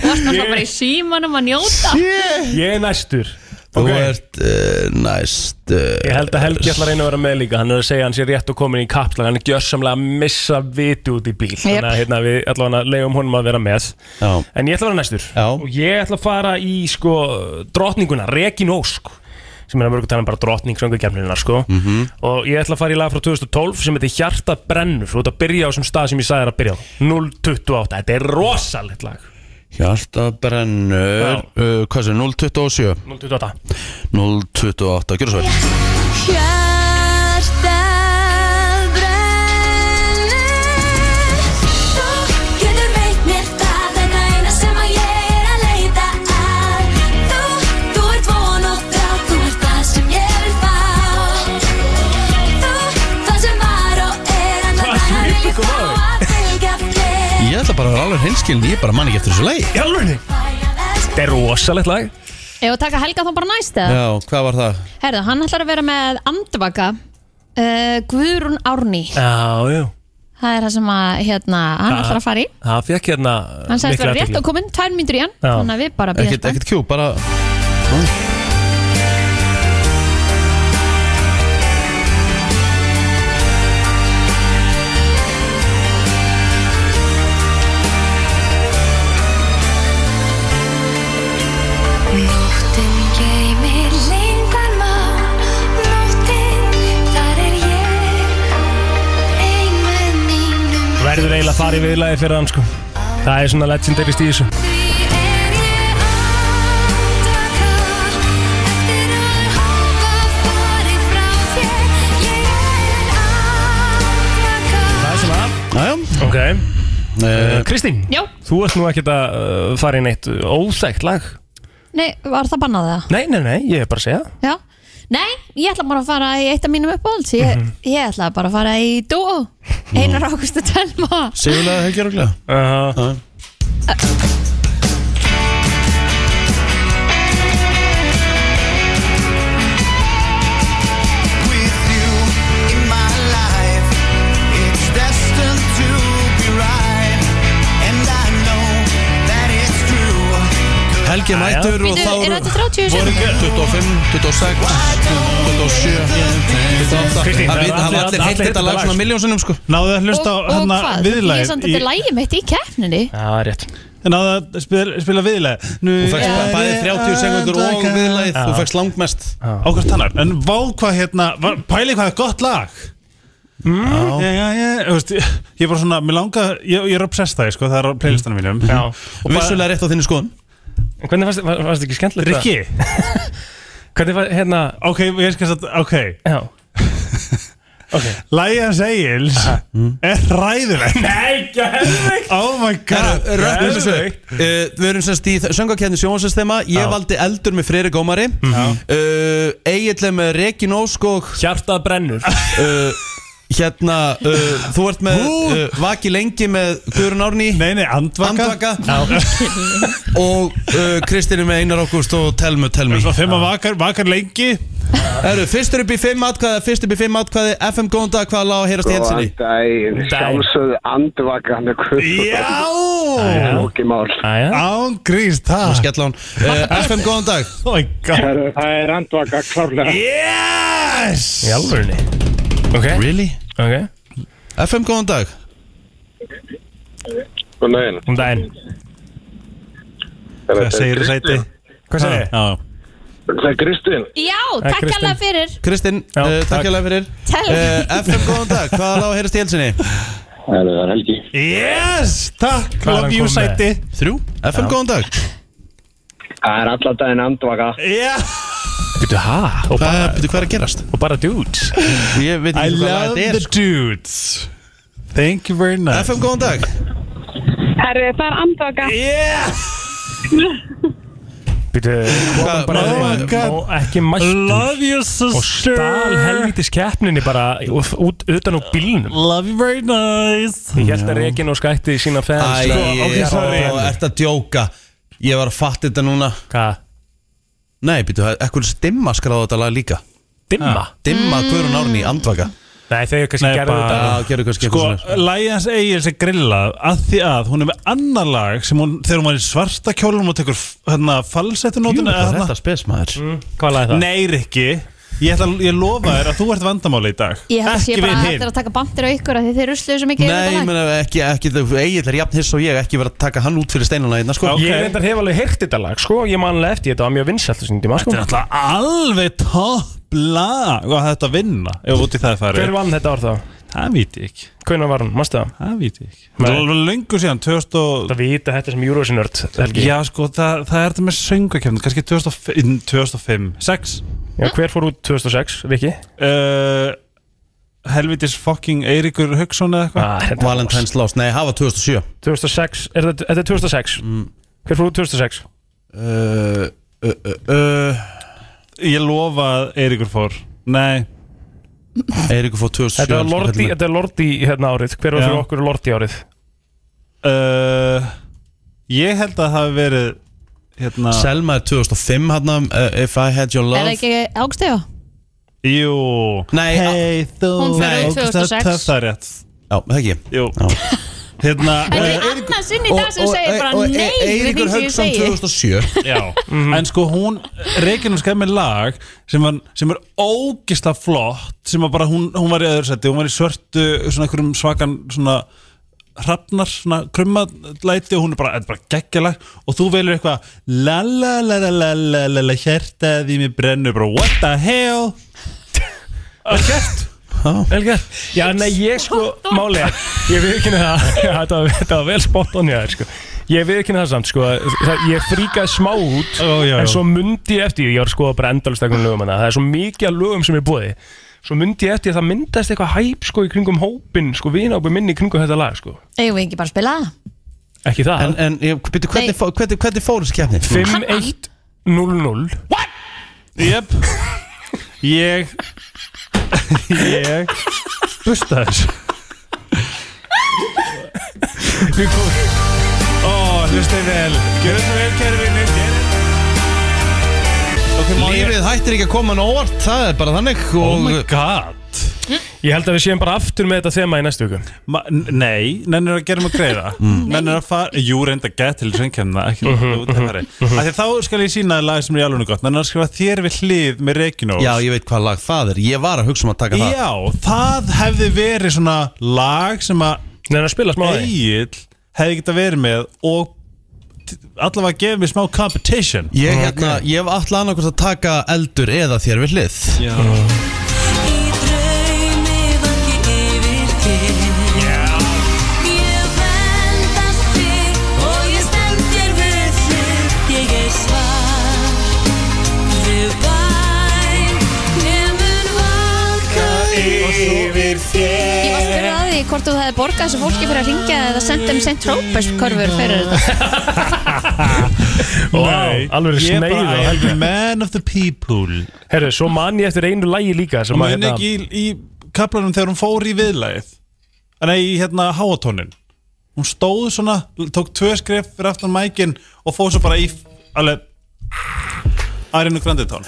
Speaker 3: Það var bara í símanum að njóta
Speaker 4: Ég er næstur
Speaker 2: Þú
Speaker 4: Ok.
Speaker 2: ert uh, næst eh,
Speaker 4: Ég held að Helgi ætlar að reyna að vera með líka Hann er að segja að hann sé rétt og komin í kapsla Hann er gjörsamlega að missa viti út í bíl Þannig að hérna, við allavega leiðum honum að vera með
Speaker 2: Já.
Speaker 4: En ég ætla að vera næstur
Speaker 2: Já.
Speaker 4: Og ég ætla að fara í sko drottninguna Regin Ósk sem er að mörgu tala um bara drottning söngugjafnirinnar sko. -hmm. og ég ætla að fara í lag frá 2012 sem heitir Hjarta brennur þú ert að byrja á þessum stað sem ég sagði þér að byrja á 028, þetta er rosalegt lag
Speaker 2: Hjarta brennur uh, Hvað sem, 027
Speaker 4: 028
Speaker 2: 028, gjörðu svo vel
Speaker 3: Hjarta
Speaker 7: hjartað brennur. Þú getur veitt mér það, það eina sem að ég er að leita að. Þú, þú ert von og þrá, þú ert það sem ég vil fá. Þú, það sem var og er, en
Speaker 4: Hvað
Speaker 7: það vil
Speaker 4: hlýtur
Speaker 7: ég
Speaker 4: kom
Speaker 7: fá
Speaker 4: áður?
Speaker 7: að fylgja fleiri.
Speaker 2: Ég ætla bara að vera alveg hinskilin, ég bara man ekki eftir þessu leið
Speaker 4: Í alvörunni? Þetta er rosalegt lag
Speaker 3: Ef við taka Helga þá bara næst eða?
Speaker 2: Já, hvað var það?
Speaker 3: Herðu, hann ætlar að vera með andvaka uh, Guðrún Árný
Speaker 4: Já, já
Speaker 3: Það er það sem að, hérna, hann
Speaker 4: Ah.
Speaker 3: ætlar að fara í
Speaker 4: Það fekk hérna
Speaker 3: Hann sagðist
Speaker 4: mikla
Speaker 3: vera rétt
Speaker 4: athygli.
Speaker 3: að komin, tvær myndur í hann
Speaker 4: Já.
Speaker 3: Þannig að við bara býðum
Speaker 2: Ekkert, ekkert kjú, bara
Speaker 7: Nóttin geymir leyndarmál, nóttin, þar er ég, ein með mínum
Speaker 4: Verður eiginlega að fara í viðlagi fyrir hann sko Það er svona legendarist í þessu
Speaker 7: Því er ég andvaka, eftir að hafa farið frá þér, ég er andvaka.
Speaker 4: Það er svona
Speaker 2: Næja,
Speaker 4: Ok
Speaker 2: uh,
Speaker 4: Eh, Kristín
Speaker 3: Já,
Speaker 4: Þú ert nú ekkert að uh, fara í neitt óþægt lag
Speaker 3: nei, var það bannað það?
Speaker 4: Nei, nei, nei, ég er bara að segja
Speaker 3: Já Nei, ég ætla bara að fara í eitt af mínum uppáhalds ég, ég ætla bara að fara í duo Einar Ágúst og Telma
Speaker 2: segjulega heggjur og glega
Speaker 4: uh,
Speaker 8: with you in my life. It's destined to be right, and I know that it's true.
Speaker 2: Helgi er
Speaker 4: Jæja.
Speaker 2: mættur og
Speaker 3: Býtu,
Speaker 2: þá
Speaker 3: er þetta 30
Speaker 2: voru
Speaker 3: sekúndur?
Speaker 2: 25, 26, 27, 28
Speaker 4: Kristín,
Speaker 2: Það
Speaker 4: það er
Speaker 2: vit- hafa
Speaker 4: allir-
Speaker 2: allir heilt
Speaker 4: allir
Speaker 2: þetta lag
Speaker 4: lag.
Speaker 2: svona miljónsinnum sko
Speaker 9: Náðu að
Speaker 3: Og,
Speaker 9: hlusta á
Speaker 3: og
Speaker 9: hérna
Speaker 3: hvað? Ég er samt
Speaker 9: viðlæð
Speaker 3: að þetta er lægi mitt í keppninni
Speaker 4: Það er rétt
Speaker 9: Náðu að spila, spila viðlæð Nú
Speaker 2: Þú fækst
Speaker 9: er
Speaker 2: bæði
Speaker 9: ég
Speaker 2: 30 sekundur og
Speaker 9: andvaka.
Speaker 2: viðlagið Þú fækst langmest
Speaker 9: Á hvert tannar En vá hvað hérna var- Pæli hvað er gott lag Mm, Já, já, já, þú veist, ég, ég er bara svona, mér langa, ég, ég er obsessed það, sko, það er á playlistanum mínum
Speaker 4: Já
Speaker 2: Og vissulega rétt á þinni skoðun
Speaker 4: En hvernig fannst var- fannst þér ekki skemmtilegt það?
Speaker 9: Rikki,
Speaker 4: Hvernig var hérna
Speaker 9: ok, ég skal satt, ok,
Speaker 4: Já
Speaker 9: Læjans Egils er ræðilegt
Speaker 4: Nei, gerðvegt
Speaker 9: Oh my god
Speaker 2: Rökkum þessu upp. Uh, Við erum semst í söngakefni sjónvarsystema Ég
Speaker 4: Já. Mhm.
Speaker 2: valdi eldur með Freyri Gómari uh, Egil er með Rekin Ósk og
Speaker 4: Hjartað brennur
Speaker 2: uh, Hérna uh, Þú ert með uh, Vaki lengi með Guðrun Árný
Speaker 9: Nei, nei, andvaka
Speaker 2: Andvaka Og uh, Kristinn er með Einar Ágúst og Telmu Telmi
Speaker 9: Svo fimm að vakar, vakar lengi
Speaker 2: Eru fyrstur upp í fimm atkvæði Fyrstur upp í fimm atkvæði FM góðan dag hvað lág að heyrast í helsinni
Speaker 10: daginn, sjálfsögðu andvaka hann er kvöld
Speaker 9: Já
Speaker 10: Lóki mál
Speaker 4: Æja
Speaker 9: Án grís, það
Speaker 2: Skella hún uh, FM góðan dag
Speaker 9: Oh my god
Speaker 6: Það er andvaka klárlega
Speaker 9: Yes
Speaker 4: Í alvörunni Ok
Speaker 2: Really?
Speaker 4: Ok
Speaker 2: FM góðan dag
Speaker 10: Góðan daginn
Speaker 4: Um daginn
Speaker 10: Er
Speaker 9: Það
Speaker 10: þetta-
Speaker 9: segir þú sæti
Speaker 4: Hvað segir ég?
Speaker 9: Já
Speaker 10: Það er Kristinn
Speaker 3: Já,
Speaker 4: Eh,
Speaker 3: takk
Speaker 4: Kristín.
Speaker 3: alveg fyrir
Speaker 2: Kristinn
Speaker 4: Já,
Speaker 2: uh, takk
Speaker 4: takk.
Speaker 2: hérlega fyrir
Speaker 3: Telma
Speaker 2: uh, FM góðan dag hvað lág að heyrast í helsinni
Speaker 10: Það er Helgi
Speaker 9: Yes, takk
Speaker 4: Hvað er hann
Speaker 9: Love you
Speaker 4: kominn með?
Speaker 9: sæti
Speaker 2: Þrjú FM góðan dag
Speaker 10: Það er allan daginn andvaka
Speaker 9: Já
Speaker 4: Býtu, ha? Og
Speaker 2: Hvað
Speaker 4: bara,
Speaker 2: betur hvað er að gerast
Speaker 4: og bara dudes
Speaker 2: Ég veit
Speaker 9: I
Speaker 2: ekki hvað lag
Speaker 9: love
Speaker 2: þetta
Speaker 9: the
Speaker 2: er sko.
Speaker 9: dudes Thank you very much
Speaker 2: FM góðan dag
Speaker 11: Herru, það er andvaka
Speaker 9: Yeah
Speaker 4: Býtu,
Speaker 2: Hvað-
Speaker 4: bara
Speaker 9: Oh my
Speaker 4: þeim
Speaker 9: God.
Speaker 4: og ekki mættur
Speaker 9: Love you
Speaker 4: Og
Speaker 9: sister
Speaker 4: stál helvitis keppninni bara út, út utan á bílnum
Speaker 9: Love you very nice
Speaker 4: Ég held að Regin og skætti sína fans sko,
Speaker 2: Æ,
Speaker 9: sko, ok,
Speaker 2: ég
Speaker 9: sorry.
Speaker 2: ert að djóka Ég var að fatta þetta núna
Speaker 4: Hvað?
Speaker 2: Nei, býtu, ekkur stimma skráði þetta lag líka
Speaker 4: Dimma?
Speaker 2: Dimma Guðrún Árný, andvaka
Speaker 4: Nei, þau kannski
Speaker 9: Ah. Nei,
Speaker 4: gerðu
Speaker 9: bara-
Speaker 4: þetta
Speaker 2: Það gerðu kannski
Speaker 9: Sko,
Speaker 2: eitthvað svona
Speaker 9: Læjans Egils er grillað að því að hún er með annar lag sem hún, þegar hún var í svarta kjólum og tekur f- hérna falsettu
Speaker 2: Jú,
Speaker 9: nótuna
Speaker 2: hvað er þetta spes maður
Speaker 4: Hvað laði það?
Speaker 9: Nei, Rikki, ég, ætla, ég lofa þér að þú ert vandamáli í dag
Speaker 3: Ég held að sé
Speaker 9: Ekki
Speaker 3: bara
Speaker 9: við
Speaker 3: hættir
Speaker 9: hinn
Speaker 3: að taka bandir á ykkur af Því þeir rusluðu svo mikið yfir
Speaker 2: Nei,
Speaker 3: þetta lag.
Speaker 2: menn ekki, ekki Egil er jafn hiss og ég Ekki verið að taka hann út fyrir steinuna hérna, sko
Speaker 9: Já.
Speaker 4: Ég
Speaker 9: Ok.
Speaker 4: reyndar hef alveg heyrt þetta lag, sko, ég man alveg eftir, þetta var mjög vinsælt þessum tíma, sko
Speaker 9: Þetta er alltaf alveg topp lag og þetta að vinna ef út í það
Speaker 4: Hver
Speaker 9: farið
Speaker 4: vann þetta ár þá?
Speaker 9: Það veit ég ekki,
Speaker 4: Hvernig var hann, mástu það?
Speaker 9: það veit ég ekki
Speaker 4: Nei.
Speaker 9: Það er alveg lengur síðan, 2000 og...
Speaker 4: Það vita þetta sem Eurovision-nörd, Helgi
Speaker 9: Já, sko, það, það er þetta með söngakefni, kannski 2005, 2005 6
Speaker 4: Já, Hver fór út 2006, Viki?
Speaker 9: uh, helvitis fucking Eiríkur Hauksson eða eitthvað
Speaker 2: Valentine's Lost, nei, hafa 2007
Speaker 4: 2006, er þetta, þetta er 2006
Speaker 9: Mm.
Speaker 4: Hver fór út 2006?
Speaker 9: uh, uh, uh, uh, Ég lofa að Eiríkur fór Nei
Speaker 2: Eiríkur fór 2007
Speaker 4: Þetta er Lordi, þetta er Lordi hérna árið Hver var
Speaker 9: Já.
Speaker 4: fyrir okkur Lordi árið?
Speaker 9: uh, Ég held að það hafi verið hérna,
Speaker 2: Selma er 2005 hérna uh, If I Had Your
Speaker 3: Er það
Speaker 2: Love
Speaker 3: ekki ágstega?
Speaker 9: Jú
Speaker 2: Nei,
Speaker 9: hey, þú
Speaker 3: Hún fer út
Speaker 9: Nei, ógeðslega
Speaker 3: 2006.
Speaker 9: töff, Það er rétt
Speaker 2: Já, það ekki
Speaker 9: Jú Hérna
Speaker 3: En það
Speaker 9: eh,
Speaker 3: er annað sinn í dag sem segir bara nei við því sem ég segi
Speaker 2: 2007
Speaker 9: Já,
Speaker 2: Mhm.
Speaker 9: en sko hún Reykján hún skæði með lag sem, var, sem er ógisla flott sem var bara, hún, hún var í öðru seti hún var í svörtu, svona einhverjum svakan svona hrafnar, svona krummalæti og hún er bara, þetta er bara geggjalag og þú velur eitthvað la la la la la la la la hjertaði mér brennur bara what the hell
Speaker 4: Vel gert Vel gert Já, nei, ég sko, málega Ég viðkynna það Já, Þetta var, þetta var vel spott on ég sko. Ég viðkynna það samt, sko að það, Ég fríkaði smá út
Speaker 9: já, já.
Speaker 4: En svo myndi ég eftir Ég var sko bara endalstakun lögum hana Það er svo mikið af lögum sem ég búið Svo myndi ég eftir að það myndast eitthvað hæp sko í kringum hópin Sko vinápi minni í kringum þetta lag sko
Speaker 3: Eigum við ekki bara að spila það?
Speaker 4: Ekki það
Speaker 2: En, en ég- byrju, hvernig, fó- hvernig, hvernig fór þessi keppni?
Speaker 4: 5-1-0-0
Speaker 9: Jep Ég Ég Busta þessu Við komum Ó, hlustið vel Gjörðu svo vel, kæri vinnir okay, má Hérna, ég-
Speaker 2: Lífið hættir ekki að koma hann á óvart Það er bara þannig
Speaker 9: Oh
Speaker 2: og
Speaker 9: my god
Speaker 4: Ég held að við séum bara aftur með þetta þema í næstu viku
Speaker 9: Ma Nei, nennir að gera mig greiða Nennir að fara Jú, reynda gett til sveinkjæmna Ekki
Speaker 4: Mm. Mhm,
Speaker 9: út af fari Af því Þá skal ég sína að lag sem er í alveg gott Nennir að skrifa þér við hlið með Reykjavík
Speaker 2: Já, ég veit hvað lag það er Ég var að hugsa um að taka það
Speaker 9: Já, það hefði verið svona lag sem að
Speaker 4: Nei, að spila smá af því.
Speaker 9: Egil hefði geta verið með og t- allavega gefið mér smá competition
Speaker 2: Ég, hérna, ég hef alltaf annarkvæmst að taka eldur eða þér við hlið
Speaker 9: Já.
Speaker 3: Ég var að spyrja að því hvort þú hefði borgað þessu fólki fyrir að ringja eða senda um St. Tropez körfur fyrir þetta
Speaker 4: Vá, alveg
Speaker 9: Ég
Speaker 4: sneið
Speaker 9: bara, I am the man of the people
Speaker 4: Herru, svo man ég eftir einu lagi líka sem
Speaker 9: og
Speaker 4: að,
Speaker 9: muni
Speaker 4: hérna-
Speaker 9: ekki í, í kaplanum þegar hún fór í viðlagið nei, í hérna háatónin hún stóð svona, tók tvö skref fyrir aftan mækin og fóð svo bara í alveg Arinu Granditón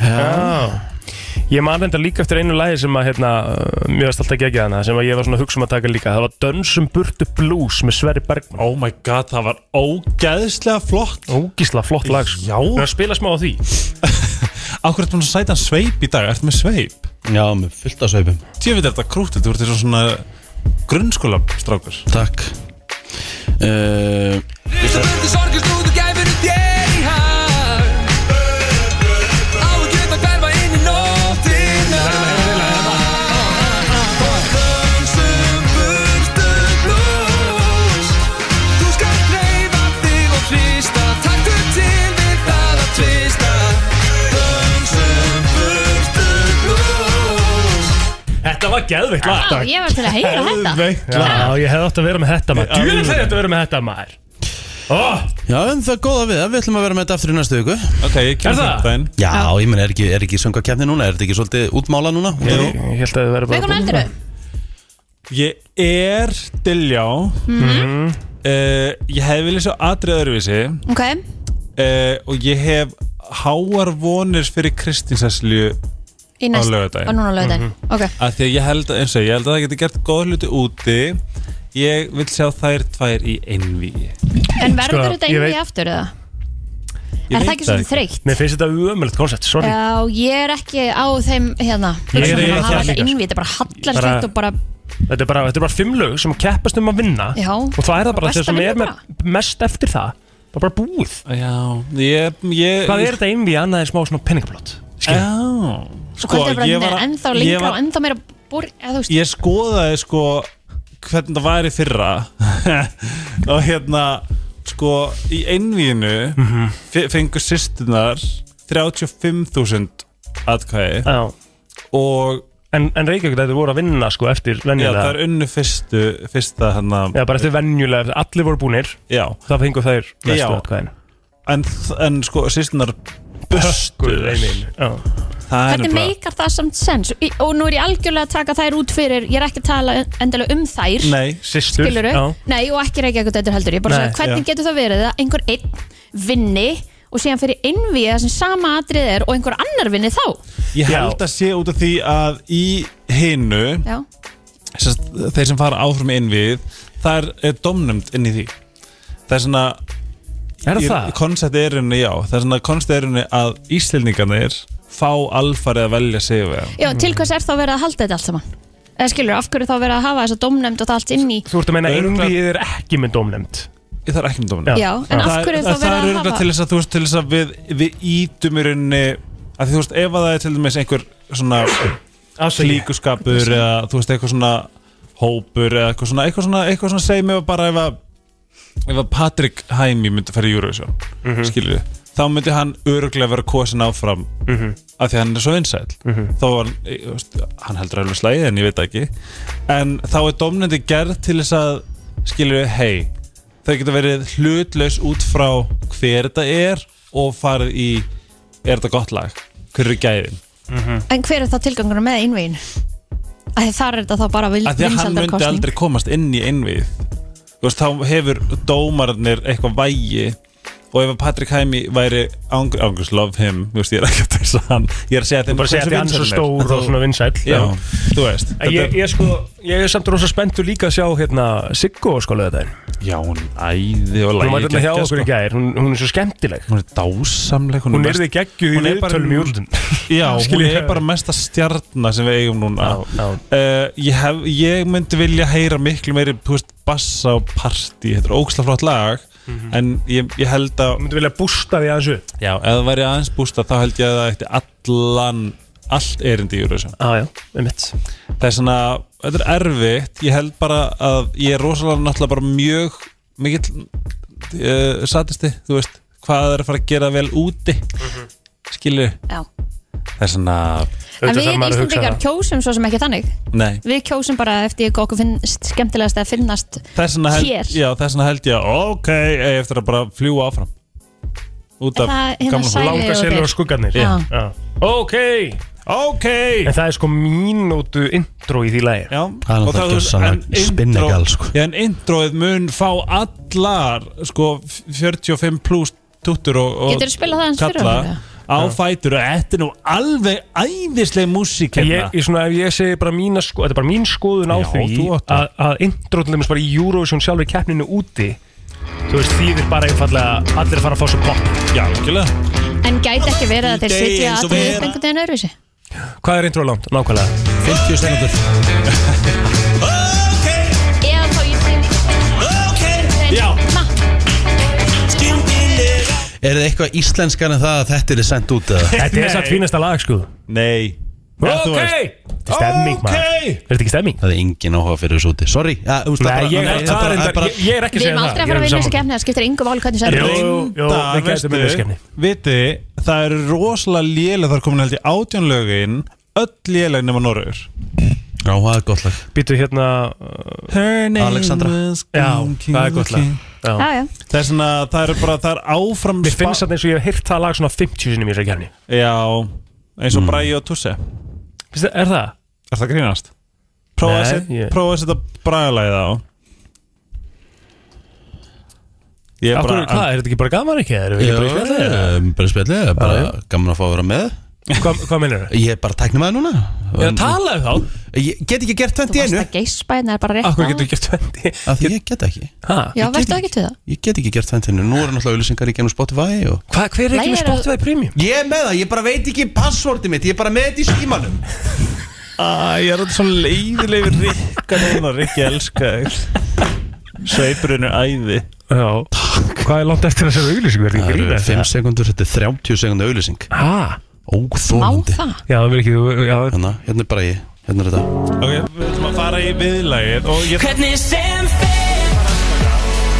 Speaker 4: Ég man þetta líka eftir einu lagi sem að hérna, uh, mér varst alltaf gegja hana sem að ég var svona að hugsa um að taka líka það var Dönsum burtu blues með Sverri Bergman
Speaker 9: Oh my god, það var ógæðslega flott
Speaker 4: Ógísla flott lag
Speaker 9: Já.
Speaker 4: Við að spila smá á því
Speaker 9: Akkur ertu búin að sæta hann sveip í dag, ertu með sveip?
Speaker 2: Já, með fullt af sveipum
Speaker 9: Tjöfitt er þetta krútið, þú ert eins og svona grunnskóla strákur
Speaker 2: Takk uh,
Speaker 4: Þetta var geðveikt lag
Speaker 3: Já, ég var til að heyra þetta
Speaker 4: Já, ég hefði átt að vera með þetta maður Djúlega hefði þetta vera með þetta maður oh,
Speaker 2: Já, en það er góða við að Við ætlum að vera með þetta aftur í næstu viku
Speaker 9: Ok, ég
Speaker 4: Er
Speaker 9: kemur
Speaker 4: það?
Speaker 9: þetta inn
Speaker 2: Já, ég menn, er ekki, er ekki söngakeppni núna? Er þetta ekki svolítið útmála núna? Jú.
Speaker 4: Ég ég held að þið verið bara
Speaker 3: Við komum eldur
Speaker 9: Ég er diljá uh, Ég hef viljað svo atrið öðruvísi
Speaker 3: Ok,
Speaker 9: uh, og ég hef háar vonir fyrir Kristinsaslju
Speaker 3: í
Speaker 9: Á
Speaker 3: næst
Speaker 9: laugardaginn.
Speaker 3: Og núna á laugardaginn Ok,
Speaker 9: að því að ég held að, eins og ég held að það geti gert góð hluti úti ég vil sjá þær tvær í einvíi
Speaker 4: Sko,
Speaker 3: en verður þetta
Speaker 4: ég
Speaker 3: inn
Speaker 4: veit-
Speaker 3: aftur eða? Er það ekki svolítið þreytt?
Speaker 4: Mér finnst þetta umöðlegt koncept, sorry
Speaker 3: Já, ég er ekki á þeim hérna
Speaker 4: Ég er
Speaker 3: hugsunum
Speaker 4: ekki
Speaker 3: að
Speaker 4: þar
Speaker 3: hafa þetta
Speaker 4: líka,
Speaker 3: innví, þetta er bara
Speaker 4: Bara-
Speaker 3: hallarslegt og bara
Speaker 4: Þetta er bara, þetta er bara fimm lög sem keppast um að vinna
Speaker 3: Já.
Speaker 4: og það er það bara
Speaker 3: Best
Speaker 4: þess
Speaker 3: að
Speaker 4: að
Speaker 3: vinna
Speaker 4: er með mest eftir það það er bara búið
Speaker 9: Já, ég, ég
Speaker 4: Hvað er þetta einvið annað en smá svona penningablott?
Speaker 9: Já,
Speaker 3: Sko, hvað er bara
Speaker 9: ég
Speaker 3: var,
Speaker 9: var að-
Speaker 3: ennþá
Speaker 9: ég
Speaker 3: lengra
Speaker 9: var-
Speaker 3: og ennþá meira bor, eða, þú veist,
Speaker 9: ég skoðaði sko hvernig það var í fyrra og hérna sko í einvíinu mm
Speaker 3: Mhm.
Speaker 9: fengur sýstunar 35.000 atkvæði
Speaker 4: Já,
Speaker 9: og
Speaker 4: En, en Reykjavík þetta voru að vinna sko eftir
Speaker 9: Já, það
Speaker 4: venjulega
Speaker 9: er unnu fyrstu, fyrsta hann
Speaker 4: Já, bara eftir venjulega, allir voru búnir
Speaker 9: Já
Speaker 4: Það fengur þær
Speaker 9: Já.
Speaker 4: mestu atkvæðin
Speaker 9: En, þ- en sko, sýstunar Bustu
Speaker 4: Hökkuðu þeim inn,
Speaker 9: Það er
Speaker 3: Hvernig
Speaker 9: nefnilega-
Speaker 3: meikar það samt sens? Í- Og nú er ég algjörlega að taka þær út fyrir Ég er ekki að tala endilega um þær
Speaker 9: Nei,
Speaker 4: systur
Speaker 3: Skilurðu? Nei, og ekki reykja eitthvað heldur Ég er bara
Speaker 4: Nei,
Speaker 3: að segja, hvernig
Speaker 4: já.
Speaker 3: getur það verið að einhver einn vinni og síðan fyrir innvíða sem sama atrið er og einhver annar vinni þá
Speaker 9: Ég held að sé út af því að í hinu
Speaker 3: Já.
Speaker 9: sest, Þeir sem fara áfram inn við Það er, er domnumd inn í því Það er svona
Speaker 4: Er það?
Speaker 9: Koncept er henni, já Það er svona koncept er henni að Íslendingarnir fá alfarið að velja sig
Speaker 3: Já, til hvers er þá verið að halda þetta allt saman? Eða skilur, af hverju þá verið að hafa þessa domnefnd og það allt inn í
Speaker 4: Þú ert að meina einvíð er ekki með dómnefnd
Speaker 9: Það er ekki um með dómnefnd
Speaker 3: Já. Já, en af hverju þá verið
Speaker 9: Það
Speaker 3: að
Speaker 9: er örugglega
Speaker 3: hafa-
Speaker 9: til þess að, þú veist, til þess að við, við ítum í rauninni að því, þú veist, ef að það er til dæmis einhver svona klíkuskapur eða þú veist, eitthvað svona hópur eða eitthvað svona, eitthvað svona, eitthvað svona segjum ef að bara ef að, ef að Patrik Hæmi myndi fara í Eurovision mm
Speaker 4: Mhm.
Speaker 9: skilur við, þá myndi hann öruglega vera kosin áfram
Speaker 4: Mhm.
Speaker 9: af því að hann er svo vinsæll
Speaker 4: Mhm.
Speaker 9: þá var hann, e, þú veist, hann heldur alveg slæðið en ég veit það ekki en þá er domnendi gerð til þess að skilur við, hei þau geta verið hlutlaus út frá hver þetta er og farið í er þetta gott lag, hver eru gæðin -hmm.
Speaker 3: En hver er þá tilgangur með innvíðin? Því þar er þetta þá bara
Speaker 9: að því að hann myndi
Speaker 3: vinsaldarkostning
Speaker 9: aldrei komast inn í innvið þú veist, þá hefur dómarnir eitthvað vægi og ef að Patrick Hæmi væri angry, angry, love him, þú veist, ég er ekki að þess að hann ég er að segja
Speaker 4: Þú bara segja að því hann er svo stór og svona vinsæll
Speaker 9: já, þú veist
Speaker 4: En ég, ég, sko, ég er samt rosa spenntur líka að sjá hérna Siggo sko löða þetta
Speaker 9: já, hún æði og
Speaker 4: Hún
Speaker 9: lagi
Speaker 4: var hérna hjá
Speaker 9: geggjað,
Speaker 4: okkur í
Speaker 9: sko.
Speaker 4: gær, hún, hún er svo skemmtileg
Speaker 9: Hún er dásamleg
Speaker 4: Hún,
Speaker 9: er
Speaker 4: er
Speaker 9: mest-
Speaker 4: þið geggjuð í
Speaker 9: hún er bara-
Speaker 4: viðtölum í úrlundum
Speaker 9: Já, hún
Speaker 4: Skilur
Speaker 9: er
Speaker 4: ég?
Speaker 9: bara mesta stjarnar sem við eigum núna Uh, ég, hef, ég myndi vilja heyra miklu meiri þú veist, bassa og party Þetta er ógslag flott lag
Speaker 4: Mhm.
Speaker 9: En ég, ég held að Þú
Speaker 4: myndi vilja bústa því aðeins upp
Speaker 9: Já, ef það væri aðeins bústa þá held ég að það eftir allan Allt erindi í Eurovision
Speaker 4: ah, já, Það
Speaker 9: er svona, þetta er erfitt Ég held bara að ég er rosalega náttúrulega bara mjög Mikill uh, satisti, þú veist Hvað það er að fara að gera vel úti mm
Speaker 4: Mhm.
Speaker 9: -hmm. Skilju
Speaker 3: Já.
Speaker 9: Það er svona
Speaker 3: En við Íslandingar kjósum svo sem ekki þannig
Speaker 9: Nei
Speaker 3: Við kjósum bara eftir hvað okkur finnst skemmtilegast að finnast
Speaker 9: Þess vegna
Speaker 3: Hér.
Speaker 9: held, já, þess vegna held ég að ok, ég eftir að bara fljúa áfram út af
Speaker 4: Það er hérna
Speaker 9: gamla
Speaker 4: sælið Langar og selur og þeir. skuggarnir. Já. Já. Ok, ok En það er sko mínútu intro í því lægir
Speaker 9: Já,
Speaker 2: Það er náttúrulega gjörsamlega spinnegall, sko.
Speaker 9: Já, en introið mun fá allar sko 45 pluss tuttur og, og
Speaker 3: Geturðu spilað það aðeins fyrir
Speaker 9: kalla
Speaker 3: okkur, eða?
Speaker 9: á fætur og þetta er nú alveg æðisleg músík
Speaker 4: En
Speaker 9: hérna
Speaker 4: ég, ég, svona, ef ég segi bara mína sko, þetta er bara mín skoðun á
Speaker 9: Já,
Speaker 4: því
Speaker 9: þú átt
Speaker 4: að, að intro til dæmis bara í Eurovision sjálfur í keppninu úti þú veist, þýðir bara einfallega að allir fara að fá svo pop
Speaker 9: Já, algjörlega
Speaker 3: En gæti ekki verið að
Speaker 4: Í
Speaker 3: þeir
Speaker 4: degi
Speaker 3: sitja
Speaker 4: eins og
Speaker 3: allir upp
Speaker 4: vera.
Speaker 3: einhvern veginn öðruvísi
Speaker 4: Hvað er intro langt, nákvæmlega?
Speaker 2: 50 sekundur
Speaker 3: Eða þá í þeim
Speaker 4: Já
Speaker 2: Er það eitthvað íslenskan en það að þetta er sendt út eða?
Speaker 4: Þetta er satt fínasta lag sko
Speaker 9: Nei
Speaker 2: Já, þú
Speaker 4: Ok,
Speaker 2: veist.
Speaker 4: þetta er stemming maður Er þetta ekki stemming?
Speaker 2: Það er engin áhuga fyrir þessu úti Sorry ja, þú veist,
Speaker 4: Nei,
Speaker 2: það bara-
Speaker 4: ég- það
Speaker 2: það bara-
Speaker 4: er
Speaker 2: það
Speaker 4: reyndar-
Speaker 2: bara-
Speaker 4: ég- ég er ekki
Speaker 3: Við erum aldrei að fara að vinna þessi kemni Það skiptir yngu vál hvernig sem
Speaker 4: jú, við gætum
Speaker 9: veistu,
Speaker 4: unnið þessi keppni.
Speaker 9: Viti, það eru rosalega lélega þar komin held í átjónlögin öll lélega nema Norröður
Speaker 2: Já, það er gott lag
Speaker 4: Býtu hérna
Speaker 9: Her name
Speaker 2: Alexandra.
Speaker 9: was
Speaker 4: Já,
Speaker 9: King
Speaker 4: það er gott lag.
Speaker 9: King.
Speaker 4: Já. Já, já.
Speaker 9: Það er svona, það er bara, það er áfram
Speaker 4: Mér finnst þetta eins og ég hef heyrt það lag svona 50 sinni í þessari kefni
Speaker 9: Já, eins og mm. Bræi og Tusse
Speaker 4: Er það?
Speaker 9: Er það grínast? Prófa að
Speaker 4: Nei,
Speaker 9: set-
Speaker 4: ég-
Speaker 9: prófa að setja Bræalæðið á Ég er
Speaker 4: Af
Speaker 9: bara
Speaker 4: hverju, hvað, er þetta ekki bara gaman ekki? Erum við
Speaker 2: Já,
Speaker 4: ekki bara í spjallið? eða?
Speaker 2: eh, Bara spjallið, bara gaman að fá að vera með
Speaker 4: Hvað, hvað meinar það?
Speaker 2: Ég er bara tæknum að núna
Speaker 4: Ég talaði þá
Speaker 2: Ég get ekki gert 20
Speaker 3: Þú
Speaker 2: í
Speaker 3: varst
Speaker 2: einu
Speaker 3: að geispa hérna er bara rétt
Speaker 2: Af hverju
Speaker 3: áðan.
Speaker 4: Ég
Speaker 2: getur
Speaker 4: get 20
Speaker 2: Af því ég get ekki
Speaker 3: Já,
Speaker 2: Ég get
Speaker 3: verður ekki til það
Speaker 2: Ég get ekki gert þannig Nú eru náttúrulega auðlýsingar í genum Spotify og...
Speaker 4: Hvað, hver
Speaker 3: er ekki með Lægir að- Spotify
Speaker 4: Premium?
Speaker 2: Ég er með það, ég bara veit ekki passvortið mitt Ég er bara með þetta í símanum
Speaker 9: Æ, ég er alltaf svo leiðileg við Rikka núna, Rikki elska þig Sveipurinn er æði
Speaker 4: Já, hvað er langt eftir þessari auglýsingu? Er
Speaker 2: Það
Speaker 4: ekki
Speaker 2: eru
Speaker 4: grínast?
Speaker 2: 5 sekundur, þetta er 30 sekundu auðlýsing
Speaker 4: Ha?
Speaker 2: Óþólandi
Speaker 3: það?
Speaker 4: Já, það vil ekki, þú- já
Speaker 2: Hérna, hérna er bara ég, hérna er þetta
Speaker 9: Ok, við ætlum að fara í viðlagið og ég
Speaker 7: Hvernig sem fer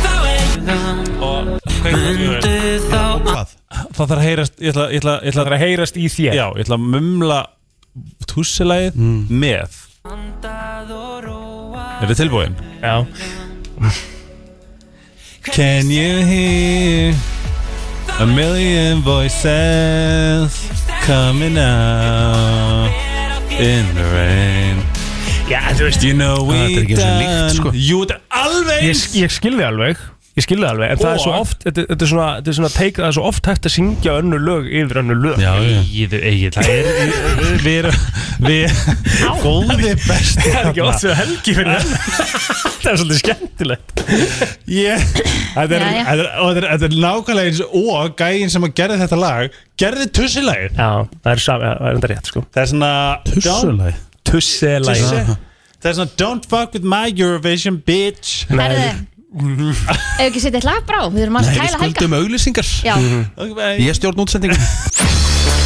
Speaker 7: Þá
Speaker 9: er
Speaker 7: Mundu þá
Speaker 9: Það þarf að heyrast Ég ætla, ég ætla, ég ætla,
Speaker 4: Það þarf að heyrast í þér
Speaker 9: Já, ég ætla að mumla tussilagið með Er þið tilbúin?
Speaker 4: Já
Speaker 9: Can you hear A million voices Coming out In the rain
Speaker 4: Já, þú veist
Speaker 9: You know
Speaker 4: Ah, þetta er
Speaker 9: we
Speaker 4: ekki eins og líkt, sko.
Speaker 9: done Jú, þetta er alveg
Speaker 4: Ég,
Speaker 9: eins
Speaker 4: ég skilði alveg Ég skilði alveg En það er svo
Speaker 9: Og-
Speaker 4: oft Þetta, þetta er svona Þetta er svona teik Það er svo oft hægt að syngja önnur lög Yfir önnur lög
Speaker 9: Já, já.
Speaker 4: Egið, egið Það er
Speaker 9: Við- Við erum Við Góði besti
Speaker 4: Það er ekki oft sem helgi fyrir það Það er svolítið skemmtilegt
Speaker 9: Ég Þetta er,
Speaker 4: Jæja.
Speaker 9: þetta er, og þetta er, þetta er nákvæmlega eins og gæinn sem að gerði þetta lag gerði tussilagið
Speaker 4: Já, það er, sam, það er enda rétt sko
Speaker 9: Það er svona
Speaker 4: Tussulagið? Tussilagið.
Speaker 9: Tussi- Það er svona Don't fuck with my Eurovision bitch
Speaker 3: Herðu, ef ekki setja eitthvað brá Við erum að kæla helga
Speaker 2: auglýsingar
Speaker 3: Já. Mhm.
Speaker 2: Ég stjórn útsendingum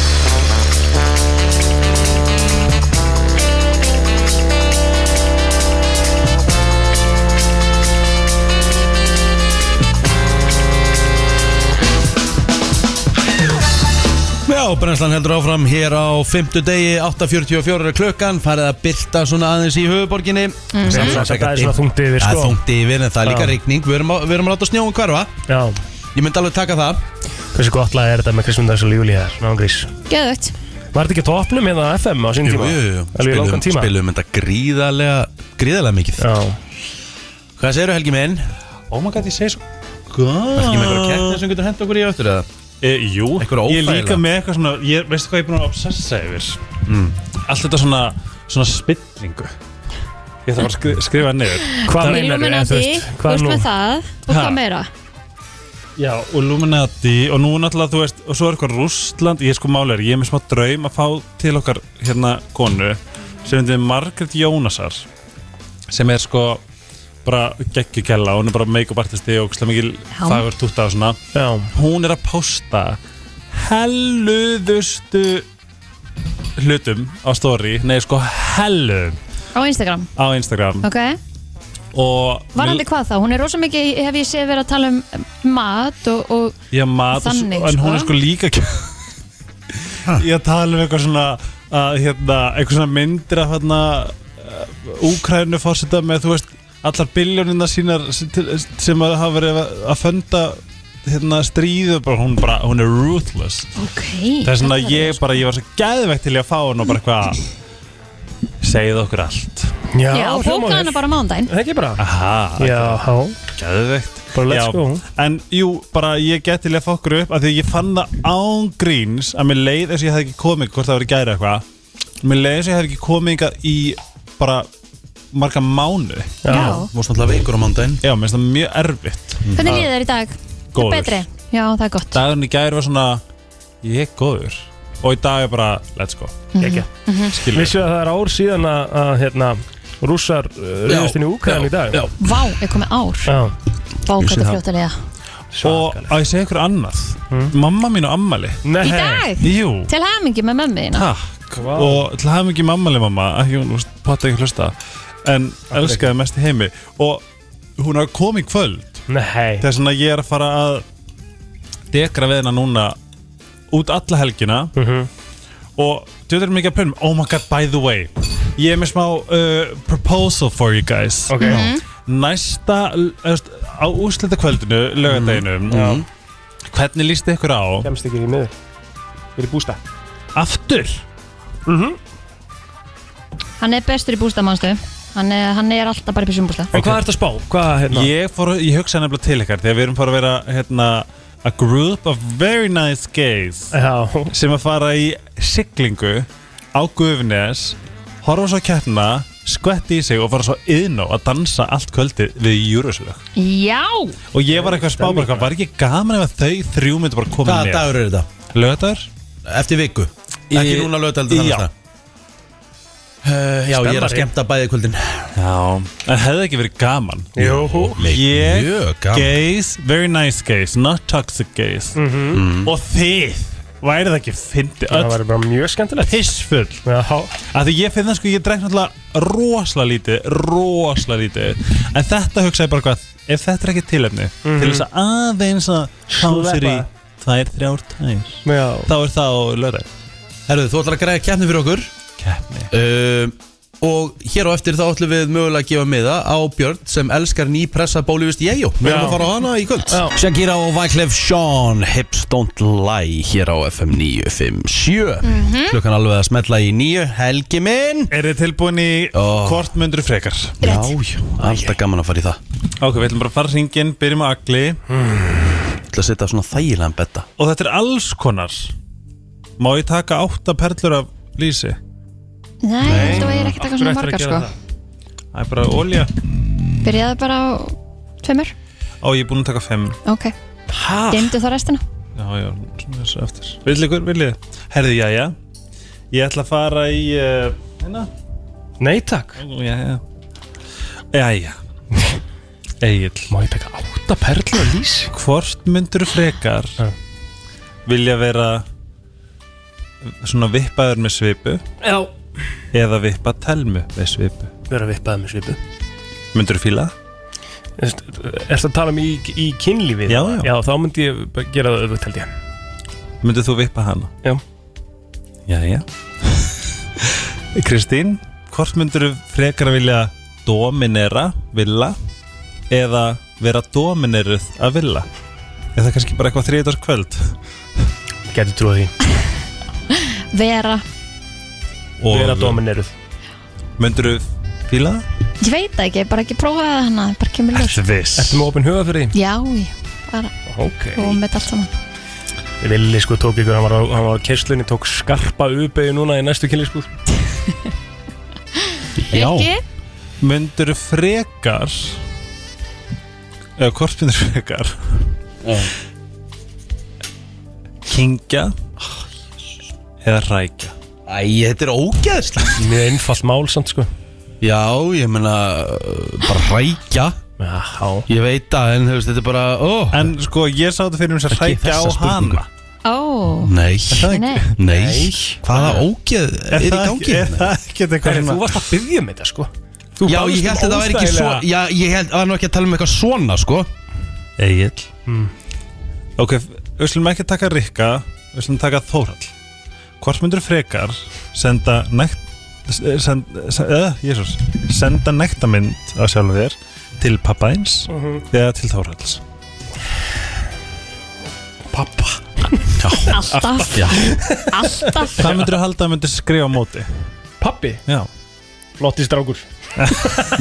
Speaker 2: Já, brennslan heldur áfram hér á 50 degi, 8.44 er klukkan farið að bylta svona aðeins í höfuborginni
Speaker 4: Mhm.
Speaker 2: Samt sem sagt
Speaker 4: Það er svona þungt yfir,
Speaker 2: Það er
Speaker 4: sko.
Speaker 2: þungt yfir, en það er líka
Speaker 4: Já.
Speaker 2: rigning Við erum, að- við erum að láta snjóum hverfa
Speaker 4: Já
Speaker 2: Ég myndi alveg taka það
Speaker 4: Hversu gott lag er þetta með Kristmundags og Júli hér Náðan grís
Speaker 3: Geðvögt
Speaker 4: Var þetta ekki á topnum hérna á FM á sín
Speaker 2: Jú,
Speaker 4: tíma?
Speaker 2: jú, jú,
Speaker 4: Alveg í langan tíma
Speaker 2: spilum þetta gríðarlega gríðarlega mikið
Speaker 4: Já.
Speaker 2: Hvað segirðu Helgi minn?
Speaker 9: Oh my god, ég segi svo
Speaker 2: Ertu ekki með einhverja keppni sem getur hent okkur í öttur eða?
Speaker 9: E, jú,
Speaker 2: Einhverja
Speaker 9: ég er
Speaker 2: óþægilega?
Speaker 9: líka með eitthvað svona ég, Veistu hvað ég er búin að obsessa yfir?
Speaker 2: Mm.
Speaker 9: Allt þetta svona, svona spillingu Ég ætla bara að skri, skrifa niður Það-
Speaker 3: Illuminati, þú veist með það Og
Speaker 9: Ha.
Speaker 3: hvað meira?
Speaker 9: Já, og Illuminati og nú náttúrulega, þú veist, og svo er eitthvað Rússland, ég er sko málegar, ég er með smá draum að fá til okkar hérna konu sem hefði Margrét Jónasar sem er sko bara geggjukella, hún er bara make-up artisti og ógeðslega mikil
Speaker 4: Já.
Speaker 9: fagur tutta og svona
Speaker 4: Já.
Speaker 9: hún er að posta helluðustu hlutum á story, nei sko helluðum
Speaker 3: Á Instagram
Speaker 9: á Instagram
Speaker 3: Ok
Speaker 9: og
Speaker 3: Varandi hvað þá? Hún er rosa mikið, hef ég séð verið að tala um mat og, og
Speaker 9: Já, mat og
Speaker 3: Þannig,
Speaker 9: svo, en hún er
Speaker 3: sko.
Speaker 9: sko líka ekki- Ég tala um eitthvað svona að, hérna, eitthvað svona myndir af hérna Úkrænu fórseta með, þú veist, allar biljónina sínar sem til- sem að hafa verið að- að funda hérna stríðu, bara, hún, bara, hún er ruthless
Speaker 3: Ok
Speaker 9: Það er svona að ég bara, ég var svo geðvegt til í að fá hún og bara eitthvað "Ah, segið okkur allt
Speaker 4: Já,
Speaker 3: Já, bókaði hana bara mándaginn
Speaker 4: Það ekki bara
Speaker 9: Aha,
Speaker 4: Já, há
Speaker 9: Gæðvegt
Speaker 4: Bara let's
Speaker 9: Ah, Já,
Speaker 3: Mhm.
Speaker 4: go.
Speaker 9: En jú, bara ég geti til að fá okkur upp af Því að ég fann það án gríns Að mér leið eins og ég hef ekki komið Hvort það var í gæri eitthvað Mér leið eins og ég hef ekki komið hingað í Bara marga mánu
Speaker 2: Já. Já.
Speaker 9: Mást náttúrulega veikur á mándaginn Já, mér finnst það mjög erfitt
Speaker 3: Hvernig líður þér í dag?
Speaker 9: Góður.
Speaker 3: Betri? Já, það er gott
Speaker 9: Dagurinn í gæri var svona Ég er góður Og í dag er bara, let's go
Speaker 4: Gekja.
Speaker 3: Mhm.
Speaker 9: Skilur.
Speaker 4: Vissu að það er ár síðan að, að hérna, rússar uh, reyðast inn í Úkræðan í dag? Já,
Speaker 3: Vá, ég komið ár
Speaker 4: já.
Speaker 3: Vá, hvað
Speaker 9: Ég sé
Speaker 3: þetta
Speaker 9: það.
Speaker 3: fljótalega
Speaker 9: Og að ég segja ykkur annað
Speaker 4: Mm.
Speaker 9: Mamma mín á ammali
Speaker 4: Nei.
Speaker 3: Í dag?
Speaker 9: Jú
Speaker 3: Til hamingi með mömmuðina
Speaker 9: Takk Og til hafa mikið mammali mamma að Hún úst, potta ekki hlusta En elskaði mest í heimi Og hún er að koma í kvöld
Speaker 4: Nei
Speaker 9: Þess vegna ég er að fara að Dekra við hennar núna Út alla helgina
Speaker 4: Mhm.
Speaker 9: Og þú er mikið að plönum Oh my god, by the way Ég er með smá uh, proposal for you guys
Speaker 4: Ok. Mhm.
Speaker 9: Næsta öst, Á úrslita kvöldinu, lögadeginum
Speaker 4: Mhm.
Speaker 9: Hvernig líst ykkur á
Speaker 4: Kemst ekki í miður Við erum bústa
Speaker 9: Aftur
Speaker 3: Hann er bestur í bústamannstu hann, er- hann er alltaf bara í bústamannstu
Speaker 4: En hvað ertu að spá? Hvað, hérna?
Speaker 9: Ég, fór, að- ég hugsaði nefnilega til ykkar Þegar við erum fara að vera hérna, A group of very nice gays
Speaker 4: Já.
Speaker 9: Sem að fara í siglingu Á Guðnes Horfa svo kjartna Skvetti í sig og fara svo yðnó Að dansa allt kvöldið við júruslög
Speaker 3: Já
Speaker 9: Og ég var eitthvað að spá bara eitthvað, Var ekki gaman ef að þau þrjú myndu bara koma
Speaker 2: Hvaða
Speaker 9: með
Speaker 2: dagur er þetta?
Speaker 9: Lögadagur?
Speaker 2: Eftir viku Ekki núna lögdældu
Speaker 9: Já.
Speaker 2: þannig að Já, ég er að skemmta bæði kvöldin
Speaker 9: Já, en hefði ekki verið gaman
Speaker 4: Jú.
Speaker 9: Ég,
Speaker 2: Mjög gaman.
Speaker 9: gays, very nice gays, not toxic gays
Speaker 4: Mhm.
Speaker 9: Og þið, væri það ekki fyndi
Speaker 4: Það væri bara mjög skemmtilegt
Speaker 9: Pissfull
Speaker 4: Já
Speaker 9: Af því ég finn það sko, ég drekk náttúrulega rosalega lítið, rosalega lítið En þetta hugsaði bara hvað, ef þetta er ekki tilefni
Speaker 4: Mhm.
Speaker 9: Til þess að aðeins að fá sér í tvær, þrjár tæs
Speaker 4: Já
Speaker 9: Þá er það á lögðar
Speaker 2: Herru, þú ætlar að græða keppni fyrir okkur uh, Og hér á eftir þá ætlum við mögulega að gefa miða á Björn sem elskar nýpressa bólivist Jæjó Við erum að fara á hana í kvöld Shakira og Wyclef Sean Hips Don't Lie hér á FM 957
Speaker 9: Mhm.
Speaker 2: Klukkan alveg að smetla í nýju Helgi minn
Speaker 9: Er þið tilbúin í oh. hvort myndur frekar?
Speaker 2: Já, já, alltaf gaman að fara í það
Speaker 9: Ok, við ætlum bara að fara hringin, byrjum að agli
Speaker 2: Ég ætla að setja svona þægilegan betta
Speaker 9: Og þetta er alls konar Má ég taka átta perlur af lýsi?
Speaker 3: Nei, ég held að ég er ekki að taka svona margar sko
Speaker 9: Það er bara olja
Speaker 3: Byrjaði bara á tveimur
Speaker 9: Á, ég er búin að taka fimm
Speaker 3: Ok, gemdu þá restina
Speaker 9: Já, já, svona þessu eftir Vill ykkur, viljið þið? Herðu, já, já Ég ætla að fara í uh, Hérna? Nei, takk Já, já Já, já Egil Má ég taka átta perlur að lýs? Hvort myndur frekar Vilja vera Svona vippaður með svipu
Speaker 4: Já.
Speaker 9: Eða vippa telmu með svipu
Speaker 4: Vera vippaður með svipu
Speaker 9: Myndur þú fíla?
Speaker 4: Erstu að tala um í, í kynlífið?
Speaker 9: Já, já.
Speaker 4: Já, þá myndi ég bara gera það öðvögt held ég
Speaker 9: Myndur þú vippa hana?
Speaker 4: Já.
Speaker 9: Já, já Kristín, hvort myndur þú frekar vilja dominera villa eða vera domineruð að villa? Er það kannski bara eitthvað þriðdags kvöld?
Speaker 4: Gæti trúið því
Speaker 3: Vera,
Speaker 4: Vera domineruð
Speaker 9: Myndur þú fíla það?
Speaker 3: ég veit það ekki, bara ekki prófa það hana Bara kemur ljós
Speaker 9: Ertu viss?
Speaker 4: Ertu með opinn huga fyrir því?
Speaker 3: Já, ég bara
Speaker 4: Ok
Speaker 3: og með allt saman
Speaker 4: Villi sko tók ykkur, hann var á, hann var á kerslunni, tók skarpa uppeyju núna í næstu kynlífsbúð
Speaker 9: Já Myndur frekar eða hvort myndur frekar Kingja eða rækja
Speaker 2: Ah, Æ, þetta er ógeðslega
Speaker 4: Mjög einfalt mál samt sko
Speaker 2: Já, ég meina uh, bara hrækja
Speaker 4: Já
Speaker 2: Ég veit að, en þú veist, þetta er bara ó,
Speaker 9: En sko, ég sá þetta fyrir um þess að hrækja á hana
Speaker 3: Ó,
Speaker 2: Nei
Speaker 3: það ekki?
Speaker 2: Nei. Hvaða ógeð er í gangi?
Speaker 9: Er það ekki eitthvað
Speaker 4: Herri, þú varst að byggja með þetta sko Þú
Speaker 2: Já,
Speaker 4: baðst
Speaker 2: ég
Speaker 4: um
Speaker 2: held að það væri ekki svo
Speaker 4: óþægilega-
Speaker 2: Já, ég held að það var nú ekki að tala um eitthvað svona, sko
Speaker 9: Egil
Speaker 2: Hmm.
Speaker 9: Ok, við slum ekki taka Rikka Við slum taka Þórall Hvort myndur frekar senda nekt send, send, uh, Jesus, senda nektamind af sjálfum þér til pappa eins
Speaker 4: Mhm.
Speaker 9: eða til Þóralls
Speaker 4: Pappa
Speaker 3: Alltaf.
Speaker 9: Já.
Speaker 3: Alltaf.
Speaker 9: Hvað myndur þú halda að myndur skrifa á móti?
Speaker 4: Pappi?
Speaker 9: Já
Speaker 4: Lottis strákur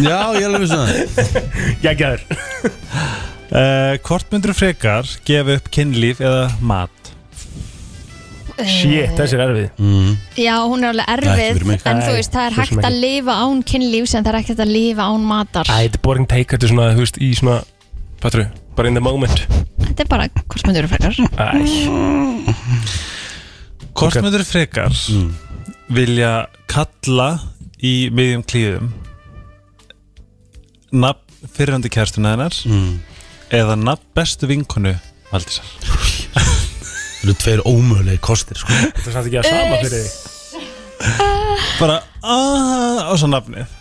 Speaker 2: Já, ég alveg vissi það
Speaker 4: Já, gæður
Speaker 9: uh, Hvort myndur frekar gefa upp kynlíf eða mat?
Speaker 4: Shit, þessi er erfið
Speaker 9: mm.
Speaker 3: Já, hún er alveg
Speaker 9: Nei, ekki
Speaker 3: erfið
Speaker 9: fyrir mig.
Speaker 3: En þú
Speaker 4: Nei,
Speaker 3: veist, það er
Speaker 4: svo sem
Speaker 3: hægt að
Speaker 4: ekki.
Speaker 3: lifa án kynlífs En það er hægt að lifa án matar
Speaker 4: Æ, þetta er boring take, þetta er svona, þú veist, í svona Patru, bara in the moment
Speaker 3: Þetta er bara hvort myndur þú frekar
Speaker 4: Æ
Speaker 9: Hvort okay. myndur frekar vilja kalla í miðjum klíðum nafn fyrirhandi kærstuna hennar eða nafn bestu vinkonu Valdísar
Speaker 2: Það eru tveir ómögulegi kostir, sko
Speaker 4: Þetta er samt ekki að sama fyrir þig
Speaker 9: bara aaa á svo nafnið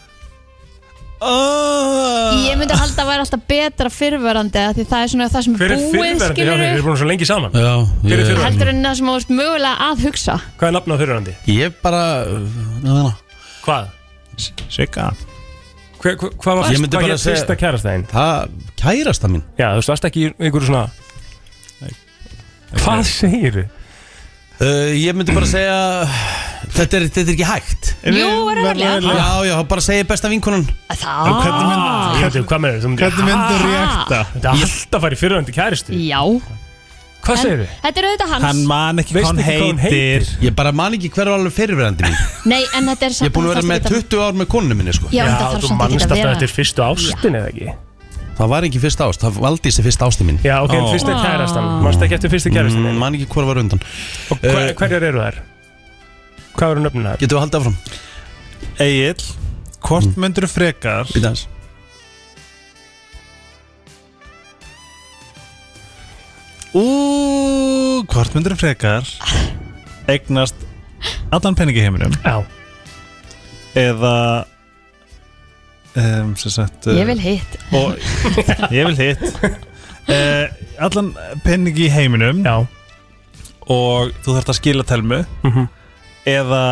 Speaker 9: Ah.
Speaker 3: Ég myndi halda að það væri alltaf betra fyrrverandi af Því það er svona það sem
Speaker 4: Hver
Speaker 3: er
Speaker 4: er
Speaker 3: búið
Speaker 4: fyrirverandi? Já,
Speaker 3: skilur
Speaker 4: við erum búin svo lengi saman
Speaker 2: Já,
Speaker 4: Hver er
Speaker 2: ég-
Speaker 4: fyrirverandi?
Speaker 3: Heldur en það sem þú veist mögulega að hugsa
Speaker 4: Hvað er nafnað fyrirverandi?
Speaker 2: Ég bara, uh,
Speaker 4: Hvað?
Speaker 9: Sigga
Speaker 4: Hver, hver, Hvað var
Speaker 2: Ég myndi
Speaker 4: hvað
Speaker 2: bara
Speaker 4: hét
Speaker 2: segja-
Speaker 4: fyrsta kærasta þín?
Speaker 2: það kærasta mín
Speaker 4: Já, þú veist, varst ekki í einhverju svona Hvað segir þið?
Speaker 2: Uh, ég myndi bara segja þetta er, þetta er ekki hægt
Speaker 4: Jú, er það
Speaker 2: Já,
Speaker 4: verðilega?
Speaker 9: Ah.
Speaker 2: já, bara segja besta vinkunum
Speaker 3: Það
Speaker 4: Ég veit, Hvað með þið?
Speaker 2: Hvernig myndir þú reacta?
Speaker 4: Þetta er Ah, alltaf að fara í fyrirverandi kæristu
Speaker 3: Já
Speaker 4: Hvað
Speaker 3: En
Speaker 4: segir þið?
Speaker 3: Þetta er auðvitað hans
Speaker 9: man ekki
Speaker 2: hvað
Speaker 4: hann heitir.
Speaker 2: Ég bara man ekki hver var alveg fyrirverandi mín
Speaker 3: Nei, en þetta er
Speaker 2: Ég er búin að vera með 20 ár með konunum minni sko
Speaker 3: Já, en Já, það þarf þú samt manst ekki að alltaf vera- eftir
Speaker 4: fyrstu ástin eða ekki?
Speaker 2: Það var ekki fyrsta ást, það valdi þessi fyrsta ástin mín
Speaker 4: Já, ok, en fyrsta kærastan, manstu ekki eftir fyrsta kærastan
Speaker 2: mm, Man ekki hver var undan Og
Speaker 4: hver- Hverjar eru þær? Hvað eru nöfnum þær?
Speaker 2: Getum við haldið áfram?
Speaker 9: Egil, hvort mm. myndur frekar
Speaker 2: Býtans
Speaker 9: Ú, hvort myndur frekar eignast allan peningi í heiminum
Speaker 4: Já
Speaker 9: eða um, sem sagt eh,
Speaker 3: Ég vil hitt.
Speaker 9: og, Ég vil hitt uh, Allan peningi í heiminum
Speaker 4: Já
Speaker 9: Og þú þarft að skila telmu
Speaker 4: Mhm.
Speaker 9: Eða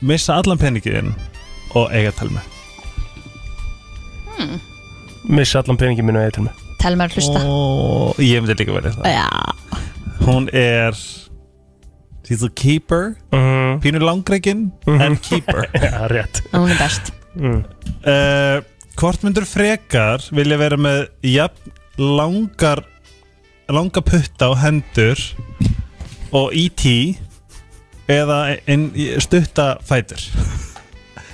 Speaker 9: missa allan peningin og eiga telmi
Speaker 3: Hmm.
Speaker 9: missa allan peningin
Speaker 4: E
Speaker 9: minn og eiga telmi
Speaker 3: Telma er að hlusta
Speaker 9: og ég myndi líka verið það
Speaker 3: Já,
Speaker 9: hún er she's a keeper
Speaker 4: Mhm.
Speaker 9: pínur langreikin en keeper
Speaker 4: Já, rétt
Speaker 3: hún er best
Speaker 9: mm. uh, Hvort myndur frekar vilja vera með jafn langar langa putta á hendur og E.T. eða ein, stutta fætur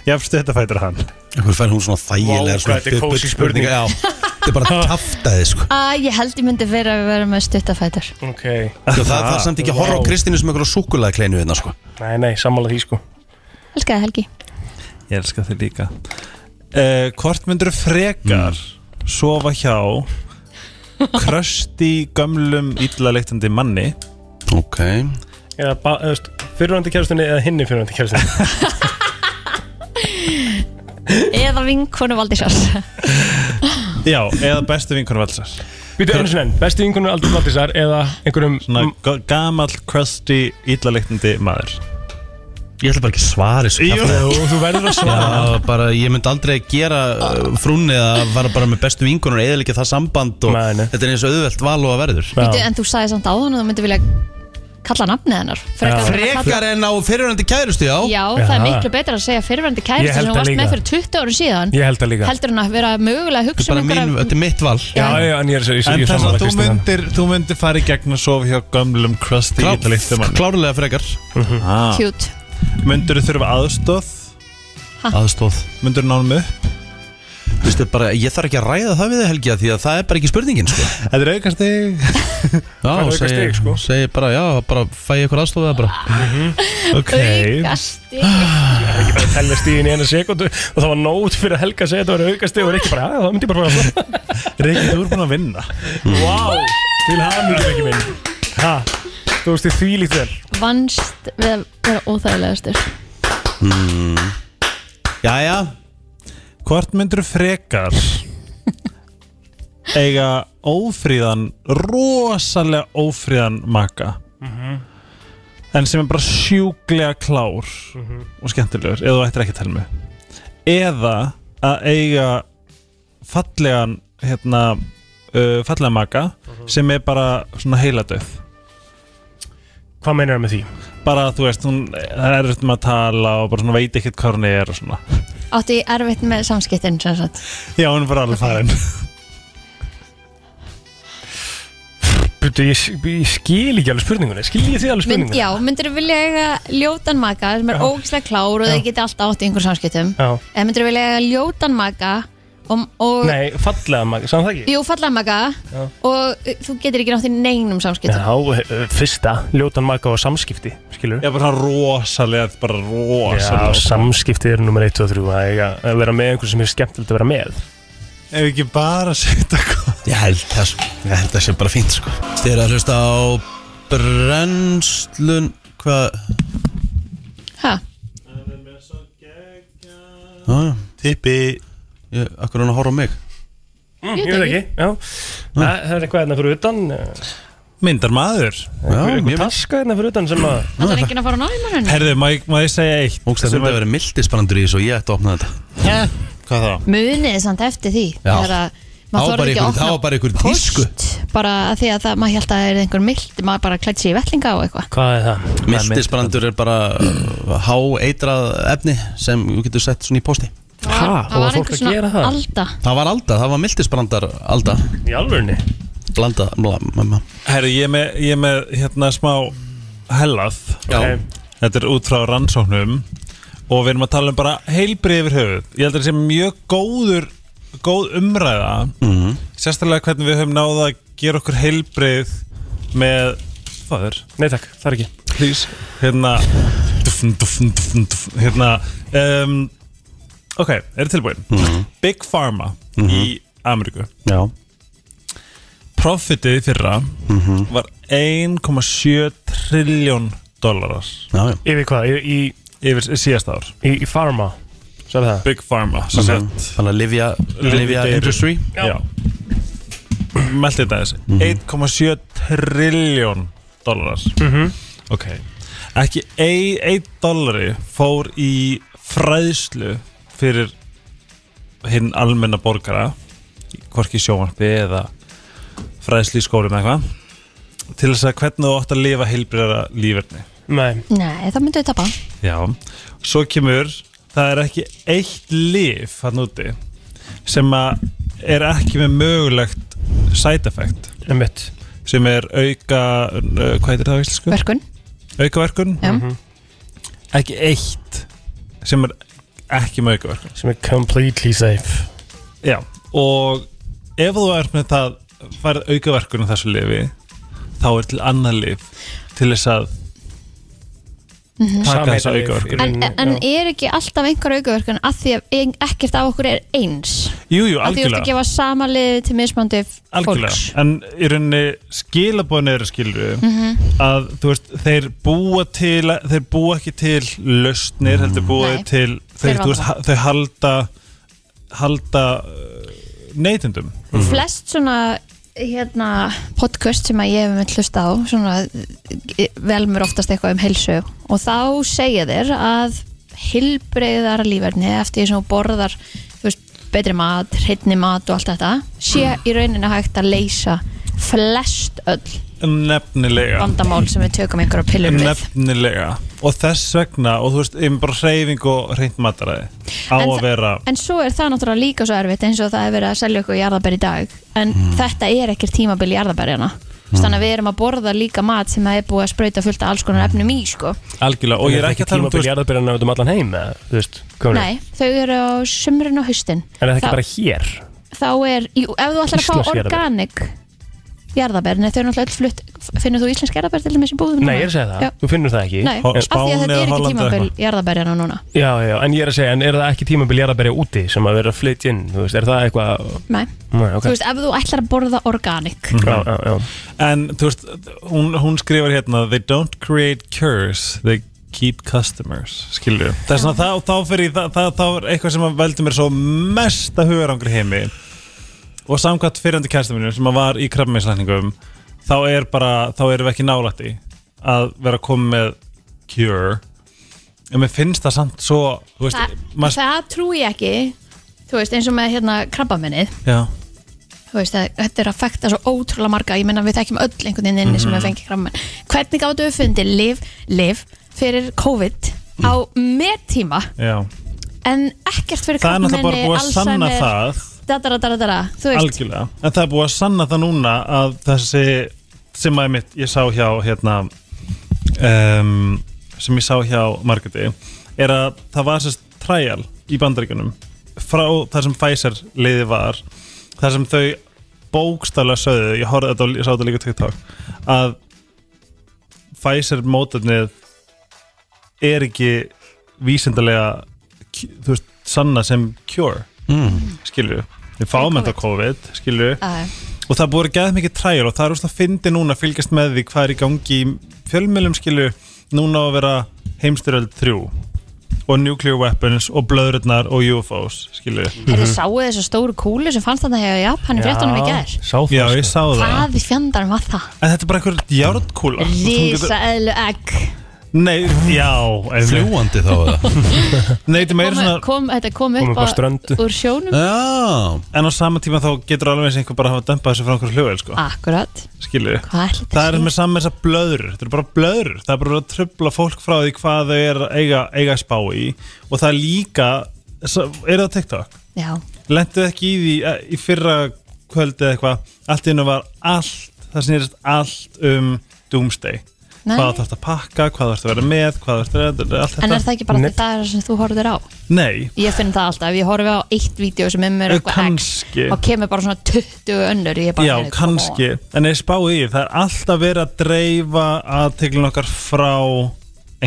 Speaker 9: jafn stutta fætur hann
Speaker 2: Hvernig fær hún svona þægilega
Speaker 9: Vá, hvað þetta er kósí spurning.
Speaker 2: Já, þetta er bara kaftaði sko
Speaker 3: að ég held ég myndi vera að vera með stuttafætur
Speaker 4: okay.
Speaker 2: Já, Sko, það, það er samt ekki að horfa á
Speaker 4: Vá.
Speaker 2: Kristínu sem eitthvað súkulega kleinu hérna sko
Speaker 4: Nei, nei, sammála því sko
Speaker 3: Helgaði Helgi
Speaker 9: Ég elska þau líka uh, Hvort myndur frekar sofa hjá krösti gömlum illalektandi manni
Speaker 2: Ok
Speaker 4: Eða, ba- eða, veist, fyrirvændi kjærastunni eða hinni fyrirvændi kjærastunni
Speaker 3: Eða vinkonu valdísar
Speaker 9: Já, eða bestu vinkunum valsar
Speaker 4: Býtu önnur sinni enn, bestu vinkunum aldrei Valdísar eða einhverjum
Speaker 9: Svona ga- gamall, krösti, illalektandi maður
Speaker 2: Ég ætla bara ekki að svara þessu
Speaker 9: Jú,
Speaker 2: kjaftaði.
Speaker 9: þú verður að svara.
Speaker 2: Já, bara, ég myndi aldrei gera uh, frúnni að vara bara með bestu vingunum eða ekki það samband og þetta er eins og auðvelt val og að verður
Speaker 3: Býtu, En þú sagði samt á hann og þú myndi vilja kalla nafnið hennar
Speaker 2: Frekar,
Speaker 3: en að kalla-
Speaker 2: en á fyrirhandi kærustu, já
Speaker 3: Já, það er miklu betra að segja fyrirverandi
Speaker 2: Ég held
Speaker 3: kæristi sem hún
Speaker 2: það
Speaker 3: varst
Speaker 2: líka.
Speaker 3: með fyrir 20 árum síðan
Speaker 2: Ég held það líka.
Speaker 3: Heldur hún að vera mögulega að hugsa um
Speaker 2: Þetta er bara mín, þetta er mitt val
Speaker 4: Já, já, en ég er- ég er- ég er
Speaker 9: En þess
Speaker 4: sammála
Speaker 9: að þú
Speaker 4: Kristínu.
Speaker 9: myndir, þú myndir fara í gegn að sofa hjá gömlum, krösti,
Speaker 2: Klá-
Speaker 9: illalektandi manni
Speaker 2: Klárlega frekar
Speaker 9: ah.
Speaker 3: Cute.
Speaker 9: Myndir þú þurfa aðstóð
Speaker 3: Ha?
Speaker 2: Aðstóð
Speaker 9: Myndir þú nánum upp
Speaker 2: Þú veist, þetta er bara, ég þarf ekki að ræða það við þig Helgi af því að það er bara ekki spurningin sko.
Speaker 9: Þetta er aukast þig
Speaker 2: Já,
Speaker 9: Hvað er aukastig,
Speaker 2: segi,
Speaker 9: sko?
Speaker 2: segi bara, já, bara fæ ég eitthvað aðstofið bara
Speaker 9: Ok
Speaker 3: Aukastig
Speaker 4: Það er ekki bara að tellja stíðin í eina sekundu og það var nót fyrir að Helga að segja þetta var auka stíð og Rikki bara, já, það myndi ég bara fara
Speaker 9: Rikki, þú er búin að vinna
Speaker 4: Vá, til hamingi Rikki minn Ha, þú veist þið þvílíkt vel
Speaker 3: Vannst við að vera óþægilegastur
Speaker 2: mm. Jæja
Speaker 9: Hvort myndir þú frekar eiga ófríðan rosalega ófríðan maka
Speaker 7: Mhm.
Speaker 9: en sem er bara sjúklega klár
Speaker 7: Mhm.
Speaker 9: og skemmtilegur eða þú ættir ekki að telmi eða að eiga fallegan hérna uh, fallegan maka
Speaker 7: Mhm.
Speaker 9: sem er bara svona heiladauð
Speaker 4: Hvað meinar það með því?
Speaker 9: Bara þú veist, hún það er erfitt með að tala og bara svona veit ekkert hvað hún er og svona
Speaker 3: Átti ég erfitt með samskiptin sem sagt
Speaker 9: Já, hún er bara alveg farin
Speaker 4: Butu, ég, ég skil ekki alveg spurningunni, skil ég þið alveg
Speaker 3: Mynd,
Speaker 4: spurningunni?
Speaker 3: Já, myndirðu vilja eiga ljótan maka sem er
Speaker 4: Já.
Speaker 3: ógislega klár og þau geti alltaf átt í einhver samskiptum
Speaker 4: Já.
Speaker 3: En myndirðu vilja eiga ljótan maka og, og
Speaker 4: Nei, fallega maga, sann það ekki?
Speaker 3: Jú, fallega maka
Speaker 4: Já.
Speaker 3: og uh, þú getur ekki nátt í neinum samskiptum
Speaker 4: Já, eh, fyrsta, ljótan maga og samskipti, skilur
Speaker 9: Já, bara rosalega, bara rosalega
Speaker 4: Já, samskipti er nummer 1 og 3 að eiga- að vera með einhver sem er skemmtilegt að vera með
Speaker 9: Ef ekki bara setja hvað
Speaker 2: Ég held það sko, ég held það sé bara fínt sko Þið eru að hlusta á brennslun Hvað?
Speaker 3: Ha?
Speaker 2: Ah. Tippi ég, Akkur er hann að horfa á mig?
Speaker 4: Mm, Ég veit ekki, já Æ, Það er eitthvað hérna fyrir utan
Speaker 9: Myndar maður
Speaker 4: Já, einhver taska hérna fyrir utan sem að
Speaker 3: Það er enginn að fara á náðum hann
Speaker 9: Herðu, má ég, má ég segja eitt
Speaker 2: Hún stæði myndi að vera mildisbrandur í þessu og ég ætti að opna þetta
Speaker 3: Já.
Speaker 2: Hvað þá?
Speaker 3: Munið samt eftir því
Speaker 2: Já.
Speaker 3: Þegar að
Speaker 2: Það
Speaker 3: maður
Speaker 2: var
Speaker 3: þorði
Speaker 2: bara
Speaker 3: ekki að
Speaker 2: ykkur, það
Speaker 3: opna
Speaker 2: var bara ykkur tísku
Speaker 3: bara af því að það, maður held að það er einhver mild maður bara klætt sér í vellinga og eitthvað
Speaker 4: Hvað er það?
Speaker 2: Mildisbrandur er bara uh, háeitrað efni sem þú getur sett svona í posti
Speaker 4: Ha,
Speaker 3: það var einhver svona alda
Speaker 2: Það var alda, það var mildisbrandar alda
Speaker 4: Í alvörni?
Speaker 2: Blanda, bla, mamma
Speaker 9: Herru, ég er með, ég er með hérna smá hellað
Speaker 2: Já. Ok.
Speaker 9: Þetta er út frá rannsóknum Og við erum að tala um bara heilbrið yfir höfuð Ég held að þetta sé mjög góður Góð umræða
Speaker 2: Mhm.
Speaker 9: Sérstaklega hvernig við höfum náða að gera okkur heilbrið Með Fáður
Speaker 4: Nei takk, það er ekki
Speaker 9: Please Hérna dufn, dufn, dufn, dufn, Hérna um, Ok, er þetta tilbúin?
Speaker 2: Mhm.
Speaker 9: Big Pharma Í Ameríku
Speaker 2: Já
Speaker 9: Profitið í fyrra var 1,7 trilljón dólarar
Speaker 4: Yfir hvað? Í,
Speaker 9: í Yfir síðasta ár
Speaker 4: Í, í Pharma Sæði það?
Speaker 9: Big Pharma sem
Speaker 2: Þannig
Speaker 9: sagt.
Speaker 2: að- þannig að livja, livja industry
Speaker 9: Já, Já. Mhm. Mhm. Meldi þetta þessi 1,7 trilljón dólarar Ok ekki ein, ein dollari fór í fræðslu fyrir hinn almenna borgara í- hvorki í sjónvarpi eða fræðslu í skólum eða eitthvað til þess að hvernig þú átt að lifa heilbriðara líferni
Speaker 4: Nei.
Speaker 3: Nei, það myndum við tapa
Speaker 9: Já, svo kemur það er ekki eitt lif hann úti sem að er ekki með mögulegt side effect
Speaker 4: Einmitt.
Speaker 9: sem er auka uh, hvað heitir það á
Speaker 4: Hm?
Speaker 9: íslensku?
Speaker 3: Verkun.
Speaker 9: auka verkun
Speaker 3: Já.
Speaker 4: Mhm.
Speaker 9: ekki eitt sem er ekki með auka verkun
Speaker 4: sem er completely safe
Speaker 9: Já, og ef þú ert með það færð auka verkun á þessu lifi þá er til annað lif til þess að
Speaker 3: Mhm.
Speaker 9: taka þessa
Speaker 4: Samheitalyf
Speaker 9: auka verkun
Speaker 3: En, en er ekki alltaf einhver aukaverkun að því að ein- ekkert af okkur er eins
Speaker 9: Jú,
Speaker 3: að því þú
Speaker 9: jú,
Speaker 3: ert að
Speaker 9: algjörlega
Speaker 3: gefa sama liði til mismandi
Speaker 9: Algjörlega,
Speaker 3: fólks
Speaker 9: en í rauninni skilabóðin eru skilur
Speaker 3: Mhm.
Speaker 9: að þú veist, þeir búa til þeir búa ekki til lausnir
Speaker 3: Mm.
Speaker 9: heldur búa
Speaker 4: Nei,
Speaker 9: þeir til
Speaker 3: fyrir
Speaker 9: þeir, þú veist,
Speaker 3: vanda.
Speaker 9: ha- þau halda halda uh, neytendum
Speaker 3: flest svona hérna, podcast sem að ég hef með hlusta á svona, eh, velmur oftast eitthvað um heilsu og þá segja þér að hilbreyðara líferni eftir því sem þú borðar þú veist, betri mat, hreinni mat og allt þetta sé
Speaker 9: Mhm.
Speaker 3: í rauninu hægt að leysa flest öll
Speaker 9: Nefnilega
Speaker 3: vandamál sem við tökum einhverja pillur við
Speaker 9: Nefnilega Og þess vegna, og þú veist, ég bara hreyfing og reynd mataræði á
Speaker 3: En
Speaker 9: að
Speaker 3: það-
Speaker 9: vera
Speaker 3: en svo er það náttúrulega líka svo erfitt eins og það er verið að selja okkur jarðabær í dag en
Speaker 4: Mm.
Speaker 3: þetta er ekkert tímabil jarðabærjana mm. þannig að við erum að borða líka mat sem það er búið að sprauta fullt af alls konar
Speaker 4: Mm.
Speaker 3: efnum í sko.
Speaker 9: Algjörlega, og ég er ekki að tala um
Speaker 4: tímabil jarðabyrjana út um allan heim eða, þú veist, kominu.
Speaker 3: nei, þau eru á sumrun og haustin
Speaker 4: En er það ekki
Speaker 3: Þá-
Speaker 4: bara hér?
Speaker 3: þá er, jú, ef þú ætlar að
Speaker 4: Íslensk
Speaker 3: fá
Speaker 4: jarðarber.
Speaker 3: organic jarðabær, nei þau eru náttúrulega öll flutt finnur þú íslensk jarðabær til þess í búðum
Speaker 4: Nei, ég er að segja það,
Speaker 3: já.
Speaker 4: þú finnur það ekki
Speaker 3: Nei, af því að þetta er ekki tímabil jarðabærjana núna
Speaker 4: Já, já, en ég er að segja, en er það ekki tímabil jarðabæri úti sem að vera að flytja inn, þú veist, er það eitthvað
Speaker 3: Nei.
Speaker 4: Nei, ok
Speaker 3: þú veist, ef þú ætlar að borða organic
Speaker 4: Já, já, já
Speaker 9: En þú veist, hún, hún skrifar hérna They don't create cures, they keep customers Skilju Það er svona, þá, þá fyrir, það, það, þá er eitthvað sem að veldi mér svo mesta hugarangri heimi Og samkvæmt fyrirandi kæsta mínu sem að var í krabbmeinslækningum Þá er bara, þá erum við ekki nálætt í að vera komið með cure En mér finnst það samt svo, þú veist,
Speaker 3: það,
Speaker 9: maður-
Speaker 3: það trúi ég ekki þú veist, eins og með hérna krabbaminnið
Speaker 9: Já
Speaker 3: þú veist, að, þetta er að fækta svo ótrúlega marga ég menna við þekkjum öll einhvern veginn inni sem
Speaker 9: Mhm.
Speaker 3: við fengið krabbamenn hvernig gáttu við fundið liv, liv fyrir COVID á mettíma
Speaker 9: Já
Speaker 3: en ekkert fyrir
Speaker 9: Mm. Það er náttúrulega bara
Speaker 3: krabbamenni
Speaker 9: búið að sanna það.
Speaker 3: dadara, dadara, þú veist
Speaker 9: Algjörlega, en það er búið að sanna það núna að þessi sem að mitt ég sá hjá hérna um, sem ég sá hjá Margeti er að það var sérst trial í bandaríkunum frá þar sem Pfizer liði var þar sem þau bókstaflega sögðu, ég horfði þetta og ég sá þetta líka á TikTok að Pfizer mótarnið er ekki vísindalega þú veist, sanna sem cure
Speaker 2: Mm.
Speaker 9: skilju, við fáum þetta COVID skilju,
Speaker 3: Já, já.
Speaker 9: og það búið að geða mikið træl og það er úrst að fyndi núna að fylgjast með því hvað er í gangi í fjölmjölum skilju, núna á að vera heimstyröld 3 og nuclear weapons og blöðrurnar og UFOs skilju
Speaker 3: er þið sáuð þessu stóru kúlu sem fannst þetta hjá Japan í fréttunum í gær
Speaker 9: sá það Já, ég sá það
Speaker 3: hvað í fjandarn var það?
Speaker 9: En þetta er bara einhver járnkúla
Speaker 3: Rísa eðlu egg
Speaker 9: Nei, já
Speaker 2: Fljúandi þá eða?
Speaker 9: Nei, þetta er meira
Speaker 3: kom,
Speaker 9: svona
Speaker 3: kom, þetta kom
Speaker 9: Kom
Speaker 3: upp
Speaker 9: upp á strönd.
Speaker 3: úr sjónum
Speaker 2: Já.
Speaker 9: En á sama tíma þá getur alveg eins einhver bara að hafa dempað þessu frá einhver hljóvel sko.
Speaker 3: Akkurat
Speaker 9: Skilju
Speaker 3: Hvað ætli þetta
Speaker 9: Það er
Speaker 3: sé?
Speaker 9: með saman þessar blöður Þetta er bara blöður Það er bara verið að tröfla fólk frá því hvað þau er að eiga, eiga að spá í Og það er líka svo- Er það TikTok?
Speaker 3: Já.
Speaker 9: Lentu ekki í því eh, í fyrra kvöldi eða eitthvað Allt innu var allt Það snýrist allt um Doomsday
Speaker 3: Nei.
Speaker 9: Hvað þú ert að pakka, hvað þú ert að vera með Hvað þú ert að vera
Speaker 3: En er það ekki bara því það er sem þú horfður á?
Speaker 9: Nei,
Speaker 3: Ég finn það alltaf, ég horfi á eitt vídeo sem er mér
Speaker 9: Eh,
Speaker 3: eitthvað X
Speaker 9: kannski.
Speaker 3: og kemur bara svona 20 önnur ég er bara,
Speaker 9: Já,
Speaker 3: heyrðu, come
Speaker 9: kannski, en ég spáði í það er alltaf verið að dreifa aðteglun okkar frá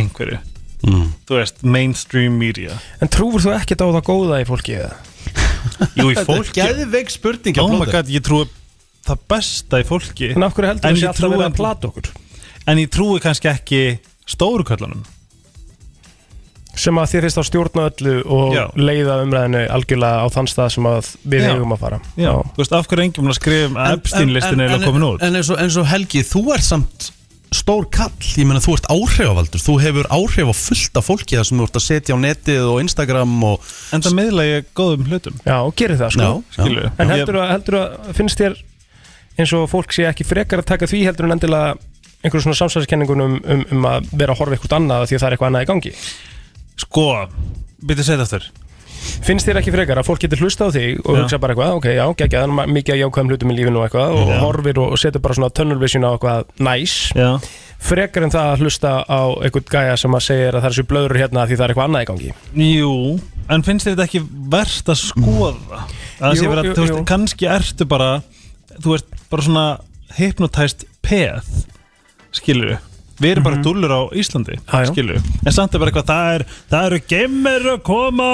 Speaker 9: einhverju þú veist, mainstream media
Speaker 4: En trúfur þú ekkert á það góða í fólki eða?
Speaker 9: Jú, í
Speaker 4: Þetta er
Speaker 9: fólki
Speaker 2: geðveik spurning
Speaker 9: Oh my
Speaker 4: Plóter.
Speaker 9: god, ég trúi það besta í fólki
Speaker 4: En af hverju heldur
Speaker 9: En
Speaker 4: þú sé
Speaker 9: ég
Speaker 4: alltaf verið að
Speaker 9: trúi-
Speaker 4: plata okkur?
Speaker 9: En ég trúi kannski ekki stóru köllunum
Speaker 4: Sem að þér finnst þá stjórna öllu og
Speaker 9: Já.
Speaker 4: leiða umræðinu algjörlega á þann stað sem að við
Speaker 9: Já.
Speaker 4: eigum að fara
Speaker 9: Já, þú veist, af hverju enginn mun að skrifa um að
Speaker 2: En-
Speaker 9: Epstein listin
Speaker 2: en-
Speaker 9: er að
Speaker 2: en-
Speaker 9: komin út
Speaker 2: En eins og, eins og Helgi, þú ert samt stór kall Ég meina þú ert áhrifavaldur Þú hefur áhrif á fullt af fólki Það sem þú ert að setja á netið og Instagram og...
Speaker 9: En það miðla ég góðum hlutum
Speaker 4: Já, gerir það sko
Speaker 9: Skilur
Speaker 4: En heldur að, heldur að finnst þér eins og fólk sé ekki frekar að taka því heldur en endilega einhverjum svona samsæðiskenningun um, um, um að vera að horfa eitthvað annað af því að það er eitthvað annað í gangi
Speaker 9: Sko, byrja að segja þetta
Speaker 4: aftur Finnst þér ekki frekar að fólk getur hlusta á þig og
Speaker 9: Já.
Speaker 4: hugsa bara eitthvað, ok, já, geggja, það er ma- mikið að jákvæðum hlutum í lífinu og eitthvað og
Speaker 9: Já.
Speaker 4: horfir og setur bara svona tunnel vision á eitthvað næs
Speaker 9: já.
Speaker 4: frekar en það að hlusta á eitthvað gæja sem að segja að það er svo blöður hérna af því það er eitthvað annað í gangi
Speaker 9: Jú, en finnst þér þetta ekki verst að skoða?
Speaker 4: Mm.
Speaker 9: Að
Speaker 4: Jú,
Speaker 9: jú, vera,
Speaker 4: jú,
Speaker 9: jú, veist,
Speaker 4: jú.
Speaker 9: Kannski ertu bara Þú ert bara svona hypnotized peð Skilur Við erum bara dúllur á Íslandi
Speaker 4: Mhm. Ah, já.
Speaker 9: Skilur En samt er bara eitthvað Það, er, það eru geimur að koma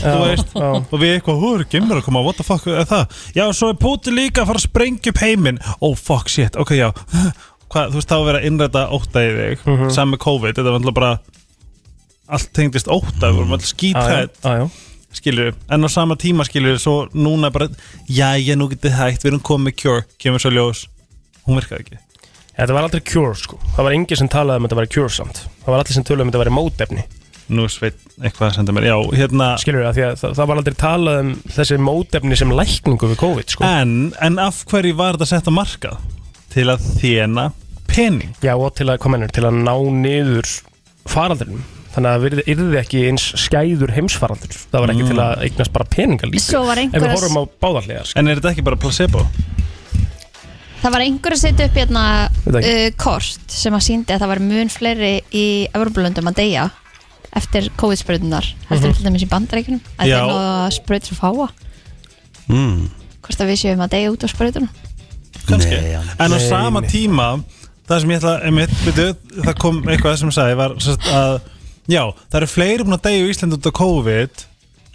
Speaker 4: Já,
Speaker 9: Þú veist
Speaker 4: já.
Speaker 9: Og við eitthvað Hú eru geimur að koma What the fuck er það? Já, svo er Putin líka að fara að sprengja upp heiminn Oh fuck shit Ok, já Hvað, þú veist þá að vera að innræta ótta í þig mm
Speaker 4: Mhm.
Speaker 9: Saman með COVID Þetta var náttúrulega bara allt tengdist óta, við vorum alltaf skítrætt skilur, en á sama tíma skilur svo núna bara, jæja nú getið hægt við erum komið með Cure, kemur svo ljós hún virkaði ekki
Speaker 4: Þetta var aldrei cure sko, það var engin sem talaði um að þetta væri cure samt Það var allir sem talaði um að þetta væri mótefni
Speaker 9: Nú sveit eitthvað að senda mér, já, hérna
Speaker 4: Skilur það, því að það, það var aldrei talað um þessi mótefni sem lækningu við COVID
Speaker 3: Ah.
Speaker 4: sko
Speaker 9: en, en af hverju var þetta sett á markað til að þjena pening
Speaker 4: Já og til að, komenur, til að ná niður faraldurinn Þannig að það yrði ekki eins skæður heimsfaraldur Það var ekki
Speaker 9: Mm.
Speaker 4: til að eignast bara peninga líka
Speaker 3: Svo var
Speaker 4: En við
Speaker 3: einhver að-
Speaker 4: horfum á sko. báðarlegar
Speaker 9: En er þetta ekki bara placebo?
Speaker 3: Það var einhver að setja upp hérna
Speaker 4: Veit það
Speaker 3: uh, kort sem að síndi að það var mun fleiri í Evropalöndum að deyja eftir COVID-spröðunar heldur
Speaker 2: Mhm.
Speaker 3: mm til dæmis í bandaríkunum að
Speaker 2: Já.
Speaker 3: það er náða spröð svo fáa
Speaker 2: mm.
Speaker 4: Hmm.
Speaker 3: hvort að við séum að deyja út á spröðunum
Speaker 9: kannski
Speaker 2: Nei, já.
Speaker 9: en á
Speaker 2: Nei,
Speaker 9: sama
Speaker 2: nei.
Speaker 9: tíma það sem ég ætla einmitt, byrju, það kom eitthvað sem sagði var sem sagt að já, það eru fleiri búin að degja í Ísland út á COVID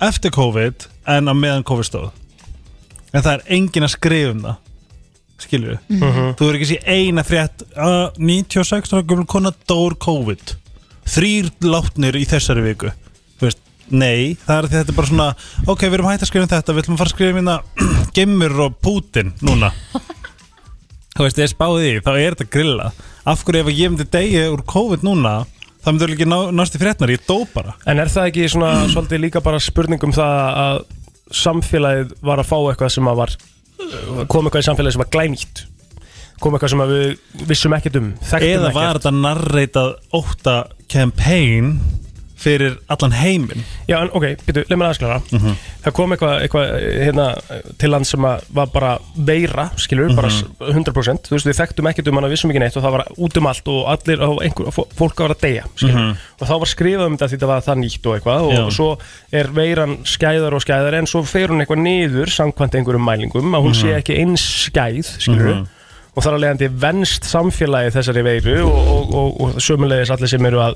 Speaker 9: eftir COVID en á meðan COVID stóð en það er engin að skrifa um það skilur við
Speaker 4: Mhm.
Speaker 9: þú verður ekki að sé eina frétt uh, 96 ára gömul kona dór COVID þrýr látnir í þessari viku þú veist, nei, það er því þetta er bara svona ok, við erum hægt að skrifa um þetta, við ætlum að fara að skrifa um hérna gemmur og Putin núna þú veist, ég spáði því, þá er þetta grilla af hverju ef ég myndi degja úr COVID núna þá myndi það ekki ná, nást í frétnar, ég dó bara
Speaker 4: En er það ekki svona svolítið líka bara spurning um það að samfélagið var að fá eitthvað sem að var uh, kom eitthvað í samfélagið sem var glænýtt kom eitthvað sem að við vissum ekkert um þekktum
Speaker 9: eða
Speaker 4: ekkert.
Speaker 9: var þetta narreitað óta campaign fyrir allan heiminn
Speaker 4: Já, en ok, byrju, leið mér aðeins klara
Speaker 9: Mhm.
Speaker 4: Það kom eitthvað, eitthvað hérna, til land sem að var bara veira, skilur, bara
Speaker 9: Mhm.
Speaker 4: s- 100% Þú veist, við þekktum ekkert um hana, vissum ekki neitt og það var út um allt og allir, og einhver, fó- fólk var að deyja, skilur
Speaker 9: Mhm.
Speaker 4: Og þá var skrifað um þetta því það var það nýtt og eitthvað
Speaker 9: Já.
Speaker 4: og svo er veiran skæðar og skæðar en svo fer hún eitthvað niður samkvæmt einhverjum mælingum að hún
Speaker 9: Mhm.
Speaker 4: sé ekki eins skæð, skilur
Speaker 9: Mhm.
Speaker 4: og þar að leiðandi venst samfélagi þessari veiru og, og, og, og sömulegis allir sem eru að,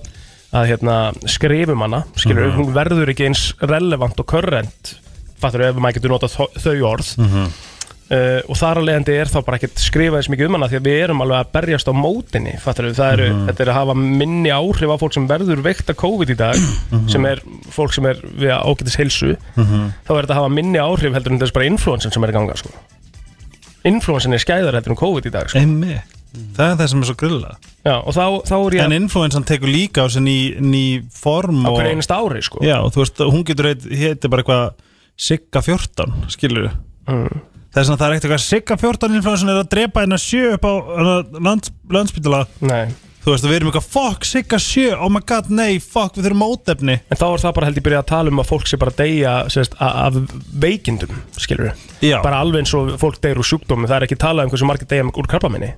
Speaker 4: að hérna, skrifum hana skilur,
Speaker 9: Mhm.
Speaker 4: hún verður ekki eins relevant og current fattur ef maður getur notað þó- þau orð
Speaker 9: Mhm.
Speaker 4: uh, og þar að leiðandi er þá bara ekkert skrifað eins mikið um hana því að við erum alveg að berjast á mótinni fattur, það eru,
Speaker 9: Mhm.
Speaker 4: þetta er að hafa minni áhrif á fólk sem verður veikt af COVID í dag
Speaker 9: Mhm.
Speaker 4: sem er fólk sem er við ágætis heilsu
Speaker 9: Mhm.
Speaker 4: þá er þetta að hafa minni áhrif heldur en þess bara influensin sem er í ganga sko. influensin er skæðar heldur en COVID í dag sko.
Speaker 9: Einmi. það er það sem er svo grilla
Speaker 4: Já, og þá, þá er ég
Speaker 9: en influensan tekur líka á sig ný, ný form
Speaker 4: á
Speaker 9: og-
Speaker 4: hverju einasta ári sko.
Speaker 9: Já, þú veist, hún getur heit, heiti bara eitthvað Sigga 14, skilur
Speaker 4: mm.
Speaker 9: Þess að það er ekkert eitthvað Sigga 14 influensin er að drepa hennar sjö upp á hana lands, landspítala
Speaker 4: Nei
Speaker 9: Þú veist, við erum eitthvað, fuck, Sigga 7 Oh my god, nei, fuck, við þurfum mótefni
Speaker 4: en þá er það bara held ég byrjað að tala um að fólk sé bara að deyja sérst, af veikindum skilur
Speaker 9: Já.
Speaker 4: bara alveg eins og fólk deyr úr sjúkdómi það er ekki talað um hversu margir deyja úr krabbaminni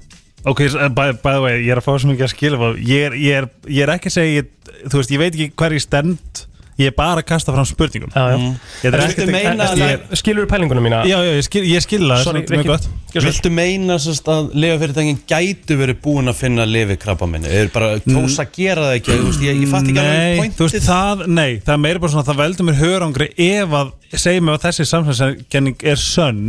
Speaker 9: Ok, s- eh, by, by the way, ég er að fá svo mikið að skilja ég, er- ég, er- ég er ekki að segja ég, Þú veist, ég veit ekki hver ég stend Ég er bara að kasta fram spurningum
Speaker 4: já.
Speaker 9: Ég er
Speaker 2: En
Speaker 9: ekkert
Speaker 2: viltu meina að
Speaker 9: ég-
Speaker 2: það-
Speaker 4: skilur pælinguna mína
Speaker 9: Já, já, ég skil, ég skil það
Speaker 2: Sorry,
Speaker 9: þetta er mjög
Speaker 2: Rikki.
Speaker 9: gott.
Speaker 2: Viltu meina sérst, að lefafyrirtækin gætu verið búin að finna lefi krabba minni? Er bara kjósa að gera það ekki? Þú veist, Ég, ég fatt ekki alveg
Speaker 9: Mm. Nei,
Speaker 2: point
Speaker 9: þú veist, það, nei, það er meira bara svona að það veldur mér hörangri ef að segjum ef að þessi samsæðskenning er sönn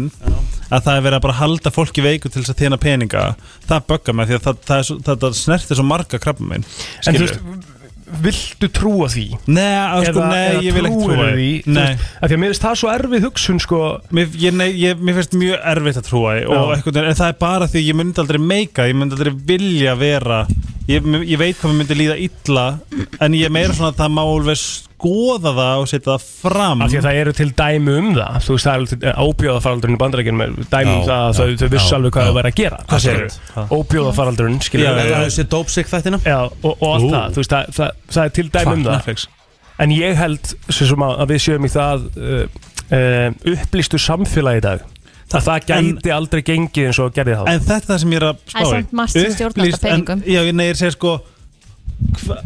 Speaker 9: að það er verið að bara halda fólki veiku til þess að þjána peninga það böggar mér því að það, það, það, það, það snertir svo marga krabba minn
Speaker 4: en þú veist viltu trúa því?
Speaker 9: Nei, að sko,
Speaker 4: Eða-
Speaker 9: nei,
Speaker 4: eða
Speaker 9: ég vil ekki
Speaker 4: trúirðu
Speaker 9: trúa
Speaker 4: því,
Speaker 9: því
Speaker 4: þú
Speaker 9: Nei.
Speaker 4: veist, Af því að mér finnst það svo erfið hugsun sko.
Speaker 9: mér, ég, nei, ég, mér finnst mjög erfitt að trúa því og
Speaker 4: Já.
Speaker 9: einhvern veginn, En það er bara því að ég myndi aldrei meika Ég myndi aldrei vilja vera Ég, ég veit hvað mér myndi líða illa En ég er meira svona að það má alveg skoða það og setja það fram
Speaker 4: Af því að það eru til dæmi um það Þú veist, það er óbjóðafaraldurinn í bandarækjunum er Dæmi um
Speaker 9: Já,
Speaker 4: það að þau,
Speaker 9: já,
Speaker 4: þau vissu
Speaker 9: já,
Speaker 4: alveg hvað
Speaker 9: já.
Speaker 4: þau væri að gera
Speaker 9: Hvað segirðu?
Speaker 4: segir Óbjóðafaraldurinn, skilur
Speaker 9: Já, já, já. Þetta hefur
Speaker 2: sér dópsik þættina
Speaker 4: Já, og, og allt það, þú veist, það, það, það er til dæmi um
Speaker 9: Fuck,
Speaker 4: það
Speaker 9: Netflix.
Speaker 4: En ég held, sem sem að að við séum í það uh, uh, upplýstu samfélagi í dag Að það gæti aldrei gengið eins og gerði það
Speaker 9: En þetta er það sem ég er að spá
Speaker 3: Það er samt margt sem stjórnar
Speaker 9: Upplýst-
Speaker 3: alltaf peningum.
Speaker 9: en- Já, ég nei, ég segja sko hva,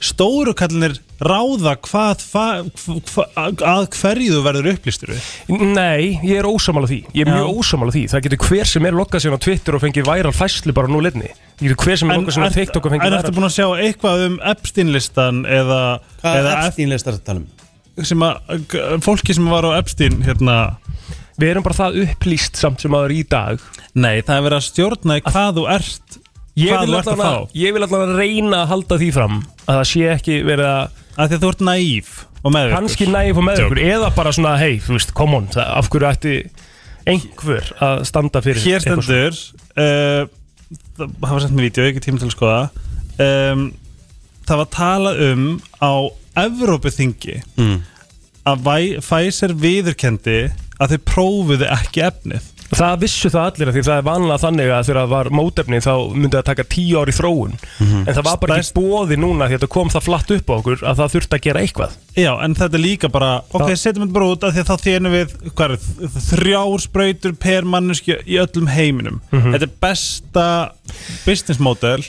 Speaker 9: Stóru kallinir ráða hvað, hva, hva, að hverju þú verður upplýstur við
Speaker 4: Nei, ég er ósamála því Ég er mjög ósamála því Það getur hver sem er lokkað sér á Twitter og fengið væral fæslu bara nú litni Það getur hver sem er lokkað sér á
Speaker 9: ert-
Speaker 4: TikTok og fengið
Speaker 9: en ertu búin að sjá eitthvað um Epstein-listan eða
Speaker 2: Hvað
Speaker 9: eða
Speaker 2: Epstein-listan talum?
Speaker 9: Sem að, g- fólki sem var á Epstein hérna
Speaker 4: Við erum bara það upplýst samt sem aður í dag
Speaker 9: Nei, það er verið að stjórna í hvað þú ert
Speaker 4: Ég
Speaker 9: Hvað
Speaker 4: vil
Speaker 9: þú ert að
Speaker 4: allan að-
Speaker 9: fá
Speaker 4: Ég vil allan að reyna að halda því fram Að það sé ekki verið að
Speaker 9: Að því að þú ert næf og meðvirkur
Speaker 4: Kanski næf og meðvirkur Eða bara svona, hei, þú veist, come on það, Af hverju ætti einhver að standa fyrir
Speaker 9: Hér
Speaker 4: eitthvað svona?
Speaker 9: stendur uh, Það það var sent mér vídeo, ekki tíma til að skoða um, Það var talað um á Evrópuþingi
Speaker 2: Mm.
Speaker 9: að væ, Pfizer viðurkendi að þau prófuðu ekki efnið
Speaker 4: Það vissu það allir af því það er vanlega þannig að þegar það var mótefni þá myndi það taka tíu ár í þróun en það var bara ekki bóði núna því að þetta kom það flatt upp á okkur að það þurfti að gera eitthvað
Speaker 9: Já, en þetta er líka bara Ok, setjum þetta bara út af því að þá þénum við hvað er, þ- þrjár sprautur per manneski í öllum heiminum
Speaker 4: Mhm.
Speaker 9: Þetta er besta business model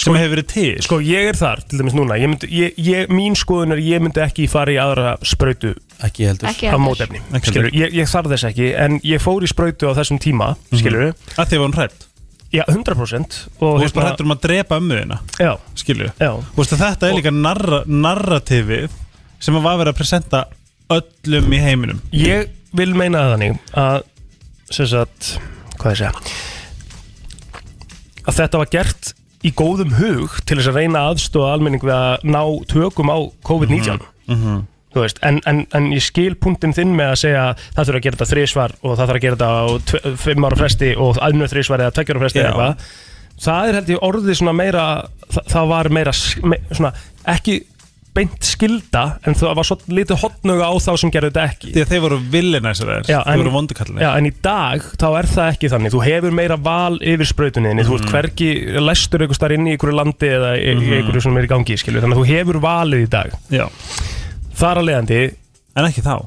Speaker 9: sem hefur verið til
Speaker 4: Sko ég er þar til dæmis núna ég myndi, ég, ég, mín skoðun er ég myndi ekki fara í aðra sprautu
Speaker 2: ekki heldur
Speaker 9: Ekki
Speaker 4: af
Speaker 9: heldur.
Speaker 4: mótefni
Speaker 9: Ekki heldur.
Speaker 4: skilur, ég, ég þarf þess ekki en ég fór í sprautu á þessum tíma
Speaker 9: Mhm.
Speaker 4: skilur mm
Speaker 9: Að því að hún hrætt
Speaker 4: Já, 100% og
Speaker 9: Þú veist
Speaker 4: hérna-
Speaker 9: bara
Speaker 4: Eh,
Speaker 9: hættur um að drepa ömmuðina
Speaker 4: Já
Speaker 9: Skilju
Speaker 4: Já
Speaker 9: Vistu, Þetta er líka narra, narratífið sem að var verið að presenta öllum í heiminum
Speaker 4: Ég vil meina það þannig að sem sagt, hvað ég segja að þetta var gert í góðum hug til þess að reyna aðstóða almenning við að ná tökum á COVID-19
Speaker 9: Mhm.
Speaker 4: Þú veist, en, en, en ég skil punktin þinn með að segja að það þurfa að gera þetta þrísvar og það þarf að gera þetta á tve- fimm ára fresti og aðnur þrísvar eða tveggjara fresti eða
Speaker 9: Já.
Speaker 4: eitthvað það er held ég orðið svona meira það, það var meira s- me, svona, ekki beint skilda en það var svo litið hotnuga á þá sem gerðu þetta ekki
Speaker 9: Því að þeir voru villinæsir þær
Speaker 4: Já,
Speaker 9: Þeir voru vondukallinir
Speaker 4: Já, en í dag þá er það ekki þannig Þú hefur meira val yfir sprautuninni Þú ert
Speaker 9: Mhm.
Speaker 4: hvergi læstur einhver starf inn í einhverju landi eða í mm
Speaker 9: Mhm.
Speaker 4: einhverju sem er í gangi skilur. Þannig að þú hefur valið í dag
Speaker 9: Já.
Speaker 4: Þar að leiðandi
Speaker 9: En ekki þá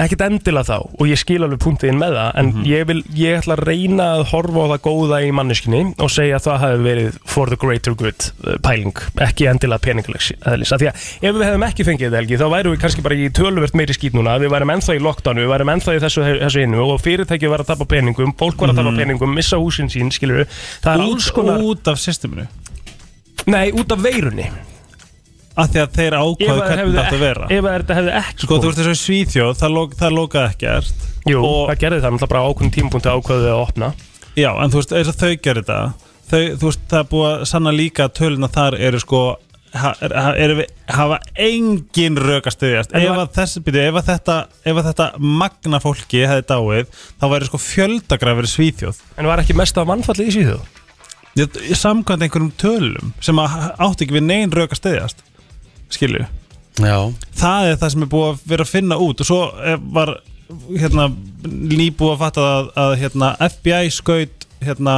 Speaker 4: Ekkert endilega þá og ég skil alveg punktiðin með það en
Speaker 9: Mhm.
Speaker 4: ég, vil, ég ætla að reyna að horfa á það góða í manneskinni og segja að það hafi verið for the greater good uh, pæling, ekki endilega peningalegs eðlis, af því að ef við hefum ekki fengið þetta helgi þá værum við kannski bara í töluvert meiri skýt núna við værum ennþá í lockdownu, við værum ennþá í þessu, þessu innu og fyrirtæki var að tapa peningum fólk var að tapa
Speaker 9: Mhm.
Speaker 4: peningum, missa húsin sín skilur það er alls
Speaker 9: út,
Speaker 4: konar
Speaker 9: út af systeminu
Speaker 4: Nei, út af veirunni
Speaker 9: Af því að þeir
Speaker 4: Ef
Speaker 9: ákvaðu
Speaker 4: að
Speaker 9: hvernig
Speaker 4: hefðu
Speaker 9: þetta átt að
Speaker 4: ek-
Speaker 9: vera
Speaker 4: ef að þetta hefði ekki
Speaker 9: Sko,
Speaker 4: komið.
Speaker 9: þú ert þess að svíþjóð, það, lok, það lokaði ekkert
Speaker 4: Jú, það gerði það, náttúrulega bara ákveðin tímapunkti ákveðu að opna
Speaker 9: Já, en þú veist, eins og þau gerir þetta þau, Þú veist, það er búið að sanna líka að töluna þar eru sko ha, er, ha, eru við, hafa engin rök að stuðjast
Speaker 4: En
Speaker 9: ef,
Speaker 4: var-
Speaker 9: að þessi, byrju, ef, að þetta, ef að þetta magna fólki hefði dáið þá væri sko fjöldagrafir í Svíþjóð
Speaker 4: En var ekki mest af mannfalli í Svíþjóð?
Speaker 9: Samkvæmt einhverjum tölum sem að ha- átti ekki við negin rök að stuðjast Skilju
Speaker 2: Já
Speaker 9: það er það sem er búið að vera að finna út og svo eh, var hérna, nýbúið að fatta að, að hérna, FBI skaut hérna,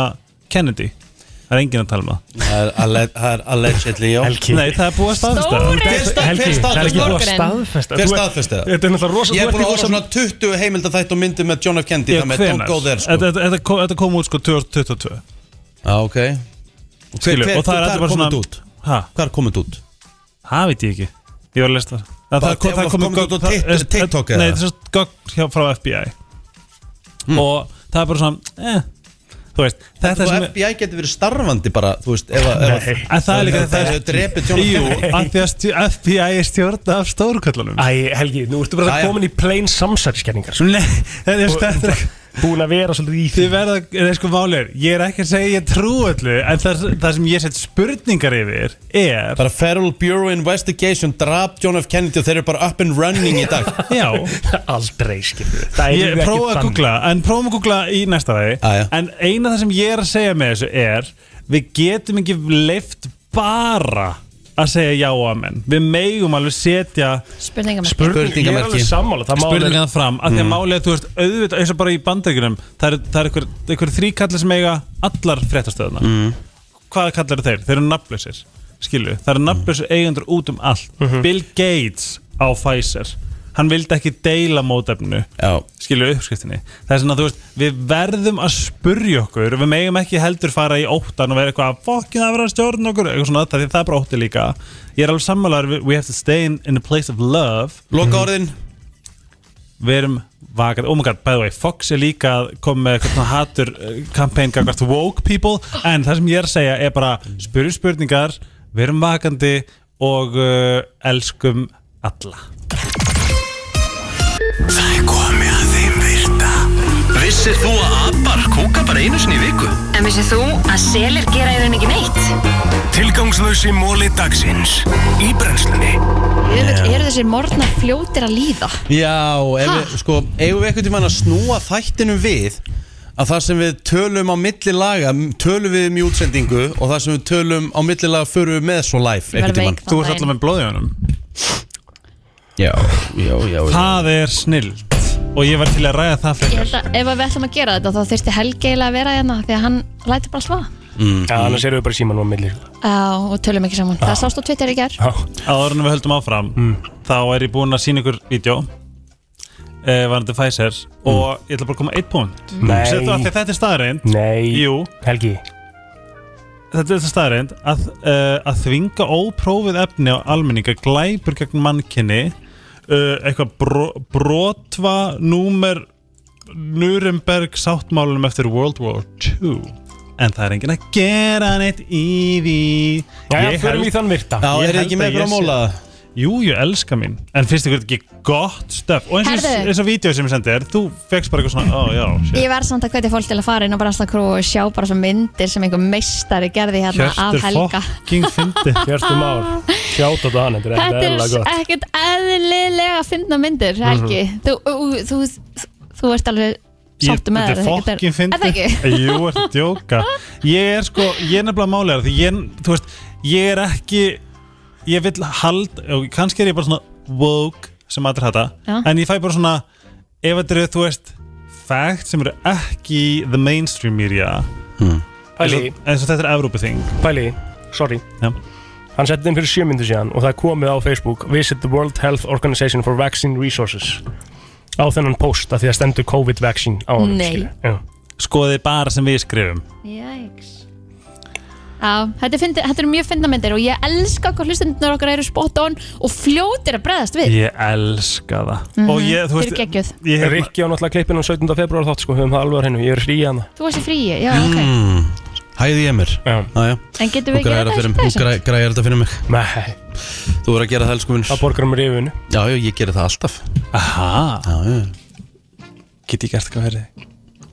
Speaker 9: Kennedy það er enginn að tala um það
Speaker 2: Það er alle- það er allegedly, já
Speaker 9: Helgi. Nei, það er búið að staðfesta það. Stóri
Speaker 2: Hver sta-
Speaker 9: Helgi,
Speaker 2: hver
Speaker 9: það er
Speaker 2: staðfesta
Speaker 9: ekki búið að
Speaker 2: það?
Speaker 9: staðfesta.
Speaker 2: Hver
Speaker 9: Þú ert-
Speaker 2: staðfesta það?
Speaker 9: Þetta er náttúrulega rosa-
Speaker 2: Ég
Speaker 9: þú
Speaker 2: er búin að
Speaker 9: ert í
Speaker 2: horfa
Speaker 9: rosa-
Speaker 2: svona 20 heimildar þætt og myndir með John F. Kennedy
Speaker 9: Já,
Speaker 2: Það með Don't
Speaker 9: hvenær?
Speaker 2: Go There sko.
Speaker 9: Þetta- þetta- þetta kom- þetta kom út sko 2022
Speaker 2: Já, ok
Speaker 9: Skilju, og það er allir bara svona-
Speaker 2: komið út?
Speaker 9: Ha?
Speaker 2: Hvað er komið út?
Speaker 9: það veit ég ekki ég var að lesta
Speaker 2: Bara
Speaker 9: það
Speaker 2: þegar
Speaker 9: það
Speaker 2: var
Speaker 9: komið
Speaker 2: komið út
Speaker 9: gögn-
Speaker 2: á Tik-
Speaker 9: það-
Speaker 2: TikTok eða?
Speaker 9: nei, þess að gögn hjá- frá FBI og það er bara svona eh, þú veist, þetta
Speaker 2: Hmm. Þetta
Speaker 9: sem
Speaker 2: sem
Speaker 9: er
Speaker 2: FBI getur verið starfandi bara, þú veist, ef að ef að-
Speaker 9: En það er líka
Speaker 2: ef að hefur drepið John F.
Speaker 9: Jú,
Speaker 2: Kennedy
Speaker 9: af því að stjó- FBI er stjórna af stórköllunum
Speaker 4: Æ, Helgi, nú ertu bara komin í plain samsætiskenningar
Speaker 9: Nei, þetta er- þetta er-
Speaker 4: búin að vera svolítið í
Speaker 9: því Þið verða, eða sko málir, ég er ekki að segja ég trú öllu En það, það sem ég set spurningar yfir er
Speaker 2: Bara Federal Bureau Investigation drap John F. Kennedy og þeir eru bara up and running í dag
Speaker 9: Já
Speaker 4: Aldrei skilur
Speaker 9: Ég prófa að googla, en prófum að googla í næsta þagi En eina það sem ég er að segja með þessu er Við getum ekki leift bara að segja já og amen Við megum alveg setja
Speaker 3: Spurningamerki.
Speaker 9: Ég er alveg sammála, það máli Spurningan fram, af því að
Speaker 4: Mm.
Speaker 9: máli að þú veist auðvitað eins og bara í bandaríkunum Það eru er einhver, einhver þríkallar sem eiga allar fréttastöðuna
Speaker 4: Mm.
Speaker 9: Hvað kallar þeir? Þeir eru nafnlausir, skilju Það eru nafnlausir eigendur út um allt
Speaker 4: Mm. Mhm.
Speaker 9: Bill Gates á Pfizer Hann vildi ekki deila mótefnu Skilju uppskriftinni Það er svona, þú veist, við verðum að spurja okkur Við megum ekki heldur fara í óttan og vera eitthvað Fokkin það verður að stjórna okkur Eitthvað svona, það, það er bara ótti líka Ég er alveg sammálaður, we have to stay in, in a place of love
Speaker 2: Loka orðin
Speaker 9: við erum vakandi, oh my god, by the way Fox er líka að koma með eitthvað svona hatur kampæn gagvart woke people en það sem ég er að segja er bara spyrjum spurningar, við erum vakandi og uh, elskum alla
Speaker 7: Það er komið að þeim virta Vissir þú að abar kúka bara einu sinni í viku?
Speaker 12: En vissið þú að selir gera í raun ekki neitt?
Speaker 7: Tilgangslösi móli dagsins Í brennslunni
Speaker 3: Eru, eru þessir morgnar fljótir að líða?
Speaker 2: Já, ef
Speaker 3: Ha?
Speaker 2: við, sko, eigum við eitthvað tíma að snúa þættinum við að það sem við tölum á milli laga m- tölum við um í útsendingu og það sem við tölum á milli laga förum við með svo live
Speaker 9: Ég verð
Speaker 2: einhvern tímann.
Speaker 9: veik þann Þú ert daginn. allavega með blóð í honum
Speaker 2: Já, já, já, já.
Speaker 9: það er snillt og ég var til að ræða það
Speaker 3: Ég
Speaker 9: frekar
Speaker 3: held að ef að við ætlum að gera þetta þá þurfti Helgi eiginlega að vera hérna því að hann læti bara svaða
Speaker 4: mm. Já, annars erum við bara síman og millir
Speaker 3: Já, og tölum ekki saman. Það sást á Twitter í gerð.
Speaker 9: áður en við höldum áfram
Speaker 4: Mm.
Speaker 9: þá er ég búinn að sína ykkur vídeo uh, varandi Pfizer og ég ætla bara að koma eitt punkt
Speaker 4: Mm. Nei.
Speaker 9: Settu af því að þetta er staðreind
Speaker 4: Nei,
Speaker 9: Mm. Jú.
Speaker 4: Helgi
Speaker 9: Þetta er staðreind að, uh, að þvinga óprófið efni á almenninga glæpur gegn mannkinni uh, eitthvað bro, brotva númer Nuremberg sáttmálunum eftir World War II en það er enginn að gera neitt í því
Speaker 4: Jæja,
Speaker 9: Ég
Speaker 4: förum
Speaker 9: held-
Speaker 4: í þann virta.
Speaker 9: Ég
Speaker 4: Já, eruð
Speaker 9: held
Speaker 4: ekki með
Speaker 9: að
Speaker 4: ykkur
Speaker 9: ég
Speaker 4: á
Speaker 9: sé-
Speaker 4: móla?
Speaker 9: Jú, ég elska mín En finnst ykkur þetta ekki gott stöf Og eins og
Speaker 3: Herðu.
Speaker 9: eins og vídeo sem ég sendi þér Þú fegst bara eitthvað svona, ó já shit."
Speaker 3: Ég verð samt að hvetja fólk til að fara inn á Brannstakrú og sjá bara svo myndir sem einhver meistari gerði hérna af Helga.
Speaker 9: fucking fyndi
Speaker 4: Hjörtur Már, sjátt á þetta hann, þetta er
Speaker 3: Þetta
Speaker 4: ekkert
Speaker 3: er
Speaker 4: eðlilega gott
Speaker 3: ekkert eðlilega að finna myndir, Helgi.
Speaker 4: Mhm.
Speaker 3: Þú, þú, þú, þú, þú ert alveg
Speaker 9: Ég-
Speaker 3: sáttu með
Speaker 9: þetta
Speaker 3: þetta,
Speaker 9: er fokkin
Speaker 3: Er það ekki?
Speaker 9: fyndi Jú, ert að djóka Ég er sko, ég er nefnilega málega Því ég, þú veist, ég er ekki Ég vil hald og Kannski er ég bara svona woke sem allir hætta
Speaker 4: Já.
Speaker 9: En ég fæ bara svona Ef þetta eru, þú veist, fact sem eru ekki í the mainstream media hmm.
Speaker 4: Pæli í.
Speaker 9: En svo þetta er Evrópu þing
Speaker 4: Pæli, í, sorry
Speaker 9: Já.
Speaker 4: Hann setti inn fyrir sjö myndu síðan og það er komið á Facebook Visit the World Health Organization for Vaccine Resources á þennan post að því að stendur COVID vaccine á hann
Speaker 3: Nei.
Speaker 9: Skoði bara sem við skrifum
Speaker 3: Jæks. Já, þetta, er fyndi, þetta er mjög fyndna myndir og ég elska hvað hlustendunar okkar eru spot on og fljótir að bregðast við.
Speaker 9: Ég elska það
Speaker 3: Mhm.
Speaker 9: Og ég, þú
Speaker 3: Þau
Speaker 9: veist
Speaker 3: eru geggjuð.
Speaker 9: ég hef-
Speaker 4: Rikki á náttúrulega klippin á 17. februar þátt sko, höfum það alveg að hennu, ég er frí hana
Speaker 3: Þú varst í fríi, já, ok.
Speaker 2: Mm, hæði ég mér
Speaker 4: Já,
Speaker 2: já
Speaker 3: En getum
Speaker 2: Þú græðir
Speaker 3: við
Speaker 2: að
Speaker 3: gert
Speaker 2: fyrir
Speaker 3: það í
Speaker 2: mig,
Speaker 3: þessu?
Speaker 2: þú græ- græðir þetta fyrir mig
Speaker 4: Nei
Speaker 2: Þú verður að gera það, elsku minn Það
Speaker 4: borgar um rifinu
Speaker 2: Já, já, ég gerir það alltaf
Speaker 9: Aha
Speaker 2: Já, já
Speaker 9: Get ég gert eitthvað fyrir þig?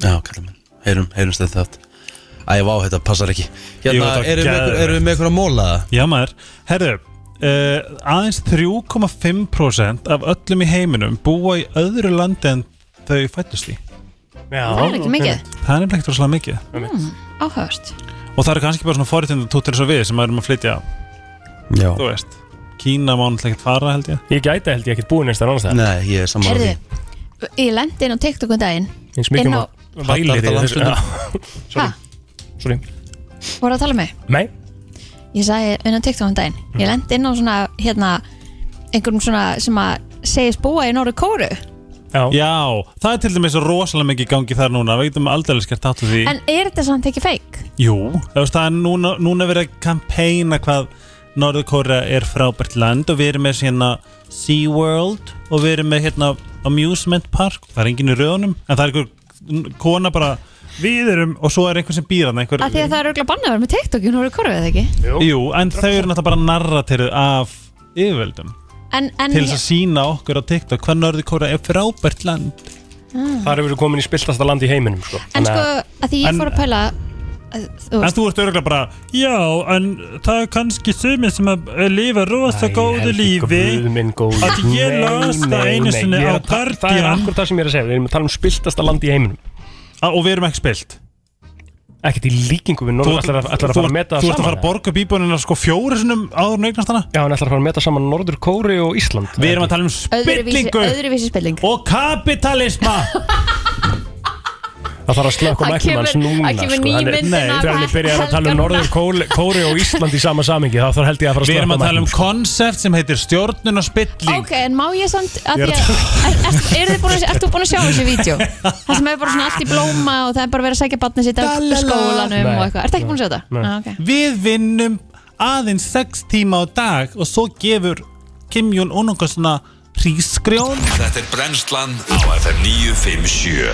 Speaker 2: Já, kallar minn Heyrum, heyrum stöð þátt Æ, vá, þetta passar ekki
Speaker 9: Jú,
Speaker 2: Hérna, erum við
Speaker 9: þetta var
Speaker 2: með ykkur-
Speaker 9: geðveikt.
Speaker 2: erum við með ykkur að móla það?
Speaker 9: Já maður, herðu uh, aðeins 3,5% af öllum í heiminum búa í öðru landi en þau fættust í
Speaker 4: Já,
Speaker 3: Það er ekki mikið.
Speaker 9: Það er nefnilegt rosalega mikið
Speaker 3: Mm, Áhugast.
Speaker 9: og það eru kannski bara svona forréttindu tóttir eins og við sem erum að flytja
Speaker 2: Já.
Speaker 9: Þú veist, Kína má náttúrulega ekkert fara held ég
Speaker 4: Ég gæti held ég ekkert búin eins þar annars það
Speaker 2: Nei, ég er
Speaker 3: Herðu, ég lendi inn á TikTok um daginn.
Speaker 4: Eins mikið
Speaker 3: Inn
Speaker 4: um
Speaker 3: á-
Speaker 4: að væli
Speaker 2: Hattar þetta
Speaker 4: þig þessu-
Speaker 2: landstundum.
Speaker 4: Já. Sorry, sorry
Speaker 3: Voru að tala um mig?
Speaker 4: Nei,
Speaker 3: Ég sagði inn á TikTok um daginn. Ég
Speaker 4: Mm.
Speaker 3: lendi inn á svona, hérna, einhverjum svona sem að segist búa í Norður Kóru.
Speaker 4: Já.
Speaker 9: það er til dæmis svo rosalega mikið í gangi þar núna við getum aldrei skert þátt af því
Speaker 3: En er þetta samt ekki feik?
Speaker 9: Jú, það veist það er núna, núna verið að kampæna hvað Norður Kóra er frábært land og við erum með hérna SeaWorld og við erum með hérna Amusement Park, það er enginn í rauðunum en það er einhver kona bara við erum og svo er einhver sem býr hann einhver,
Speaker 3: Af því að það er auðvitað bannað að vera með TikTok í Norður Kóru, eða ekki?
Speaker 9: Jú, en þau eru náttúrulega bara narratiruð af yfirvöldum
Speaker 3: En, en,
Speaker 9: til þess að sína okkur á TikTok hvað Norður Kóra er frábært land
Speaker 3: Mm.
Speaker 4: Þar hefur við komin í spiltasta land í heiminum sko.
Speaker 3: En
Speaker 4: Þannig
Speaker 3: sko,
Speaker 4: að-
Speaker 3: að því ég
Speaker 9: En-
Speaker 3: fór að pæla að, þú
Speaker 9: En þú ert örgulega bara, já, en það er kannski sumið sem að eh, lifa rosa góðu lífi að ég las það einu sinni á
Speaker 4: Það er
Speaker 9: Guardian
Speaker 4: akkur það sem ég er að segja, við erum að tala um spiltasta land í heiminum
Speaker 9: A, Og við erum ekki spilt
Speaker 4: Ekkert í líkingu við Norður ætlar, að- ætlar að
Speaker 9: þú-
Speaker 4: fara að meta það
Speaker 9: Þú
Speaker 4: saman
Speaker 9: ert að fara að borga upp íbúinina sko fjóri sinnum áður en eignast hana
Speaker 4: Já, en ætlar að fara að meta saman Norður Kóri og Ísland
Speaker 9: Við erum að tala um
Speaker 3: öðruvísi,
Speaker 9: spillingu
Speaker 3: öðruvísi spilling
Speaker 9: og kapitalisma
Speaker 4: Það þarf að slökka
Speaker 3: Það
Speaker 4: mæknum hans
Speaker 3: kemur-
Speaker 4: núna sko.
Speaker 3: það kemur ný
Speaker 4: hann er-
Speaker 3: myndin
Speaker 4: Nei,
Speaker 3: af
Speaker 4: þegar við byrjar að tala um
Speaker 3: Helga
Speaker 4: Norður Kóri- Kóri og Ísland í sama samingi Þá þarf held ég að fara að
Speaker 9: Við erum
Speaker 4: slökka
Speaker 9: að tala um konsept sem heitir stjórnun og spilling
Speaker 3: Ok, en má ég samt að
Speaker 9: Ég er
Speaker 3: ég, er, er, er, búin, að- ert þú búin að sjá þessi vídeo? Það sem er bara svona allt í blóma og það er bara verið að sækja batna sitt á
Speaker 9: Lalala.
Speaker 3: skólanum
Speaker 9: Nei.
Speaker 3: og eitthvað Ertu ekki búin að sjá þetta?
Speaker 9: Nei.
Speaker 3: Ah, okay.
Speaker 9: Við vinnum aðeins 6 tíma á dag og svo gefur Kim Jong-un okkur svona hrísgrjón
Speaker 13: Þetta er brennslan á FM 957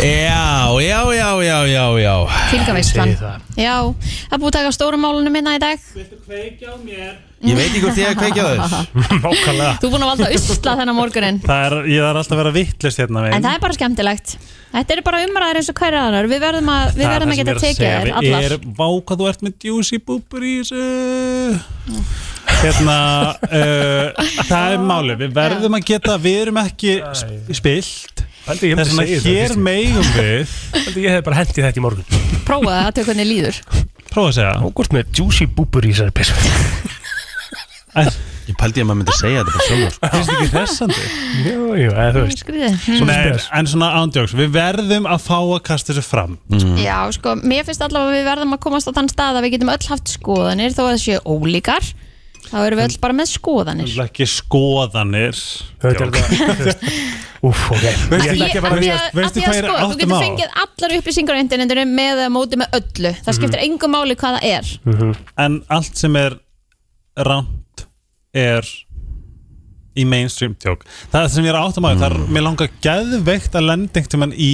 Speaker 2: Já, já, já, já, já, já
Speaker 3: Fylgaveislan Já, það er búið að taka stóru málunum minna í dag
Speaker 2: Ég veit ekki hvort ég er að kveikja þess
Speaker 9: Nákvæmlega
Speaker 3: Þú er búin að valda usla þennan morgunin
Speaker 9: Það er, ég þarf alltaf að vera vittlust hérna
Speaker 3: En það er bara skemmtilegt Þetta eru bara umræðar eins og hverja annar Við verðum að, við verðum að geta tekið þér
Speaker 9: allar
Speaker 3: allar
Speaker 9: er, Vá hvað þú ert með juicy búbur í þessu Hérna uh, Það er máli Við verðum að geta, við erum ekki sp- spilt
Speaker 4: Held ég myndi
Speaker 9: Þess vegna
Speaker 4: segja þetta,
Speaker 9: hér
Speaker 4: Kristín.
Speaker 9: megum við
Speaker 4: Held ég hef bara hendið þetta í morgun
Speaker 3: Prófa það að tökja hvernig líður
Speaker 9: Prófa að segja
Speaker 4: Og hvort með juicy búbur í þessari pissu
Speaker 2: Ég pældi ég að maður myndi segja þetta bara sjálfur
Speaker 9: Finnst ekki hressandi?
Speaker 4: Jú, jú, eða þú veist
Speaker 3: Skrýðið.
Speaker 9: Nei, en svona ándjóks, við verðum að fá að kasta þessu fram
Speaker 3: Já, sko, mér finnst allavega að við verðum að komast á þann stað að við getum öll haft skoðanir þó að það séu ólíkar þá erum við öll bara með skoðanir
Speaker 9: Nefnilega ekki skoðanir
Speaker 4: Þetta er það Úf, ok
Speaker 9: Veistu,
Speaker 3: Ég-
Speaker 9: ég,
Speaker 3: af því að-
Speaker 9: veistu,
Speaker 3: af því
Speaker 9: veistu
Speaker 3: að
Speaker 9: hvað ég er
Speaker 3: sko, Þú
Speaker 9: áttum
Speaker 3: getur
Speaker 9: á?
Speaker 3: fengið allar upplýsingar á internetinu með eða móti með öllu
Speaker 9: Mhm.
Speaker 3: Það skiptir mm engu máli hvað það er
Speaker 9: En allt sem er ránt er í mainstream tjók Það sem ég er áttum á, mm. það
Speaker 2: Hmm.
Speaker 9: er mér langar geðveikt að lenda einhvern mann í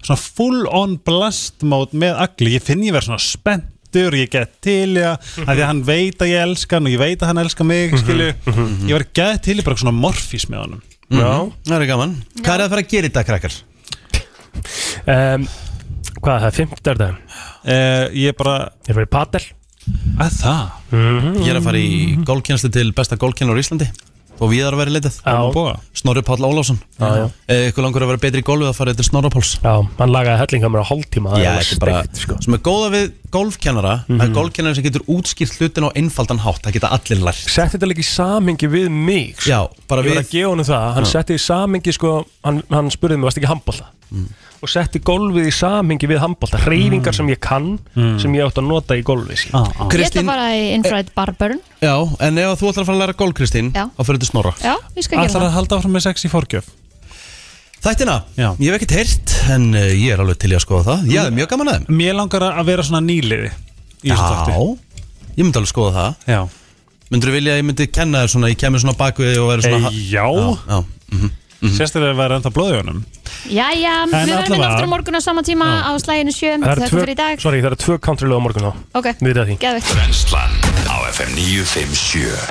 Speaker 9: svona full on blast mode með agli, ég finn ég verð svona spenntur ég get til ég að því að hann veit að ég elska hann og ég veit að hann elska mig
Speaker 2: Mhm,
Speaker 9: skilju, ég verð get til ég bara svona morfís með honum
Speaker 4: Já.
Speaker 2: Mhm. Það er gaman Hvað er það að fara að gera í dag, krakkar?
Speaker 4: um, Hvað er það, fimmt er það?
Speaker 9: Uh, ég er bara Mhm.
Speaker 4: Ég er bara í patel
Speaker 9: Að það?
Speaker 2: Ég er að fara í gólkjænslu til besta gólkjænlar í Íslandi Og við erum að vera leitað Snorri Páll Ólásson
Speaker 4: Já, já.
Speaker 2: Eitthvað langur að vera betri í golfi að fara til Snorra Páls
Speaker 4: Já, hann lagaði hellingamur á hálftíma það
Speaker 2: Já,
Speaker 4: var
Speaker 2: þetta er bara,
Speaker 4: steikt,
Speaker 2: sko. sem er góða við golfkennara það er golfkennara sem getur útskýrt hlutin á einfaldan hátt, það geta allir lært
Speaker 4: Sett þetta líka í samhengi við mig sko.
Speaker 2: Já, bara
Speaker 4: Ég var
Speaker 2: við
Speaker 4: að gefa honum það, hann
Speaker 2: Já.
Speaker 4: setti í samhengi sko, hann, hann spurði mig, varst ekki handbólta
Speaker 2: Mm.
Speaker 4: og setti golfið í samhengi við handbólta hreyfingar sem ég kann
Speaker 2: Mm.
Speaker 4: sem ég átt að nota í golfið ah,
Speaker 3: Ég ætla bara í Infrared Barburn
Speaker 2: Já, en ef þú ætlar að fara að læra golf, Kristín
Speaker 3: Já.
Speaker 2: þá fyrir til snorra
Speaker 3: Já, ég skal gera það
Speaker 9: halda áfram með sex í forgjöf
Speaker 2: Þættina, Já. ég hef ekkert heyrt en uh, ég er alveg til í að skoða það Ég hef mjög gaman að þeim
Speaker 9: Mér langar að vera svona nýliði í þessu
Speaker 2: Já, ég myndi alveg skoða það
Speaker 9: Já
Speaker 2: Myndur þú vilja að ég myndi kenna þér svona, ég kemur svona bak við þig og verður svona
Speaker 9: Eh, já.
Speaker 2: já, mhm. já.
Speaker 9: Sérstaklega að vera ennþá blóðið honum
Speaker 3: Jæja,
Speaker 4: En
Speaker 3: við verðum inn
Speaker 4: allavega-
Speaker 3: aftur á morgun á sama tíma á slæginu 7
Speaker 4: það
Speaker 3: Þetta fyrir í dag
Speaker 4: sorry, það eru tvö country lög á morgun þá
Speaker 3: Ok,
Speaker 4: Við veitum að því
Speaker 3: geðvikt
Speaker 13: Brennslan á FM 957